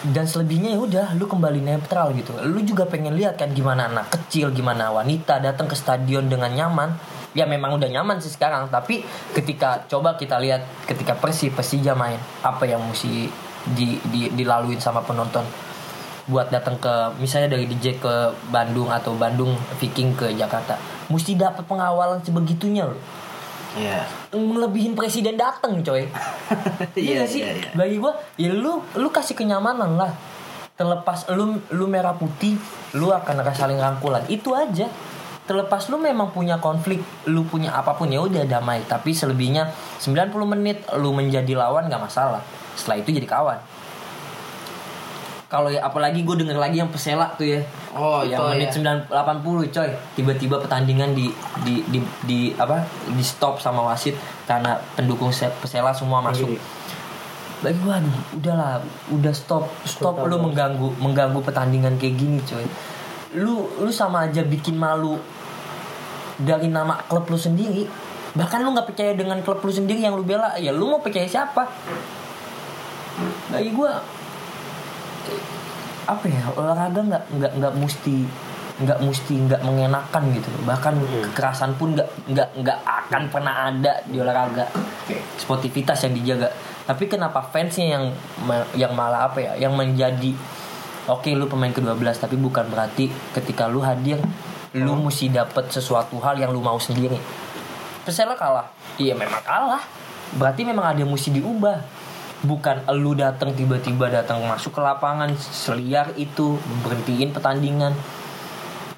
[SPEAKER 2] dan selebihnya ya udah lu kembali netral gitu lu juga pengen lihat kan gimana anak kecil gimana wanita datang ke stadion dengan nyaman ya memang udah nyaman sih sekarang tapi ketika coba kita lihat ketika Persi Persija main apa yang mesti di, di- dilaluin sama penonton buat datang ke misalnya dari DJ ke Bandung atau Bandung Viking ke Jakarta mesti dapat pengawalan sebegitunya loh
[SPEAKER 1] Iya.
[SPEAKER 2] ngelebihin presiden dateng
[SPEAKER 1] [LAUGHS]
[SPEAKER 2] coy
[SPEAKER 1] Iya,
[SPEAKER 2] iya gak sih
[SPEAKER 1] iya, iya.
[SPEAKER 2] bagi gua ya lu lu kasih kenyamanan lah terlepas lu lu merah putih lu akan ada saling rangkulan itu aja terlepas lu memang punya konflik lu punya apapun ya udah damai tapi selebihnya 90 menit lu menjadi lawan gak masalah setelah itu jadi kawan kalau ya apalagi gue denger lagi yang pesela tuh ya
[SPEAKER 1] Oh,
[SPEAKER 2] yang
[SPEAKER 1] itu,
[SPEAKER 2] menit
[SPEAKER 1] iya.
[SPEAKER 2] 9 80 coy tiba-tiba pertandingan di, di di di apa di stop sama wasit karena pendukung se- pesela semua masuk lagi waduh udahlah udah stop stop lu mengganggu mengganggu pertandingan kayak gini coy lu lu sama aja bikin malu dari nama klub lu sendiri bahkan lu nggak percaya dengan klub lu sendiri yang lu bela ya lu mau percaya siapa bagi gua eh, apa ya olahraga nggak nggak nggak mesti nggak mesti nggak mengenakan gitu bahkan kekerasan pun nggak nggak nggak akan pernah ada di olahraga sportivitas yang dijaga tapi kenapa fansnya yang ma- yang malah apa ya yang menjadi oke lu pemain ke-12 tapi bukan berarti ketika lu hadir lu mesti dapat sesuatu hal yang lu mau sendiri Persela kalah iya memang kalah berarti memang ada yang mesti diubah bukan lu datang tiba-tiba datang masuk ke lapangan seliar itu berhentiin pertandingan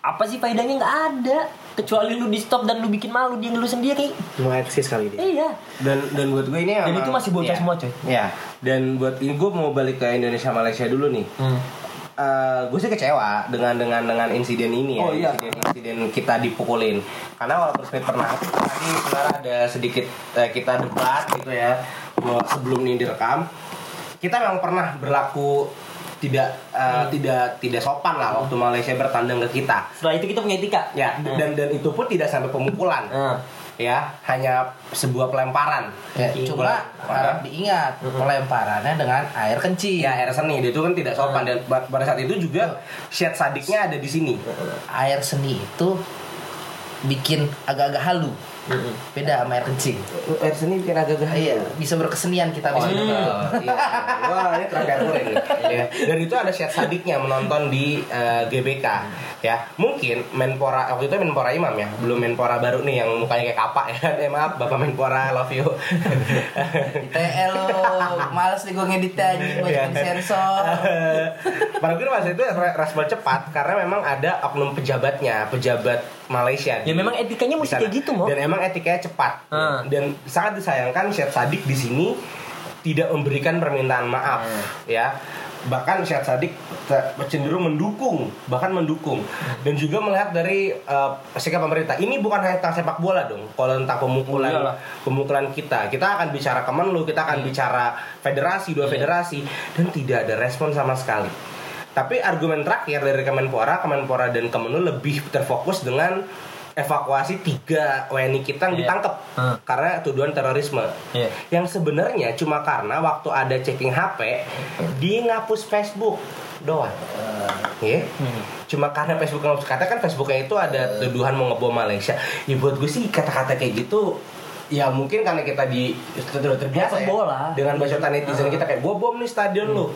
[SPEAKER 2] apa sih faedahnya nggak ada kecuali lu di stop dan lu bikin malu dia lu sendiri
[SPEAKER 5] Mau eksis kali dia.
[SPEAKER 2] iya
[SPEAKER 3] Dan dan buat gue ini
[SPEAKER 2] dan
[SPEAKER 3] emang-
[SPEAKER 2] itu masih
[SPEAKER 3] Iya.
[SPEAKER 2] bocah semua coy
[SPEAKER 3] Ya, dan buat ini gue mau balik ke Indonesia Malaysia dulu nih. Eh, gue sih kecewa dengan dengan dengan insiden ini ya,
[SPEAKER 2] Oh, iya.
[SPEAKER 3] insiden, insiden kita dipukulin. Karena walaupun sebenarnya pernah nah, tadi sebenarnya ada sedikit eh, kita debat gitu ya mau- sebelum ini direkam. Kita memang pernah berlaku tidak
[SPEAKER 2] Hmm.
[SPEAKER 3] eh, tidak tidak sopan lah waktu Malaysia bertandang ke kita.
[SPEAKER 2] setelah itu kita punya etika
[SPEAKER 3] Ya, dan dan itu pun tidak sampai pemukulan.
[SPEAKER 2] Hmm.
[SPEAKER 3] Ya, hanya sebuah pelemparan.
[SPEAKER 1] Ya,
[SPEAKER 3] eh, Cuma,
[SPEAKER 1] cuma harap diingat pelemparannya dengan air kencing.
[SPEAKER 3] Ya, air seni dia itu kan tidak sopan dan
[SPEAKER 2] Hmm.
[SPEAKER 3] ba- pada saat itu juga shade sadiknya ada di sini.
[SPEAKER 1] Air seni itu bikin agak-agak halu.
[SPEAKER 2] Hmm.
[SPEAKER 17] Beda sama air kencing.
[SPEAKER 11] Air seni bikin agak
[SPEAKER 17] Ah, iya, bisa berkesenian
[SPEAKER 2] Oh,
[SPEAKER 17] kita bisa.
[SPEAKER 3] iya. Wah ini terkabur ini. Ya. Dan itu ada syat sadiknya menonton di eh, GBK. Ya mungkin Menpora waktu itu Menpora Imam ya, belum Menpora baru nih yang mukanya kayak kapak ya. [LAUGHS] Eh, maaf Bapak Menpora love you.
[SPEAKER 11] Eh,
[SPEAKER 17] ITE lo, males nih gue ngedit
[SPEAKER 11] Iya,
[SPEAKER 17] anjing banyak sensor.
[SPEAKER 3] Pada gue masa itu re- respon cepat karena memang ada oknum pejabatnya, pejabat Malaysia.
[SPEAKER 2] Ya
[SPEAKER 3] di-
[SPEAKER 2] memang etikanya
[SPEAKER 3] di
[SPEAKER 2] mesti
[SPEAKER 3] sana.
[SPEAKER 2] kayak gitu, Mo.
[SPEAKER 3] Dan emang etikanya cepat.
[SPEAKER 2] Ah.
[SPEAKER 3] Dan sangat disayangkan Syed Sadik di sini tidak memberikan permintaan maaf,
[SPEAKER 2] Ah.
[SPEAKER 3] ya. Bahkan Syed Sadik te- cenderung mendukung, bahkan mendukung. Dan juga melihat dari eh, sikap pemerintah. Ini bukan hanya tentang sepak bola dong. Kalau tentang pemukulan
[SPEAKER 2] Oh, Iyalah. Hmm.
[SPEAKER 3] pemukulan kita, kita akan bicara Kemenlu, kita akan bicara federasi, dua federasi dan tidak ada respon sama sekali. Tapi argumen terakhir dari Kemenpora, Kemenpora dan Kemenlu lebih terfokus dengan evakuasi tiga WNI kita yang
[SPEAKER 2] Iya.
[SPEAKER 3] ditangkap
[SPEAKER 2] Hmm.
[SPEAKER 3] karena tuduhan terorisme.
[SPEAKER 2] Iya.
[SPEAKER 3] Yang sebenarnya cuma karena waktu ada checking HP, dia ngapus Facebook doang. Iya.
[SPEAKER 2] Eh. Hmm.
[SPEAKER 3] Cuma karena Facebook ngapus kata kan Facebooknya itu ada
[SPEAKER 2] Eh.
[SPEAKER 3] tuduhan mau ngebom Malaysia. Ya buat gue sih kata-kata kayak gitu ya mungkin karena kita di sudah terbiasa ya,
[SPEAKER 2] bola.
[SPEAKER 3] dengan bacotan netizen kita kayak gue bom nih stadion lu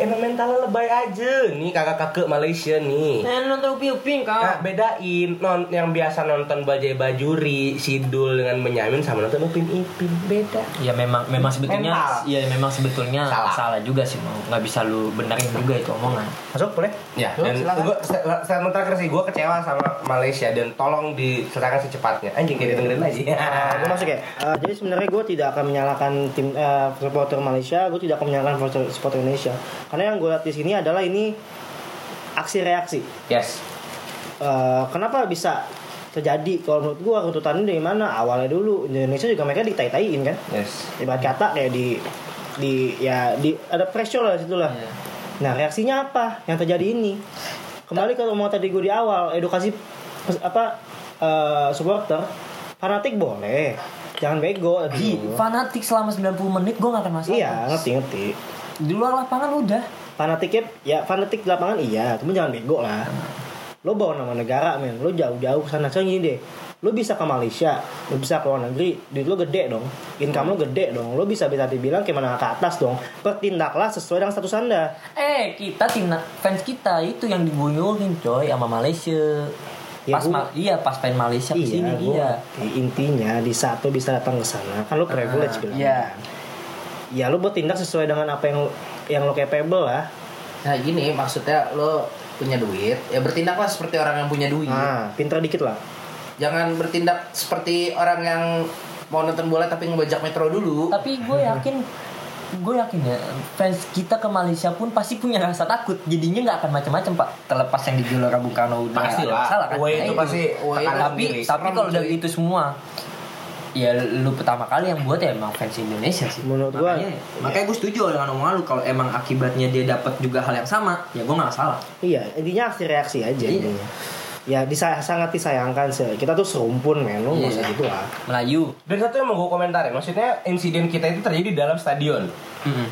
[SPEAKER 3] emang mentalnya lebay aja nih kakak-kakak Malaysia nih
[SPEAKER 2] nonton uping-uping
[SPEAKER 3] Nah, bedain non yang biasa nonton bajai bajuri, sidul dengan menyamin sama nonton upin ipin beda.
[SPEAKER 2] Ya memang memang sebetulnya
[SPEAKER 3] Mental.
[SPEAKER 2] ya memang sebetulnya
[SPEAKER 3] Salah.
[SPEAKER 2] salah, juga sih mau nggak bisa lu benerin juga itu omongan.
[SPEAKER 5] Masuk boleh?
[SPEAKER 3] Ya, dan gue saya terakhir sih gue kecewa sama Malaysia dan tolong disertakan secepatnya. Anjing kayak dengerin [LAUGHS] aja.
[SPEAKER 5] Nah, gue masuk ya. Eh, jadi sebenarnya gue tidak akan menyalahkan tim eh, supporter Malaysia, gue tidak akan menyalahkan supporter, supporter Indonesia. Karena yang gue lihat di sini adalah ini aksi reaksi.
[SPEAKER 2] Yes.
[SPEAKER 5] Eh, kenapa bisa terjadi kalau menurut gue runtutannya dari mana awalnya dulu Indonesia juga mereka ditai-taiin kan
[SPEAKER 3] Yes.
[SPEAKER 5] ibarat kata kayak di di ya di ada pressure lah situ lah nah reaksinya apa yang terjadi ini kembali ke omongan tadi gue di awal edukasi pes- apa eh, supporter fanatik boleh jangan bego
[SPEAKER 2] Di
[SPEAKER 5] aduh.
[SPEAKER 2] fanatik selama 90 menit gue gak akan masalah.
[SPEAKER 5] iya ngerti ngerti
[SPEAKER 2] Di luar lapangan udah.
[SPEAKER 5] fanatiknya ya fanatik di lapangan iya cuma jangan bego lah lo bawa nama negara men lo jauh-jauh sana so gini deh lo bisa ke Malaysia lo bisa ke luar negeri duit lo gede dong income lo gede dong lo bisa bisa dibilang kayak menengah ke atas dong bertindaklah sesuai dengan status anda
[SPEAKER 2] Eh kita timnas fans kita itu yang dibunyiin coy sama Malaysia.
[SPEAKER 5] Ya,
[SPEAKER 2] pas
[SPEAKER 5] gua-
[SPEAKER 2] Ma- iya pas main Malaysia kesini
[SPEAKER 5] iya, gua
[SPEAKER 2] iya.
[SPEAKER 5] ngerti. intinya di saat lo bisa datang ke sana kan lo privilege bilang
[SPEAKER 17] Iya.
[SPEAKER 5] ya lo bertindak sesuai dengan apa yang yang lo capable lah
[SPEAKER 17] Nah gini maksudnya lo punya duit ya bertindaklah seperti orang yang punya duit
[SPEAKER 5] nah pinter dikit lah
[SPEAKER 17] jangan bertindak seperti orang yang mau nonton bola tapi ngebajak metro dulu
[SPEAKER 2] Tapi gue yakin gue yakin ya fans kita ke Malaysia pun pasti punya rasa takut jadinya nggak akan macam-macam pak terlepas yang di Gelora Bung Karno udah
[SPEAKER 3] Pasti
[SPEAKER 2] ada
[SPEAKER 3] lah.
[SPEAKER 2] masalah kan
[SPEAKER 3] Away itu
[SPEAKER 2] Nah,
[SPEAKER 3] pasti
[SPEAKER 17] away
[SPEAKER 3] tekanan
[SPEAKER 2] tapi
[SPEAKER 3] sendiri.
[SPEAKER 2] tapi
[SPEAKER 17] Serem,
[SPEAKER 2] kalau udah
[SPEAKER 17] cuy.
[SPEAKER 2] gitu semua ya lu pertama kali yang buat ya emang fans Indonesia sih
[SPEAKER 5] Menurut gua-
[SPEAKER 2] makanya, makanya gue setuju dengan omongan lu kalau emang akibatnya dia dapat juga hal yang sama ya gue nggak salah
[SPEAKER 5] Iya, intinya aksi reaksi aja
[SPEAKER 2] Iya.
[SPEAKER 5] intinya. Ya disa- sangat disayangkan sih. Kita tuh serumpun men, lu nggak usah
[SPEAKER 2] Iya.
[SPEAKER 5] gitu lah.
[SPEAKER 2] Melayu
[SPEAKER 3] Dan satu yang mau gue komentari, maksudnya insiden kita itu terjadi di dalam stadion,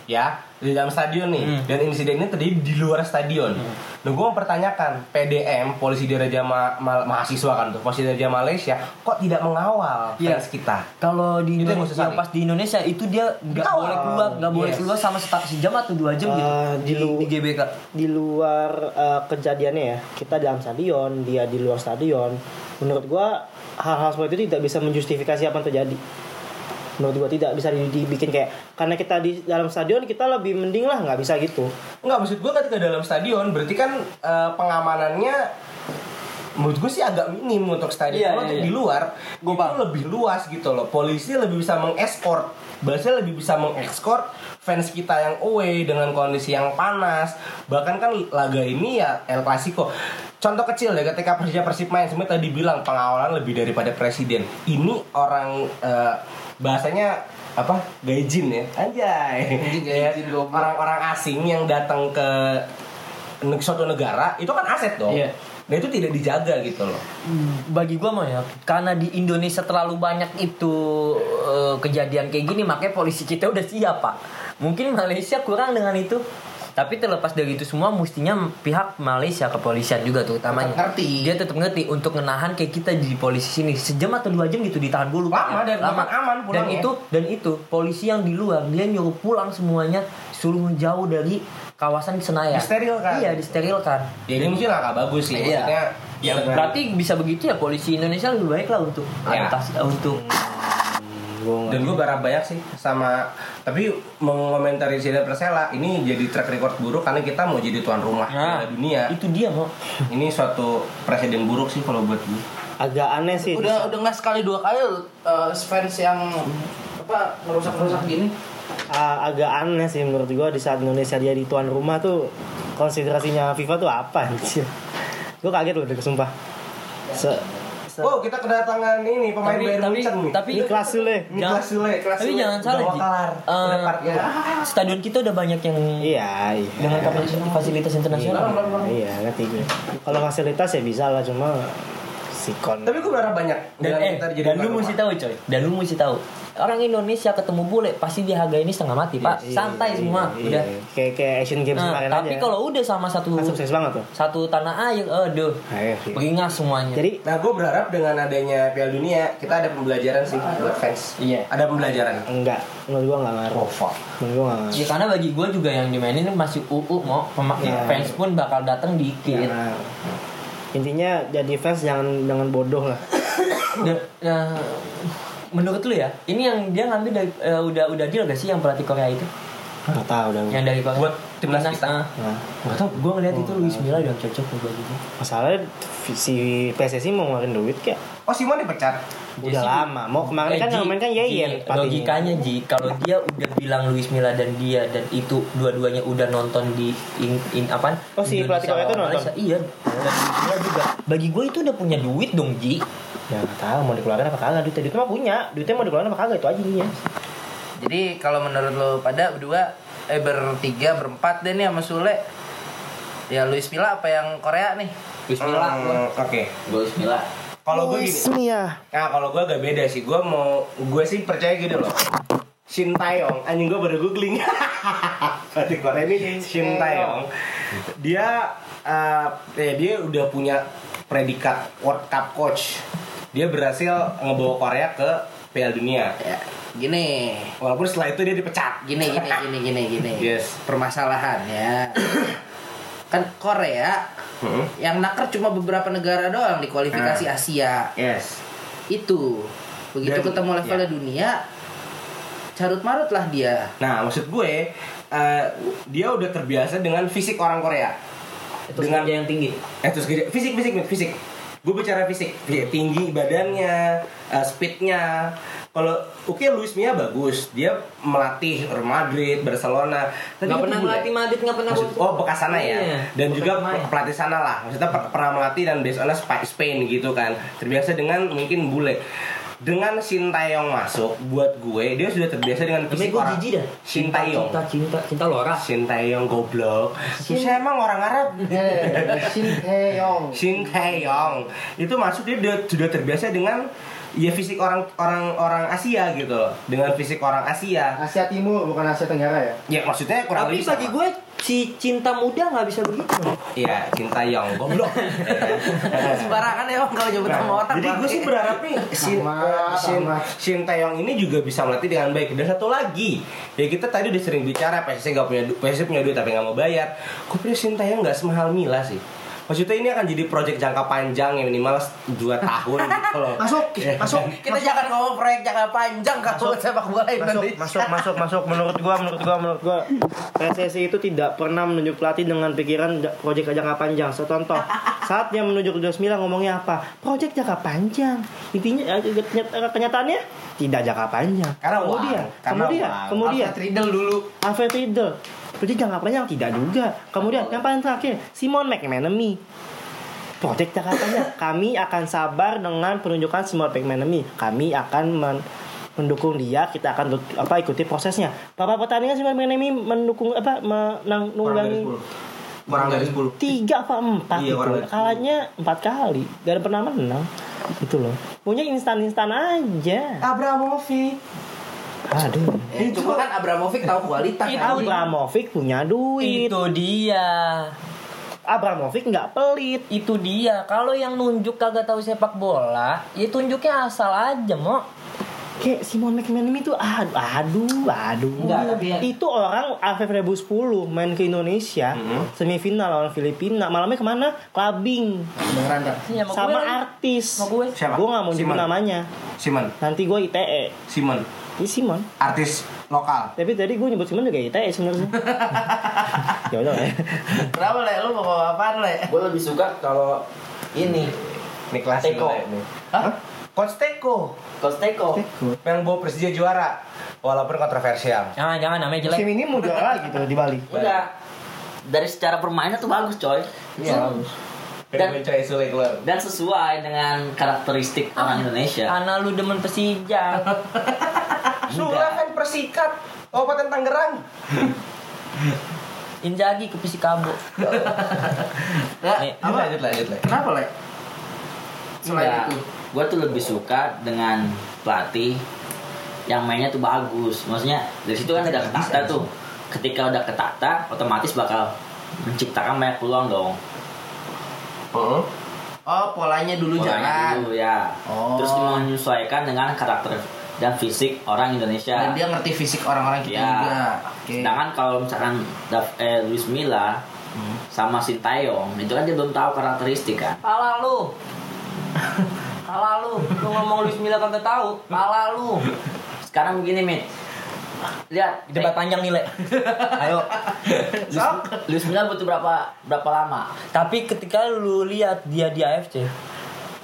[SPEAKER 3] ya di dalam stadion nih. Dan insiden ini terjadi di luar stadion. Nah gue mempertanyakan PDM, polisi diraja ma- ma- mahasiswa kan tuh, polisi diraja Malaysia, kok tidak mengawal
[SPEAKER 2] Iya.
[SPEAKER 3] fans kita?
[SPEAKER 2] kalau di
[SPEAKER 3] Itu yang
[SPEAKER 2] Indonesia
[SPEAKER 3] gua sesali.
[SPEAKER 2] yang pas di Indonesia itu dia nggak
[SPEAKER 3] Dikawal.
[SPEAKER 2] boleh keluar nggak boleh
[SPEAKER 3] Yes.
[SPEAKER 2] keluar sama setengah sejam atau dua jam gitu
[SPEAKER 5] Eh, di lu-
[SPEAKER 2] di GBK
[SPEAKER 5] Di luar eh, kejadiannya ya, kita dalam stadion, dia di luar stadion. Menurut gua hal-hal seperti itu tidak bisa menjustifikasi apa yang terjadi. Menurut gua tidak bisa di- dibikin kayak karena kita di dalam stadion kita lebih mending lah nggak bisa gitu.
[SPEAKER 3] Enggak maksud gue ketika dalam stadion, berarti kan eh, pengamanannya menurut gue sih agak minim untuk stadion
[SPEAKER 2] Iya,
[SPEAKER 3] Kalau
[SPEAKER 2] iya,
[SPEAKER 3] untuk
[SPEAKER 2] iya.
[SPEAKER 3] di luar
[SPEAKER 2] Gua
[SPEAKER 3] itu
[SPEAKER 2] paham.
[SPEAKER 3] lebih luas gitu loh polisi lebih bisa mengeskor bahasanya lebih bisa mengekskor fans kita yang away dengan kondisi yang panas bahkan kan laga ini ya El Clasico contoh kecil ya ketika Persija Persib main sebenarnya tadi bilang pengawalan lebih daripada presiden ini orang eh, bahasanya apa gaijin ya anjay
[SPEAKER 17] Anjing, gaijin,
[SPEAKER 3] Ya,
[SPEAKER 17] goblok.
[SPEAKER 3] orang-orang asing yang datang ke neg- suatu negara itu kan aset dong
[SPEAKER 2] Iya.
[SPEAKER 3] Nah itu tidak dijaga gitu loh.
[SPEAKER 2] bagi gua mah ya karena di Indonesia terlalu banyak itu eh, kejadian kayak gini makanya polisi kita udah siap pak mungkin Malaysia kurang dengan itu Tapi terlepas dari itu semua mestinya pihak Malaysia kepolisian juga tuh utamanya.
[SPEAKER 17] Tetap ngerti.
[SPEAKER 2] Dia tetap ngerti untuk menahan kayak kita di polisi sini sejam atau dua jam gitu ditahan dulu.
[SPEAKER 3] Lama, dan aman
[SPEAKER 2] Dan
[SPEAKER 3] pulangnya.
[SPEAKER 2] itu dan itu polisi yang di luar dia nyuruh pulang semuanya suruh jauh dari kawasan Senayan.
[SPEAKER 3] Disterilkan.
[SPEAKER 2] Iya, disterilkan.
[SPEAKER 3] Ya ini mungkin agak bagus sih.
[SPEAKER 17] Iya.
[SPEAKER 3] Maksudnya
[SPEAKER 2] Ya
[SPEAKER 3] dengan-
[SPEAKER 2] berarti bisa begitu ya polisi Indonesia lebih baik lah untuk
[SPEAKER 3] Ya.
[SPEAKER 2] adaptasi eh, untuk
[SPEAKER 3] dan gue berharap banyak sih sama tapi mengomentari Sheila Persela ini jadi track record buruk karena kita mau jadi tuan rumah
[SPEAKER 2] Nah.
[SPEAKER 3] Piala dunia
[SPEAKER 2] itu dia mau.
[SPEAKER 3] ini suatu presiden buruk sih kalau buat gue
[SPEAKER 5] agak aneh sih
[SPEAKER 17] udah udah nggak sekali dua kali loh, eh, fans yang apa ngerusak ngerusak gini
[SPEAKER 5] Ah, agak aneh sih menurut gua di saat Indonesia jadi tuan rumah tuh konsiderasinya FIFA tuh apa anjir gue kaget loh deh sumpah Se se-
[SPEAKER 3] oh kita kedatangan ini pemain
[SPEAKER 2] Tapi
[SPEAKER 3] Bayern
[SPEAKER 2] tapi
[SPEAKER 3] Munchen nih
[SPEAKER 2] tapi
[SPEAKER 5] Niklas Sule
[SPEAKER 3] Niklas Sule
[SPEAKER 2] tapi jangan salah Ji. Eh,
[SPEAKER 3] ya.
[SPEAKER 2] stadion kita udah banyak yang
[SPEAKER 5] iya iya
[SPEAKER 2] dengan kapasitas fasilitas internasional.
[SPEAKER 5] iya ngerti gue kalau fasilitas ya bisa lah cuma sikon
[SPEAKER 3] tapi gue berharap banyak
[SPEAKER 2] Dan,
[SPEAKER 3] Jangan
[SPEAKER 2] eh,
[SPEAKER 3] kita jadi
[SPEAKER 2] dan
[SPEAKER 3] tuan
[SPEAKER 2] lu
[SPEAKER 3] rumah.
[SPEAKER 2] mesti tahu coy, dan lu mesti tahu. Orang Indonesia ketemu bule pasti dihargai ini setengah mati, Pak.
[SPEAKER 5] Iya,
[SPEAKER 2] Santai
[SPEAKER 5] iya,
[SPEAKER 2] semua,
[SPEAKER 5] iya.
[SPEAKER 2] udah.
[SPEAKER 5] kayak kayak Asian Games
[SPEAKER 2] Nah,
[SPEAKER 5] kemarin
[SPEAKER 2] tapi
[SPEAKER 5] aja.
[SPEAKER 2] kalau udah sama satu
[SPEAKER 5] kan sukses banget tuh
[SPEAKER 2] satu tanah air, aduh.
[SPEAKER 5] Ayo, sih.
[SPEAKER 2] Beringas semuanya.
[SPEAKER 5] jadi
[SPEAKER 3] nah gue berharap dengan adanya Piala Dunia kita ada pembelajaran sih buat fans
[SPEAKER 2] Iya.
[SPEAKER 3] ada pembelajaran
[SPEAKER 5] enggak menurut gue enggak ngaruh
[SPEAKER 3] Profile.
[SPEAKER 5] menurut gue enggak ngaruh
[SPEAKER 2] Ya karena bagi gue juga yang dimainin masih UU mau pemak-
[SPEAKER 5] Ya.
[SPEAKER 2] fans pun bakal datang dikit.
[SPEAKER 5] Enggak ngaruh. intinya jadi fans jangan dengan bodoh lah
[SPEAKER 2] Dan- nah, menurut lu ya, ini yang dia ngambil dari eh, udah udah deal gak sih yang pelatih Korea itu?
[SPEAKER 5] nggak tahu dah gua.
[SPEAKER 2] Yang dari Korea.
[SPEAKER 3] Buat timnas kita.
[SPEAKER 2] ah.
[SPEAKER 5] Nah,
[SPEAKER 2] Gak tau, gue ngeliat
[SPEAKER 5] Oh,
[SPEAKER 2] itu Luis Milla udah cocok nih bagi gue
[SPEAKER 5] masalahnya si PSSI mau ngeluarin duit kayak
[SPEAKER 3] oh Simon dipecat
[SPEAKER 5] udah lama mau kemarin kan yang main kan Yeyen patinya
[SPEAKER 2] Eh, Logikanya Ji, kalau dia udah bilang Luis Milla dan dia dan itu dua-duanya udah nonton di in, in apa?
[SPEAKER 5] Oh, si pelatih Korea itu nonton?
[SPEAKER 2] Iya. Dan Luis Milla juga. Bagi gue itu udah punya duit dong Ji.
[SPEAKER 5] ya nggak tahu mau dikeluarin apa kagak duitnya duitnya mah punya duitnya mau dikeluarin apa kagak itu aja intinya
[SPEAKER 11] Jadi kalau menurut lo pada berdua eh bertiga berempat deh nih sama Sule. Ya Luis Milla apa yang Korea nih?
[SPEAKER 2] Luis
[SPEAKER 3] Hmm, oke
[SPEAKER 11] Luis Milla.
[SPEAKER 3] kalau gue gini
[SPEAKER 5] Mia
[SPEAKER 3] Nah kalau gue agak beda sih, gue mau gue sih percaya gini loh. Shin Taeyong, anjing gue baru googling. [LAUGHS] Berarti Korea ini Shin Taeyong. Dia eh, ya dia udah punya predikat World Cup coach. Dia berhasil ngebawa Korea ke Piala Dunia.
[SPEAKER 17] ya gini
[SPEAKER 3] Walaupun setelah itu dia dipecat.
[SPEAKER 17] gini
[SPEAKER 11] [LAUGHS]
[SPEAKER 17] gini gini gini gini
[SPEAKER 3] Yes.
[SPEAKER 17] permasalahannya kan Korea
[SPEAKER 3] Hmm.
[SPEAKER 17] yang naker cuma beberapa negara doang di kualifikasi
[SPEAKER 11] Ah.
[SPEAKER 17] Asia
[SPEAKER 3] Yes.
[SPEAKER 17] itu begitu
[SPEAKER 3] Dan-
[SPEAKER 17] ketemu levelnya
[SPEAKER 11] ya.
[SPEAKER 17] dunia carut marut lah dia
[SPEAKER 3] Nah maksud gue eh, dia udah terbiasa dengan fisik orang Korea.
[SPEAKER 2] Itu sengaja yang tinggi.
[SPEAKER 3] Eh terus gede. fisik fisik Mit. fisik. Gue bicara fisik, Fi-
[SPEAKER 2] Hmm.
[SPEAKER 3] tinggi badannya, eh, speednya. Kalau oke Luis Mia bagus, dia melatih Real Madrid, Barcelona. Tapi
[SPEAKER 2] Gak
[SPEAKER 3] kan
[SPEAKER 2] pernah
[SPEAKER 3] itu bule.
[SPEAKER 2] ngelatih Madrid, gak pernah
[SPEAKER 3] Maksud- oh bekas sana ya,
[SPEAKER 2] Iya,
[SPEAKER 3] dan
[SPEAKER 2] bekas
[SPEAKER 3] juga
[SPEAKER 2] pemain.
[SPEAKER 3] pelatih sana lah. Maksudnya per- pernah melatih dan based on Spa- Spain gitu kan. Terbiasa dengan mungkin bule. Dengan Sintayong masuk, buat gue dia sudah terbiasa dengan
[SPEAKER 2] Namanya
[SPEAKER 3] fisik
[SPEAKER 2] gue
[SPEAKER 3] orang.
[SPEAKER 2] jijik dah.
[SPEAKER 3] Sintayong.
[SPEAKER 2] Cinta, cinta, cinta Lora.
[SPEAKER 3] Sintayong goblok. Saya emang orang Arab.
[SPEAKER 18] [LAUGHS]
[SPEAKER 17] Sinteyong
[SPEAKER 3] Shin Tae-yong itu masuk dia udah, sudah terbiasa dengan ya fisik orang orang orang Asia gitu loh dengan fisik orang Asia
[SPEAKER 18] Asia Timur bukan Asia Tenggara ya
[SPEAKER 3] ya maksudnya kurang
[SPEAKER 2] Tapi
[SPEAKER 3] lebih
[SPEAKER 2] bagi
[SPEAKER 3] sama.
[SPEAKER 2] gue si cinta muda nggak bisa begitu.
[SPEAKER 3] iya Shin Tae-yong
[SPEAKER 2] [LAUGHS]
[SPEAKER 3] goblok
[SPEAKER 11] Sembarangan ya Om, kalau nyebut sama orang.
[SPEAKER 3] jadi gue sih berharap nih Shin, eh,
[SPEAKER 18] Sama,
[SPEAKER 3] Shin,
[SPEAKER 18] sama.
[SPEAKER 3] Shin Tae-yong ini juga bisa melatih dengan baik dan satu lagi ya kita tadi udah sering bicara PSC nggak punya du- PSC punya duit tapi nggak mau bayar gue punya Shin Tae-yong nggak semahal Mila sih Maksudnya ini akan jadi proyek jangka panjang yang minimal 2 tahun gitu loh.
[SPEAKER 18] masuk
[SPEAKER 3] Iya.
[SPEAKER 18] masuk
[SPEAKER 11] Kita jangan ngomong proyek jangka panjang kalau sepak bola
[SPEAKER 5] masuk
[SPEAKER 11] Indonesia.
[SPEAKER 5] masuk masuk masuk menurut gua menurut gua menurut gua PSSI itu tidak pernah menunjuk pelatih dengan pikiran da- proyek jangka panjang Saya contoh saatnya menunjuk Luis Milla ngomongnya apa proyek jangka panjang intinya eh, kenyata- eh, kenyataannya tidak jangka panjang
[SPEAKER 3] Karena
[SPEAKER 5] kemudian
[SPEAKER 3] uang. Karena
[SPEAKER 5] kemudian
[SPEAKER 3] uang.
[SPEAKER 5] kemudian
[SPEAKER 11] Tridel dulu.
[SPEAKER 5] Alfred Riedel proyek jangka panjang tidak juga kemudian yang paling terakhir Simon McManamy Project Jakartanya kami akan sabar dengan penunjukan semua Pigmenemy kami akan men- mendukung dia kita akan tut- apa ikuti prosesnya bapak pertandingan semua Pigmenemy mendukung apa menanggungi
[SPEAKER 3] Kurang dari 10.
[SPEAKER 5] tiga apa empat
[SPEAKER 3] Iya,
[SPEAKER 5] gitu.
[SPEAKER 3] orang dari sepuluh.
[SPEAKER 5] kalahnya empat kali gak ada pernah menang gitu loh punya instan instan aja
[SPEAKER 3] Abramovic
[SPEAKER 5] Aduh.
[SPEAKER 11] Ya, cuma kan Abramovich tahu kualitas anjing.
[SPEAKER 5] Abramovic punya duit.
[SPEAKER 2] Itu dia.
[SPEAKER 5] Abramovic nggak pelit.
[SPEAKER 2] Itu dia. Kalau yang nunjuk kagak tahu sepak bola, ya tunjuknya asal aja, Mo.
[SPEAKER 5] Kayak Simon McManamy itu aduh aduh aduh.
[SPEAKER 11] Enggak, tapi- ya-
[SPEAKER 5] Itu orang AFF 2010 main ke Indonesia
[SPEAKER 11] Mm-hmm.
[SPEAKER 5] semifinal lawan Filipina malamnya kemana? Clubbing
[SPEAKER 11] Beneran kan?
[SPEAKER 2] Ya, sama,
[SPEAKER 5] sama
[SPEAKER 2] gue lah.
[SPEAKER 5] artis.
[SPEAKER 2] Sama gue.
[SPEAKER 3] Siapa?
[SPEAKER 5] Gue nggak mau nyebut
[SPEAKER 3] Simon.
[SPEAKER 5] namanya.
[SPEAKER 3] Simon,
[SPEAKER 5] Nanti gue ITE.
[SPEAKER 3] Simon,
[SPEAKER 5] Ini Simon.
[SPEAKER 3] artis lokal.
[SPEAKER 5] Tapi tadi gue nyebut Simon juga ITE sebenarnya. ya udah lah ya.
[SPEAKER 11] Kenapa le? Lu mau bawa apaan le?
[SPEAKER 19] Gue lebih suka kalau ini
[SPEAKER 3] Niklas
[SPEAKER 19] Teko.
[SPEAKER 3] Simon.
[SPEAKER 11] Hah?
[SPEAKER 3] Coach Teko
[SPEAKER 19] Kosteko.
[SPEAKER 3] yang bawa Persija juara walaupun kontroversial.
[SPEAKER 2] Jangan, jangan namanya jelek.
[SPEAKER 5] Musim ini muda lagi tuh di Bali.
[SPEAKER 19] Enggak.
[SPEAKER 1] dari secara permainan tuh bagus coy
[SPEAKER 19] Iya. Dan-
[SPEAKER 3] Hmm. Dan Coy Sule keluar.
[SPEAKER 1] dan sesuai dengan karakteristik orang Indonesia
[SPEAKER 2] Karena Ah, lu demen [LAUGHS] Persija.
[SPEAKER 3] Sule kan persikat. Kabupaten Tangerang.
[SPEAKER 2] Inzaghi ke Persikabo. Nih,
[SPEAKER 3] Apa? Lanjut lanjut lanjut.
[SPEAKER 11] Kenapa le? Selain itu.
[SPEAKER 1] gue Iya. tuh lebih suka dengan pelatih yang mainnya tuh bagus maksudnya dari situ kan udah ketata
[SPEAKER 11] ya.
[SPEAKER 1] tuh ketika udah ketata otomatis bakal menciptakan banyak peluang dong
[SPEAKER 11] Oh polanya dulu
[SPEAKER 1] Polanya
[SPEAKER 11] jangan.
[SPEAKER 1] dulu ya
[SPEAKER 11] Oh.
[SPEAKER 1] terus menyesuaikan dengan karakter dan fisik orang Indonesia
[SPEAKER 11] Dan dia ngerti fisik orang-orang kita
[SPEAKER 1] Ya.
[SPEAKER 11] juga. Oke.
[SPEAKER 1] Sedangkan kalau misalkan Daf, eh, Luis Milla
[SPEAKER 11] Hmm.
[SPEAKER 1] sama Sintayong itu kan dia belum tahu karakteristik kan.
[SPEAKER 2] Pala lu. Pala lu. Lu ngomong Luis Milla kagak tahu. Pala lu.
[SPEAKER 1] Sekarang begini mit, lihat
[SPEAKER 2] Debat panjang
[SPEAKER 11] [LAUGHS]
[SPEAKER 2] nih, Le. Ayo.
[SPEAKER 1] Luis, Luis Milla butuh berapa berapa lama?
[SPEAKER 2] Tapi ketika lu lihat dia di AFC,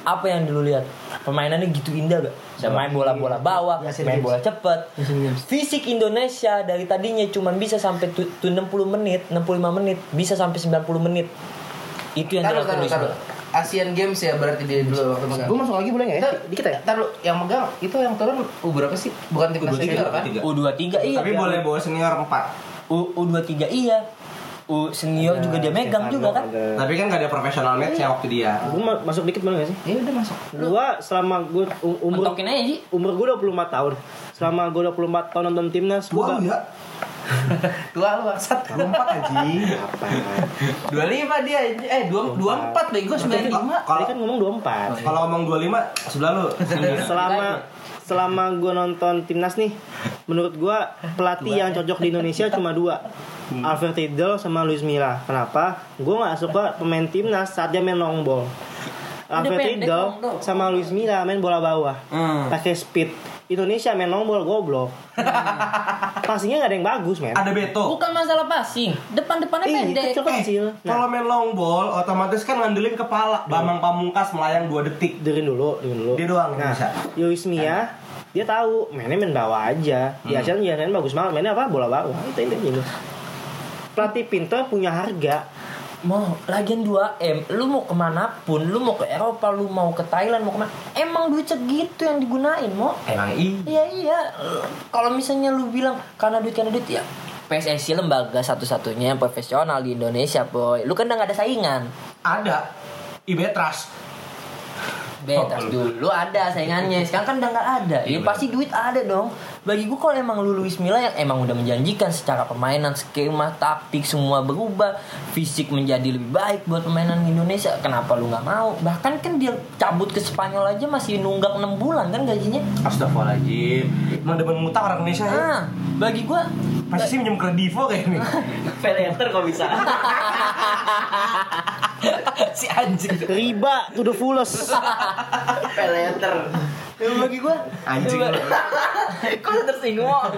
[SPEAKER 2] apa yang lu lihat? Permainannya gitu indah gak? Dia main bola-bola bawah,
[SPEAKER 11] Iya,
[SPEAKER 2] main bola cepet. Fisik Indonesia dari tadinya cuma bisa sampai tu, tu 60 menit, 65 menit, bisa sampai 90 menit. Itu yang
[SPEAKER 11] Taruh,
[SPEAKER 2] dilakukan
[SPEAKER 11] taruh,
[SPEAKER 2] Luis
[SPEAKER 11] taruh.
[SPEAKER 2] Milla.
[SPEAKER 11] Asian Games ya berarti dia dulu waktu megang.
[SPEAKER 5] Gue masuk lagi boleh nggak ya?
[SPEAKER 11] Ntar,
[SPEAKER 5] Dikit aja.
[SPEAKER 11] ntar lu, yang megang itu yang turun U berapa sih? Bukan timnas
[SPEAKER 3] U23,
[SPEAKER 11] senior kan?
[SPEAKER 3] U23.
[SPEAKER 2] U23 iya.
[SPEAKER 3] Tapi
[SPEAKER 2] dia-
[SPEAKER 3] boleh bawa senior 4.
[SPEAKER 2] U, U23 iya. U senior juga dia megang juga kan.
[SPEAKER 3] Tapi kan gak ada profesional match ya waktu dia.
[SPEAKER 5] Gue masuk dikit boleh nggak sih?
[SPEAKER 11] Ya udah masuk.
[SPEAKER 5] Gua selama gue umur
[SPEAKER 2] Mentokin aja sih.
[SPEAKER 5] umur gue 24 tahun selama gue 24 tahun nonton timnas gue
[SPEAKER 3] Wah, ya.
[SPEAKER 11] Tua lu bangsat.
[SPEAKER 3] 24 anjing.
[SPEAKER 11] 25 dia eh 2 24 bego 95.
[SPEAKER 5] tadi kan ngomong 24
[SPEAKER 3] Kalau ngomong 25 sebelah [LAUGHS] lu. Iya.
[SPEAKER 5] selama selama gue nonton timnas nih menurut gue pelatih yang cocok di Indonesia cuma dua Alfred Riedel sama Luis Milla kenapa gue nggak suka pemain timnas saat dia main long ball Alfred
[SPEAKER 2] pendek,
[SPEAKER 5] Riedel
[SPEAKER 2] long ball.
[SPEAKER 5] sama Luis Milla main bola bawah pakai speed Indonesia main long ball goblok pastinya nggak ada yang bagus men
[SPEAKER 3] Ada Beto. Eh,
[SPEAKER 2] Bukan masalah passing, depan-depannya
[SPEAKER 5] Ih,
[SPEAKER 2] pendek.
[SPEAKER 5] kecil-kecil. Nah,
[SPEAKER 3] Kalau main long ball otomatis kan ngandelin kepala. Bambang Pamungkas melayang 2 detik.
[SPEAKER 5] dengerin dulu, dengerin dulu.
[SPEAKER 3] Dia doang yang
[SPEAKER 5] nah,
[SPEAKER 3] bisa.
[SPEAKER 5] Luis Mia, dia tahu mainnya main bawah aja. Di
[SPEAKER 3] Hmm.
[SPEAKER 5] ASEAN dia main bagus banget. Mainnya apa? Bola bawah. Itu itu gitu. Pelatih pintar punya harga.
[SPEAKER 2] Mau lagian 2M, lu mau kemana pun, lu mau ke Eropa, lu mau ke Thailand, mau kemana Emang duit segitu yang digunain, mau
[SPEAKER 3] Emang iya.
[SPEAKER 2] Iya iya, kalau misalnya lu bilang karena duit karena duit ya PSSI lembaga satu-satunya yang profesional di Indonesia boy Lu kan udah gak ada saingan
[SPEAKER 3] Ada. Ibetras.
[SPEAKER 2] Betas dulu ada saingannya, sekarang kan udah gak ada Ya pasti duit ada dong Bagi gua kalau emang lu Luis Milla yang emang udah menjanjikan secara permainan, skema, taktik semua berubah Fisik menjadi lebih baik buat permainan Indonesia, kenapa lu gak mau? Bahkan kan dia cabut ke Spanyol aja masih nunggak 6 bulan kan gajinya
[SPEAKER 3] Astagfirullahaladzim Emang demen ngutang orang Indonesia ya?
[SPEAKER 2] Ah, bagi gua
[SPEAKER 3] Pasti sih minjem kredivo kayak
[SPEAKER 2] [LAUGHS]
[SPEAKER 3] ini
[SPEAKER 1] Velator kok bisa.
[SPEAKER 11] Si anjing.
[SPEAKER 5] Riba to the fullest.
[SPEAKER 11] Peleter.
[SPEAKER 2] Ya bagi gua
[SPEAKER 3] Anjing
[SPEAKER 2] ya,
[SPEAKER 3] lu.
[SPEAKER 2] ba-
[SPEAKER 11] Kok lu
[SPEAKER 2] [LAUGHS]
[SPEAKER 11] tersinggung?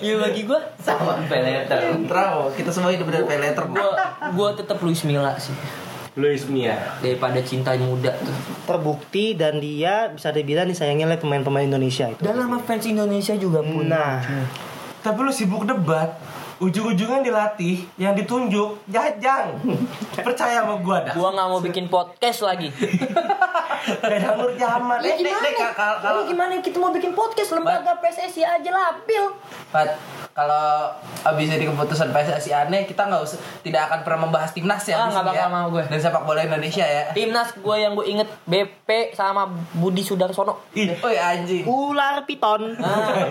[SPEAKER 2] ya bagi gua
[SPEAKER 11] Sama peleter. Trauma. Kita semua hidup dari peleter.
[SPEAKER 2] gua gua tetap Luis Milla sih
[SPEAKER 3] Luis Mia
[SPEAKER 2] daripada cinta muda tuh.
[SPEAKER 5] Terbukti dan dia bisa dibilang disayangin oleh pemain-pemain Indonesia itu.
[SPEAKER 2] Dan sama fans Indonesia juga pun.
[SPEAKER 5] Nah,
[SPEAKER 3] Tapi lu sibuk debat Ujung-ujungnya dilatih Yang ditunjuk
[SPEAKER 2] [LAUGHS]
[SPEAKER 3] Jajang Percaya sama gua dah
[SPEAKER 2] Gua nggak mau bikin podcast lagi.
[SPEAKER 3] Beda Nur Jaman
[SPEAKER 2] Lagi
[SPEAKER 3] eh,
[SPEAKER 11] Dek, dek,
[SPEAKER 2] gimana?
[SPEAKER 11] kal- kal-
[SPEAKER 2] Lagi gimana kita mau bikin podcast lembaga PSSI aja lapil.
[SPEAKER 11] Pat, kalau abis dari keputusan PSSI aneh kita nggak usah tidak akan pernah membahas timnas ya
[SPEAKER 2] Ah, nggak
[SPEAKER 11] abis ini
[SPEAKER 2] bakal
[SPEAKER 11] ya.
[SPEAKER 2] mau gue.
[SPEAKER 11] dan sepak bola Indonesia ya
[SPEAKER 2] Timnas gue yang gue inget BP sama Budi Sudarsono.
[SPEAKER 11] Ih, oi anjing.
[SPEAKER 5] Ular piton.
[SPEAKER 3] Ah.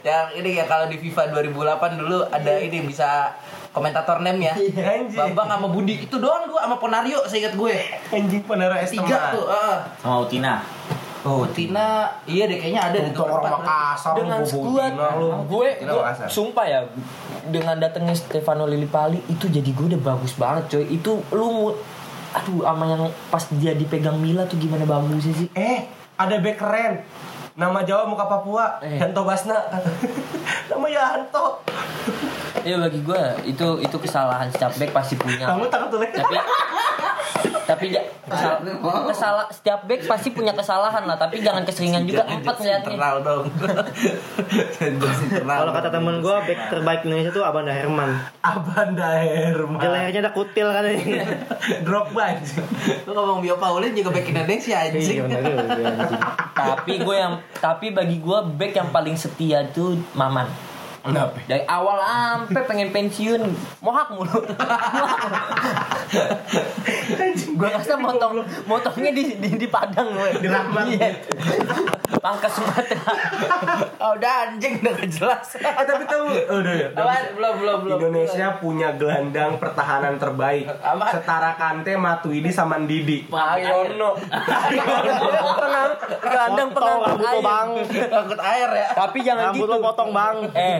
[SPEAKER 11] yang ini ya kalau di FIFA 2008 dulu ada ini bisa komentator name ya. Bambang sama Budi itu doang gua sama Ponario seingat gue.
[SPEAKER 3] Anjing penara
[SPEAKER 11] Tiga tuh, heeh.
[SPEAKER 20] sama Utina
[SPEAKER 11] Oh, Tina, iya deh kayaknya ada di
[SPEAKER 3] Untuk orang Makassar lu,
[SPEAKER 2] dengan
[SPEAKER 3] Bobo
[SPEAKER 2] skuad
[SPEAKER 3] Tina, lu.
[SPEAKER 2] gue,
[SPEAKER 3] Tina
[SPEAKER 2] gue
[SPEAKER 3] Makassar.
[SPEAKER 2] sumpah ya dengan datangnya Stefano Lillipali itu jadi gue udah bagus banget coy itu lu mu- aduh sama yang pas dia dipegang Mila tuh gimana bagusnya sih
[SPEAKER 3] Eh, ada back keren. Nama Jawa muka Papua,
[SPEAKER 2] Eh.
[SPEAKER 3] Yanto Basna. [LAUGHS] Nama Yanto.
[SPEAKER 2] ya bagi gue itu itu kesalahan setiap back pasti punya
[SPEAKER 3] Kamu takut tuh, Le?
[SPEAKER 2] tapi tapi ja- kesal- kesala- setiap back pasti punya kesalahan lah tapi jangan keseringan juga gitu, empat ngeliatnya
[SPEAKER 11] internal dong. Jangan internal.
[SPEAKER 5] Kalau kata temen gue, back terbaik Indonesia tuh Abanda Herman.
[SPEAKER 3] Abanda
[SPEAKER 5] Di
[SPEAKER 3] Herman.
[SPEAKER 5] lehernya ada kutil kan ini.
[SPEAKER 3] Drogba anjing.
[SPEAKER 11] Lu ngomong Bio Paulin juga back Indonesia
[SPEAKER 3] Iya,
[SPEAKER 11] anjing.
[SPEAKER 2] tapi gue yang tapi bagi gue back yang paling setia tuh Maman
[SPEAKER 3] Kenapa?
[SPEAKER 2] dari awal sampai pengen pensiun mohak mulu gue rasa motong motongnya di di, di padang gue di iya. pangkas Sumatera
[SPEAKER 11] Oh, [LAUGHS] udah anjing udah nggak jelas.
[SPEAKER 3] Eh, tapi tahu, udah ya.
[SPEAKER 11] Apaan? Belum, belum, belum.
[SPEAKER 3] Indonesia punya gelandang pertahanan terbaik.
[SPEAKER 11] Apaan?
[SPEAKER 3] Setara Kante, Matuidi sama Ndidi.
[SPEAKER 11] Ayono.
[SPEAKER 2] Penang- gelandang
[SPEAKER 5] Potong
[SPEAKER 2] penangkut
[SPEAKER 5] rambut lo
[SPEAKER 2] air
[SPEAKER 5] bang.
[SPEAKER 11] Takut air ya.
[SPEAKER 2] tapi jangan
[SPEAKER 5] Rambut
[SPEAKER 2] gitu
[SPEAKER 5] lo potong bang.
[SPEAKER 2] eh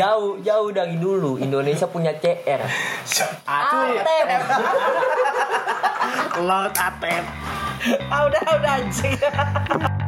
[SPEAKER 2] jauh jauh dari dulu Indonesia punya CR
[SPEAKER 7] Atep.
[SPEAKER 5] [LAUGHS] Lord Atep.
[SPEAKER 11] Ah, udah, udah anjing.